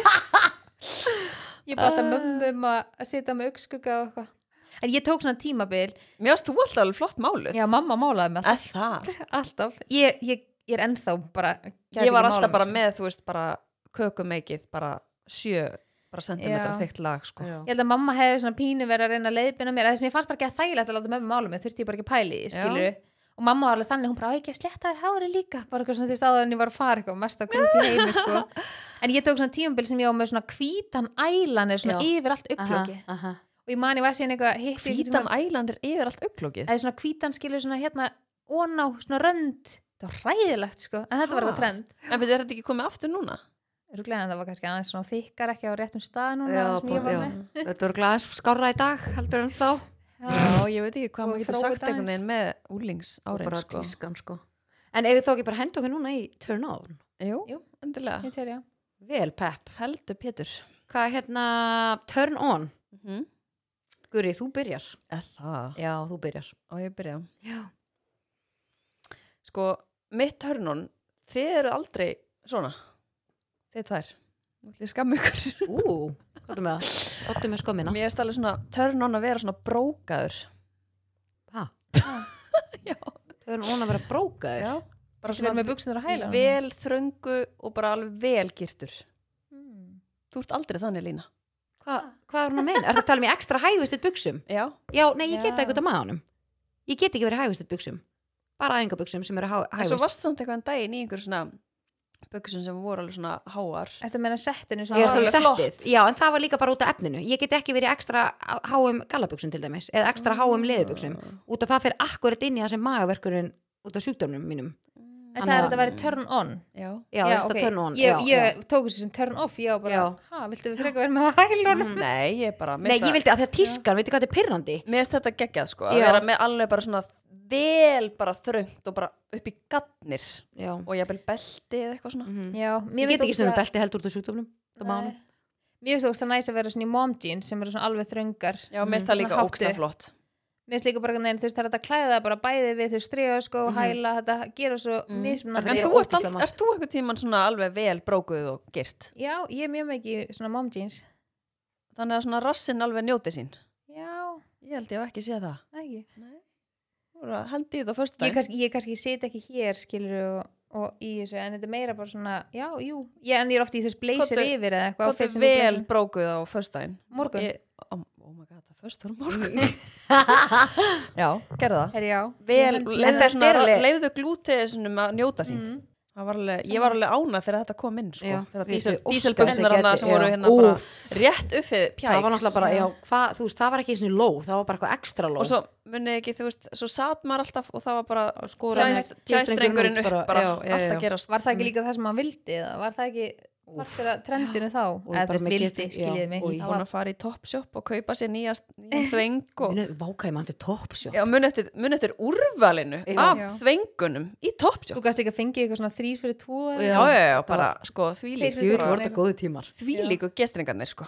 S3: (laughs) ég bara alltaf mömmu um að að setja með augskugga og eitthvað en ég tók svona tímabil
S2: mér varst þú alltaf alveg flott máluð
S3: já mamma málaði mig alltaf,
S2: eða það
S3: alltaf. Ég, ég, ég er ennþá bara gæti
S2: ég var
S3: ekki
S2: alltaf
S3: málað
S2: bara
S3: mig,
S2: með, þú veist, bara kökumeikið, bara sjö bara sentimetra
S3: Já.
S2: þykkt lag, sko
S3: sko. ég held að mamma hefði svona pínu verið að reyna að leiðbina mér, þess að mér fannst bara ekki að þægilegt að láta mömmu mála mig, þurfti ég bara ekki að pæli því, skilur og mamma var alveg þannig, hún bara, á ekki að sletta þér hári líka bara eitthvað svona því stáður en ég var að fara eitthvað mest að grúti heimi, sko en ég tók svona tímabil sem ég á með svona hvítan ælanir svona
S1: Já.
S3: yfir allt augloki
S1: aha.
S3: og ég mani var síðan eitthvað hitt
S2: hvítan ælan er yfir allt auglókið
S3: eða svona hvítan skilur svona hérna oná, svona rönd, það var ræðilegt, sko en þetta
S2: Ha.
S3: var það trend,
S2: en betur þetta ekki komið aftur núna?
S3: Rúglega en það var kannski aðeins svona þykkar ekki á réttum stað núna
S1: Já,
S3: sem
S1: bara-
S3: ég var
S1: já.
S3: með.
S1: Þetta voru glæðis skárra í dag, heldur en þá. (laughs)
S3: Já.
S2: Já, ég veit ekki hvað
S3: Og
S2: maður getur
S3: þróa
S2: sagt
S3: þetta
S2: einhvern
S3: aðeins.
S2: veginn með úlings árein,
S1: Bara
S2: sko.
S1: tískan, sko. En eigum við þá ekki bara að henda okkur núna í turn on?
S2: Jú,
S3: Jú.
S2: endilega.
S3: Ég tel já.
S1: Vel, Pep.
S2: Heldur Pétur.
S1: Hvað er hérna turn on?
S2: Mm -hmm.
S1: Guri, þú byrjar.
S2: Það.
S1: Já, þú byrjar.
S2: Og ég byrja.
S1: Já.
S2: Sko, mitt hörnun, þið eru aldrei svona. Þið tvær. Nú ætlum ég að skamma ykkur.
S1: Ú, hvað er með það? Óttu með skommina.
S2: Mér er stæðlega svona törnun að vera svona brókaður.
S1: Hæ?
S2: Já.
S1: Turn on að vera brókaður.
S2: Já. Bara
S3: Svona
S2: svona
S3: með buksunar á hæla.
S2: vel þröngu og bara alveg vel girtur.
S3: Mm.
S2: Þú ert aldrei þannig lína.
S1: Hva, hvað er hún að meina? Er það að tala um í ekstra hægustitt buksum?
S2: Já.
S1: Já, nei, ég get
S3: Já.
S1: ekki út af maðanum. Ég get ekki verið hægustitt buksum. Bara æfingabuksum sem eru hæ-
S2: En svo
S1: hægust.
S2: varst samt eitthvað en daginn í einhver svona buksum sem voru alveg svona háar.
S3: Ertu að meina settinu
S1: Ég er
S2: Það var
S1: það
S2: alveg flott.
S1: settið. Já, en það var líka bara út af efninu. Ég get ekki verið í ekstra á- háum gallabuksum til dæmis eða
S2: Ah.
S1: ekstra háum leðubuksum. Út af það fyrir akkurat inn í það sem magaverkurinn út af sjúkdómnum mínum.
S3: En sagði
S1: um Annað-
S3: þetta að vera turn on.
S2: Já.
S1: Já, já okay. turn on.
S3: Ég,
S1: já, já.
S3: ég tók þessu sem turn off, ég var bara,
S1: Já.
S3: hæ, viltu við frekar vera með hælunum?
S1: Mm.
S2: Nei, ég er bara... mér
S1: Nei,
S2: finnst
S1: ég
S2: það-
S1: vildi að því að tískan, veitir hvað þetta er pyrrandi?
S2: Mér finnst þetta geggjað sko, að
S1: Já.
S2: vera með alveg bara svona vel bara þröngt og bara upp í gatnir
S1: Já.
S2: og ég bel belti eða eitthvað svona.
S1: Mhm.
S3: Já,
S1: Ég
S3: mér finnst
S1: get ekki
S3: ógeðslega-
S1: stundum belti heldur út af sjúkdómnum. Það má
S3: Nei. Mér finnst það næst að vera svona í mom jeans sem eru svona alveg þröngar.
S2: Já, mér finnst það
S3: Svona
S2: líka
S3: hátt
S2: ógsta
S3: upp.
S2: flott.
S3: Mér finnst líka bara, neina, þú veist, það er hægt að klæða það bara bæði við þau stríða, sko,
S1: Mhm.
S3: hæla, þetta gera svo
S2: Mm.
S3: mismunandi.
S2: En
S1: er
S2: þú ert,
S1: ógeðslega
S2: all,
S1: margt.
S2: ert þú einhvern tímann svona alveg vel brókuð og girt?
S3: Já, ég er mjög mikið í svona mom jeans.
S2: Þannig að svona rassinn alveg njóti sín.
S3: Já,
S2: Ég held ég hef ekki séð það.
S3: ekki.
S2: Þú voru að hendi þetta á förstu
S3: Ég
S2: dag.
S3: kannski, ég kannski sit ekki hér, skilur og, og í þessu, en þetta er meira bara svona, já, jú, já, en ég er ofta í þess blazer
S2: Komdu-
S3: yfir eða eitthvað. á
S2: Hvað er
S3: Facebook
S2: vel
S3: blazer.
S2: brókuð á förstu daginn?
S3: Morgun.
S2: Ég, oh, oh my god, það er förstu morgun. Já, gerðu það.
S3: Herri, já.
S2: Vel,
S3: Ég-
S1: En
S2: leiðu,
S1: þetta
S2: svona,
S1: er alveg-
S2: leiðu glútiðisunum að njóta sín.
S3: Mm.
S2: Það Var alveg, ég var alveg ánað þegar þetta kom inn sko.
S1: Já,
S2: þegar
S1: við
S2: dísel,
S1: óskar-
S2: díselböksunar
S1: þessi
S2: hana
S1: gæti,
S2: sem voru
S1: já.
S2: hérna bara
S1: Úff.
S2: rétt uppið
S1: (laughs)
S2: pjæks
S1: Það var náttúrulega bara, já, hvað, þú veist, það var ekki eins og ló, það var bara eitthvað ekstra ló.
S2: og svo munið ekki, þú veist, svo satt maður alltaf og það var bara
S1: skora
S2: tjæst-
S1: með tístrengurinn
S2: tjæstrengurinn
S1: út
S2: upp
S1: bara,
S2: bara,
S1: já, já,
S2: allt
S1: já.
S2: að gerast
S3: Var það ekki líka það sem hann vildi eða var það ekki partur af trendinu þá
S1: Og
S3: eða
S1: bara
S3: þess
S1: með
S3: vildi,
S1: gesti- já,
S3: skiljiði mig
S1: og í-
S3: Það
S2: búin
S3: var-
S2: að fara í Topshop og kaupa sér nýjast
S1: Eh.
S2: nýjan þveng og
S1: Minu, vákæði mann til toppsjó.
S2: já, munið eftir, muni eftir úrvalinu
S1: Já.
S2: af
S3: Já.
S2: þvengunum í Topshop
S3: Þú gæst líka að fengið eitthvað svona þrýr fyrir tvo eða-
S2: já,
S1: Já,
S2: já, já,
S1: þetta
S2: bara
S1: var-
S2: sko því
S1: Jú,
S3: Þeir
S2: líkt
S1: þetta
S3: bara-
S1: voru þetta góðu tímar.
S2: því líku gestringarnir sko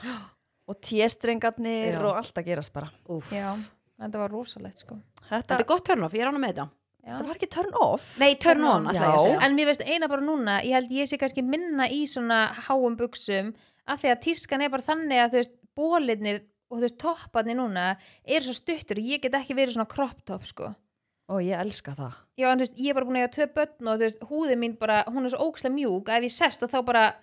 S2: og tjestringarnir
S1: Já.
S2: og allt að gerast bara
S1: Úff.
S3: Já, þetta var rosalegt sko
S2: þetta,
S1: Þetta er gott turn off, ég er ána með þetta.
S3: Já.
S2: þetta var ekki turn off
S1: Nei, turn on, alltaf ég að segja.
S3: En mér veist eina bara núna, ég held ég sé kannski minna í svona háum buksum af því að tískan er bara þannig að þú veist bólirnir og þú veist topparnir núna er svo stuttur og ég get ekki verið svona crop top sko
S2: og ég elska það
S3: Já, en þú veist, ég er bara búin að eiga tvö börn og þú veist, húðin mín bara, hún er svo ókslega mjúk að ef ég sest og þá bara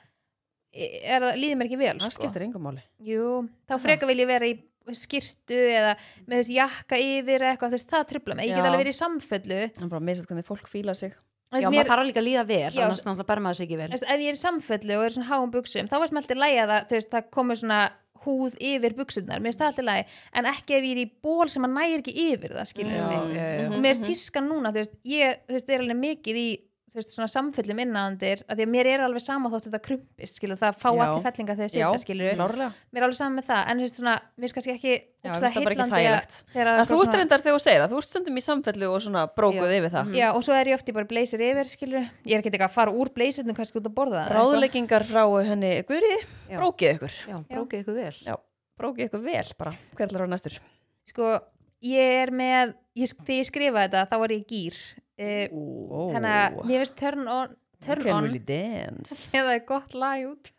S3: e, er, það- líður mér ekki vel,
S2: það
S3: sko.
S2: skiptir engum máli
S3: Jú, þá frekar vil ég vera í skirtu eða með þessi jakka yfir eða eitthvað, þú veist, það trubla mig. Ég get
S2: Já.
S3: alveg verið í samfellu.
S2: Það er bara að misað hvernig fólk fíla sig.
S1: Já,
S3: Mér,
S1: maður þarf líka að líða vel,
S3: Já,
S1: annars náttúrulega ber maður sig ekki
S3: þú
S1: vel.
S3: veist, ef ég er í samfellu og er í svona háum buksum, þá veist mér alltaf lægja það, þú veist, það komur svona húð yfir buksunar, mér finnst það alltaf lægi, en ekki ef ég er í ból sem að nægir ekki yfir það, skiljum
S1: Já,
S3: mig.
S1: já, já.
S3: og mér er tískan núna þú veist, ég þú veist, er alveg mikið í þú veist, svona samfellum innanandir að því að mér er alveg sama þótt þetta krumpist skilur, það fá
S2: Já.
S3: allir fellinga þegar
S2: Já,
S3: sita skilur
S2: klárlega.
S3: mér er alveg sama með það en þú veist, svona, mér er kannski ekki
S2: Já,
S3: ógeðslega
S2: veist það bara ekki
S3: heillandi að-
S2: þægilegt.
S3: þegar
S2: En
S3: eitthvað
S2: þú ert
S3: svona-
S2: reyndar þegar þú segir það, þú ert stundum í samfellu og svona brókuð
S1: Já. Mhm.
S2: yfir það.
S3: Já, og svo er ég oft í bara blazer yfir, skilur ég er ekki ekki að fara úr blazerinu kannski út að borða eða
S2: Ráðleggingar frá henni Guðriði,
S1: Já.
S2: brókið ykkur.
S1: Já, brókið ykkur vel.
S2: Já, brókið ykkur vel bara. Hver er á næstur?
S3: eitthvað. sko, ég er með ég, þegar ég skrifa þetta, þá var ég í gýr uh,
S2: Ó,
S3: þannig að mér finnst turn on turn
S2: Can
S3: on,
S2: really dance.
S3: (laughs) eða er gott lag út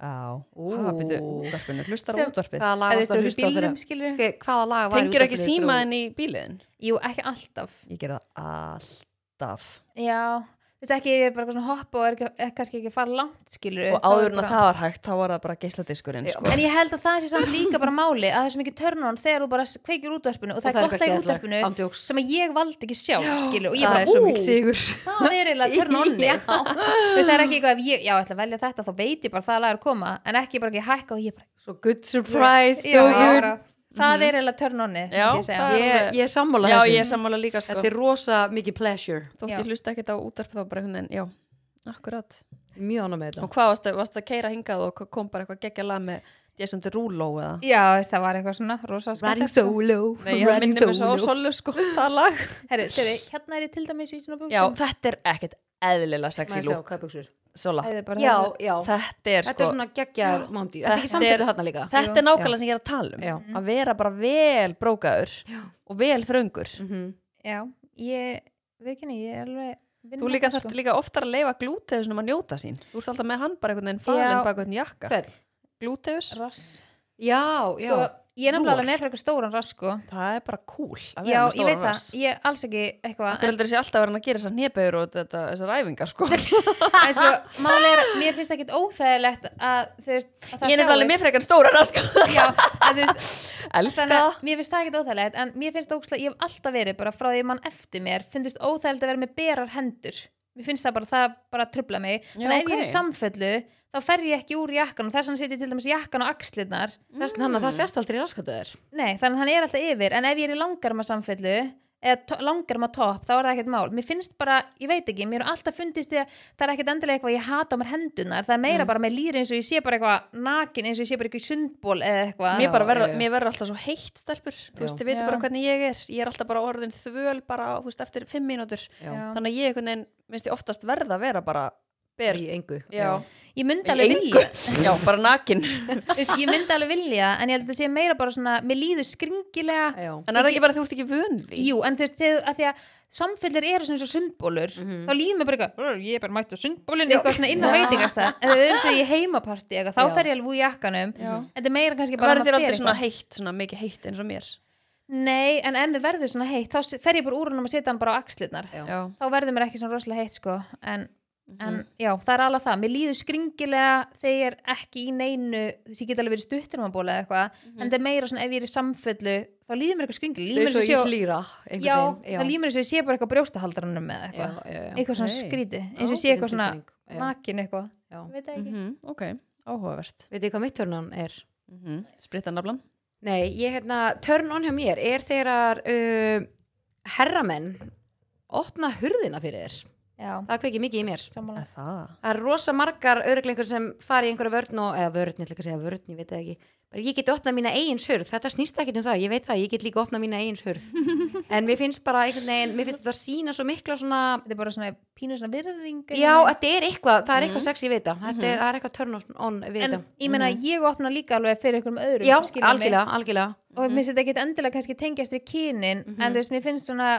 S2: Já,
S1: Ó.
S2: það byrju útvarpinu, hlustar á
S3: Þeim-
S2: útvarpið.
S1: Hvaða lag
S3: eða
S1: varst
S3: þú
S1: að
S3: veist,
S1: hlusta á þeirra?
S3: bílnum, skilur
S1: Hve- Hvaða lag var í
S2: Tengir ekki
S1: útvarpinu þegar
S2: símaðin í bíliðin?
S3: Jú, ekki alltaf.
S2: Ég ger það alltaf.
S3: Já, þú veist ekki, ég er bara eitthvað svona hopp og er, ekki, er kannski ekki að fara langt, skilur.
S2: Og áður en að það var hægt, þá var það bara geisladiskurinn,
S1: Já.
S2: sko.
S3: En ég held að það sé samt líka bara máli að það er svo mikið törn on þegar þú bara s- kveikir útvarpinu og það er gott lag í útvarpinu
S1: Andjóks.
S3: sem að ég valdi ekki sjálf, skilur. Og ég
S1: Það
S3: bara,
S1: er svo
S3: ú,
S1: mikil sigur.
S3: það er eiginlega törn
S2: (laughs)
S3: onni.
S1: Já.
S3: Þú veist, það er ekki eitthvað ef ég, já, ég ætla að velja þetta, þá veit ég bara að það lag er að koma, en ekki bara ekki hækka og ég bara,
S1: Svo good surprise,
S3: já,
S1: so good.
S3: bara, það er eiginlega törn onni.
S2: Mhm. Já, það er-
S1: Ég ég er sammála
S2: Já, ég er
S1: þessu.
S2: sammála líka, sko.
S1: Þetta er rosa mikið pleasure.
S2: Þótt
S3: Já.
S2: ég hlusta ekkert á útvarpið, þá bara einhvern veginn, já, akkurat.
S1: mjög annað með
S2: Og hvað varst að, varst að keira hingað og kom bara eitthvað geggja lag með Jason Derulo eða?
S3: já, veist, það var eitthvað svona rosa
S1: þetta
S3: skemmtilegt,
S1: Riding
S3: sko.
S1: solo
S2: Nei, ég minni mig svo á solu sko, það lag.
S3: Herru, segðu, hérna er ég til dæmis í svona buksum
S2: Já, þetta er ekkert eðlilega sexy lúk. Sola,
S3: Æði, bara,
S1: já,
S3: hérna.
S1: já,
S2: þetta er
S1: þetta er
S2: sko,
S1: svona geggjað mámdýr, þetta er ekki
S2: Þetta er-
S1: samfélðu þarna líka
S2: þetta
S3: Jú,
S2: er nákvæmlega sem ég er að tala um.
S1: Já.
S2: Að vera bara vel brókaður
S1: Já.
S2: og vel þröngur.
S1: Mhm.
S3: já, ég veit ekki neitt, ég er alveg sko. vinn
S2: Þú
S3: með
S2: líka
S3: það,
S2: þarft líka oftar að leifa glúteus um að njóta sín. Þú ert alltaf með hann bara einhvern veginn
S3: Já.
S2: farin bak einhvern jakka.
S1: Hver?
S2: Glúteus,
S3: rass
S1: já, já,
S3: sko, ég er nefnilega
S2: Rúar.
S3: alveg með fyrir eitthvað stóran rass sko.
S2: það er bara cool að vera
S3: já,
S2: með
S3: ég veit
S2: stóran
S3: það,
S2: rass.
S3: ég alls ekki eitthvað
S2: Akkur heldur þessi alltaf að vera hann að gera þessar nýjaböður og þetta, þessar æfingar
S3: (laughs)
S2: sko.
S3: en sko, máli er að mér finnst ekkit óþægilegt að þú veist að það
S2: Ég er nefnilega alveg
S3: sjáist.
S2: með frekar stóra
S3: (laughs)
S2: rask
S3: já, að þú veist
S2: Elska
S3: þannig
S2: það
S3: að mér finnst það ekkit óþægilegt en mér finnst ókslega, ég hef alltaf verið bara frá því mann eftir mér, finnst óþægilegt að vera með berar hendur mér finnst það bara, það bara trubla mig þannig að ef ég er
S2: ok.
S3: í samfellu þá fer ég ekki úr jakkan og þess vegna setjum ég til dæmis jakkan á axlirnar
S1: þess þannig að það
S3: mm.
S1: sérst aldrei raskatu þér
S3: Nei, þannig að hann er alltaf yfir en ef ég er í langarma samfellu eða langarma topp, þá er það ekkert mál mér finnst bara, ég veit ekki, mér er alltaf fundist því að það er ekkert endilega eitthvað, ég hata á mér hendunar það er
S2: Mm.
S3: meira bara með lýri eins og ég sé bara eitthvað nakin eins og ég sé bara eitthvað í sundból eða eitthvað
S2: Mér, bara
S1: Já,
S2: verða,
S1: já, já.
S2: mér verður alltaf svo heitt stelpur Þú veist, þið veitir
S3: Já.
S2: bara hvernig ég er Ég er alltaf bara orðin þvöl bara, þú veist, eftir fimm mínútur
S1: já,
S3: Já.
S2: Þannig að ég einhvern veginn, minnst ég oftast verða að vera bara ber,
S1: í engu
S2: já,
S3: ég myndi
S2: í
S3: alveg
S2: engu.
S3: vilja
S2: (laughs) Já, bara nakin
S3: (laughs) þú veist, ég myndi alveg vilja, en ég held að það sé meira bara svona, mér líður skringilega
S1: já,
S2: En er það ekki bara að þú ert ekki vön því?
S3: Jú, en þú veist, þegar, að því að samfellir eru svona eins og sundbólur
S1: Mhm.
S3: þá líður mér bara eitthvað, "Brr, ég er bara mætt á sundbólun
S1: Já.
S3: eitthvað svona inn á
S2: Já.
S3: veitingastæð en það er þess að ég heimaparti eitthvað, þá
S1: Já.
S3: fer ég alveg úr jakkanum
S2: Já.
S3: en þetta er meira kannski bara um
S2: Verður
S3: að
S2: þér
S3: maður
S2: aldrei
S3: fer
S2: svona
S3: eitthvað.
S2: heitt, svona mikið heitt eins og mér
S3: Nei, en ef mér verður svona heitt þá fer ég bara úr hann og setja hann bara á axlirnar
S1: Já.
S2: Já,
S3: þá verður mér ekki svona rosalega heitt sko en, en já, það er alveg það mér líður skringilega þegar ég er ekki í neinu þess að ég get alveg verið stuttur um að bóla eða eitthvað en þetta er meira svona ef ég er í samfellu þá líður mér eitthvað skringilega
S1: þau
S3: líður mér
S1: svo
S3: eins og
S1: í
S3: ég sé á-
S1: hlýra einhvern
S3: já,
S1: veginn,
S3: það líður mér eins og ég sé bara eitthvað á brjóstahaldaranum með
S1: já,
S3: eitthvað,
S1: já, já.
S3: eitthvað svona
S2: Hey.
S3: skrítið eins og ég sé eitthvað svona
S1: svona
S3: nakin eitthvað
S1: Já.
S3: Ég veit það ekki.
S2: mhm, ok, áhugavert
S1: veit ég hvað mitt törnan er?
S2: mhm, Spritta naflan
S1: Nei, ég hérna, törn on hjá mér er þegar uh, herramenn opna hurðina fyrir þér.
S3: já,
S1: Það kveikir mikið í mér.
S3: sammála
S2: Er Það
S1: Það er rosa margar öruglingur sem fari í einhverja vörn og, eða vörn, ég ætla ekki að segja vörn, ég veit það ekki. Bara ég get opnað mína eigins hurð, þetta snýst ekki um það, ég veit það, ég get líka opnað mína eigins hurð.
S3: (laughs)
S1: en mér finnst bara einhvern veginn, mér finnst þetta sína svo mikla svona,
S3: þetta er bara svona pínu svona virðing
S1: já, þetta er eitthvað, það er eitthvað sex ég veit það, þetta er, það er eitthvað törn on við
S3: Mhm. en
S1: þetta.
S3: ég meina ég opna líka alveg fyrir einhverjum öðrum
S1: Já,
S3: skilur mig.
S1: algjörlega, algjörlega.
S3: og mér finnst þetta ekkit endilega kannski tengjast við kynin en þú veist, mér finnst svona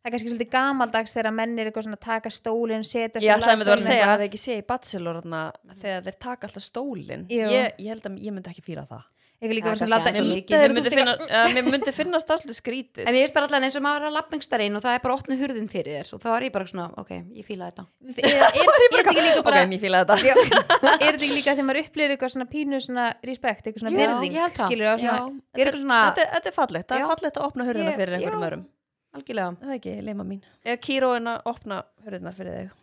S3: það er kannski svolítið gamaldags þegar menn er eitthvað svona að taka stólinn, setja
S2: Ég ætlaði með það að segja að það ekki sé í Bachelor þarna, þegar þeir taka alltaf stólinn
S3: Jú.
S2: ég, ég held að ég myndi ekki fíla það
S3: eitthvað líka
S1: Það
S3: bara
S1: er
S3: svona
S1: kannski
S3: láta
S1: aðeins
S3: ýta
S1: mikið.
S3: þér
S2: Mér myndi,
S3: út
S2: finna, uh, mér myndi finnast alltaf skrítið
S1: En mér finnst bara allan eins og maður er að lappmengstar inn og það er bara opnu hurðin fyrir þér og þá er ég bara svona, ok, ég fíla þetta.
S3: Er- er- er þetta ekki líka
S2: Ok,
S3: bara
S2: en ég fíla þetta
S1: Já,
S3: (laughs) er þetta ekki líka þegar maður upplýður eitthvað svona pínu svona respekt, eitthvað svona
S1: Já,
S3: virðing
S1: ég held það.
S3: skilur á
S2: Já,
S3: svona,
S1: Ég er
S2: þetta,
S1: svona,
S2: þetta, þetta er fallegt,
S1: Já.
S2: það er fallegt að opna hurðina
S1: Ég-
S2: fyrir einhverjum
S1: já.
S2: öðrum
S1: algjörlega,
S2: Það er ekki leima mín Er Kíró en að opna hurðinar fyrir þig?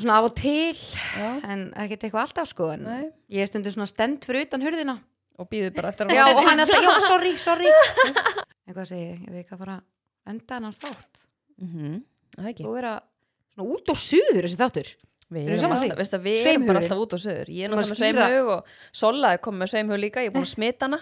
S1: svona af og til,
S2: Já,
S1: en ekkert eitthvað alltaf sko, en
S2: nei
S1: ég er stundum svona stend fyrir utan hurðina.
S2: Og býður bara eftir að
S1: Já, og
S2: opna
S1: hann er alltaf, já, sorry, sorry. En hvað segi ég, ég veit ekki að fara að enda hennan þátt.
S2: Mhm, Það er ekki
S1: Þú er að, svona út og suður þessi þáttur.
S2: Við
S1: Erum
S2: erum,
S1: saman því?
S2: alltaf, veistu, að við erum bara
S1: Sveimhugurinn.
S2: alltaf út og söður Ég er
S1: Þú maður
S2: náttúrulega
S1: skýra.
S2: með sveimhug og Sola er komið með sveimhug líka Ég er búin að smita hana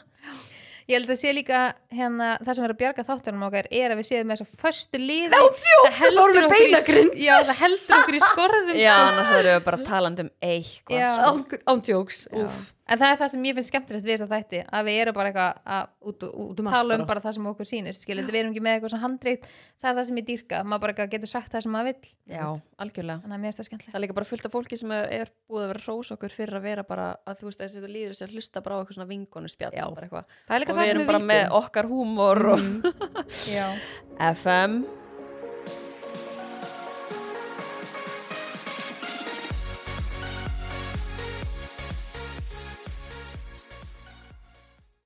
S3: ég held að sé líka hérna, það sem er að bjarga þáttunum okkar er að við séum með þessu föstu liði það
S1: svo fórum við
S3: okkur í-
S1: beinagrind.
S3: já, það heldur (laughs) okkur í skorðum
S2: Já,
S3: sko.
S2: annars verðum við bara talandi um eitthvað
S3: Já.
S2: sko.
S1: Án- Án tjóks, úf.
S3: sko. en það er það sem ég finnst skemmtilegt við þess að þætti að við erum bara eitthvað að út, út,
S1: Út um allt
S3: tala um
S1: bara.
S3: bara það sem okkur sýnist skilur, við erum ekki með eitthvað svona handreikt það er það sem ég dýrka, maður bara eitthvað getur sagt það sem maður vill
S2: Já, algjörlega
S3: þannig að mér er það skemmtilegt
S2: það er líka bara fullt af fólki sem er, er búið að vera hrós okkur fyrir að vera bara að þú veist þessi þú líður þessi að hlusta bara á eitthvað svona vingonu spjall
S1: Já.
S2: bara eitthvað
S1: Það er Mm. líka
S2: og
S1: það
S2: við
S1: sem
S2: erum
S1: við
S2: (laughs) bara
S1: vildum.
S2: með okkar húmor og
S3: já.
S2: FM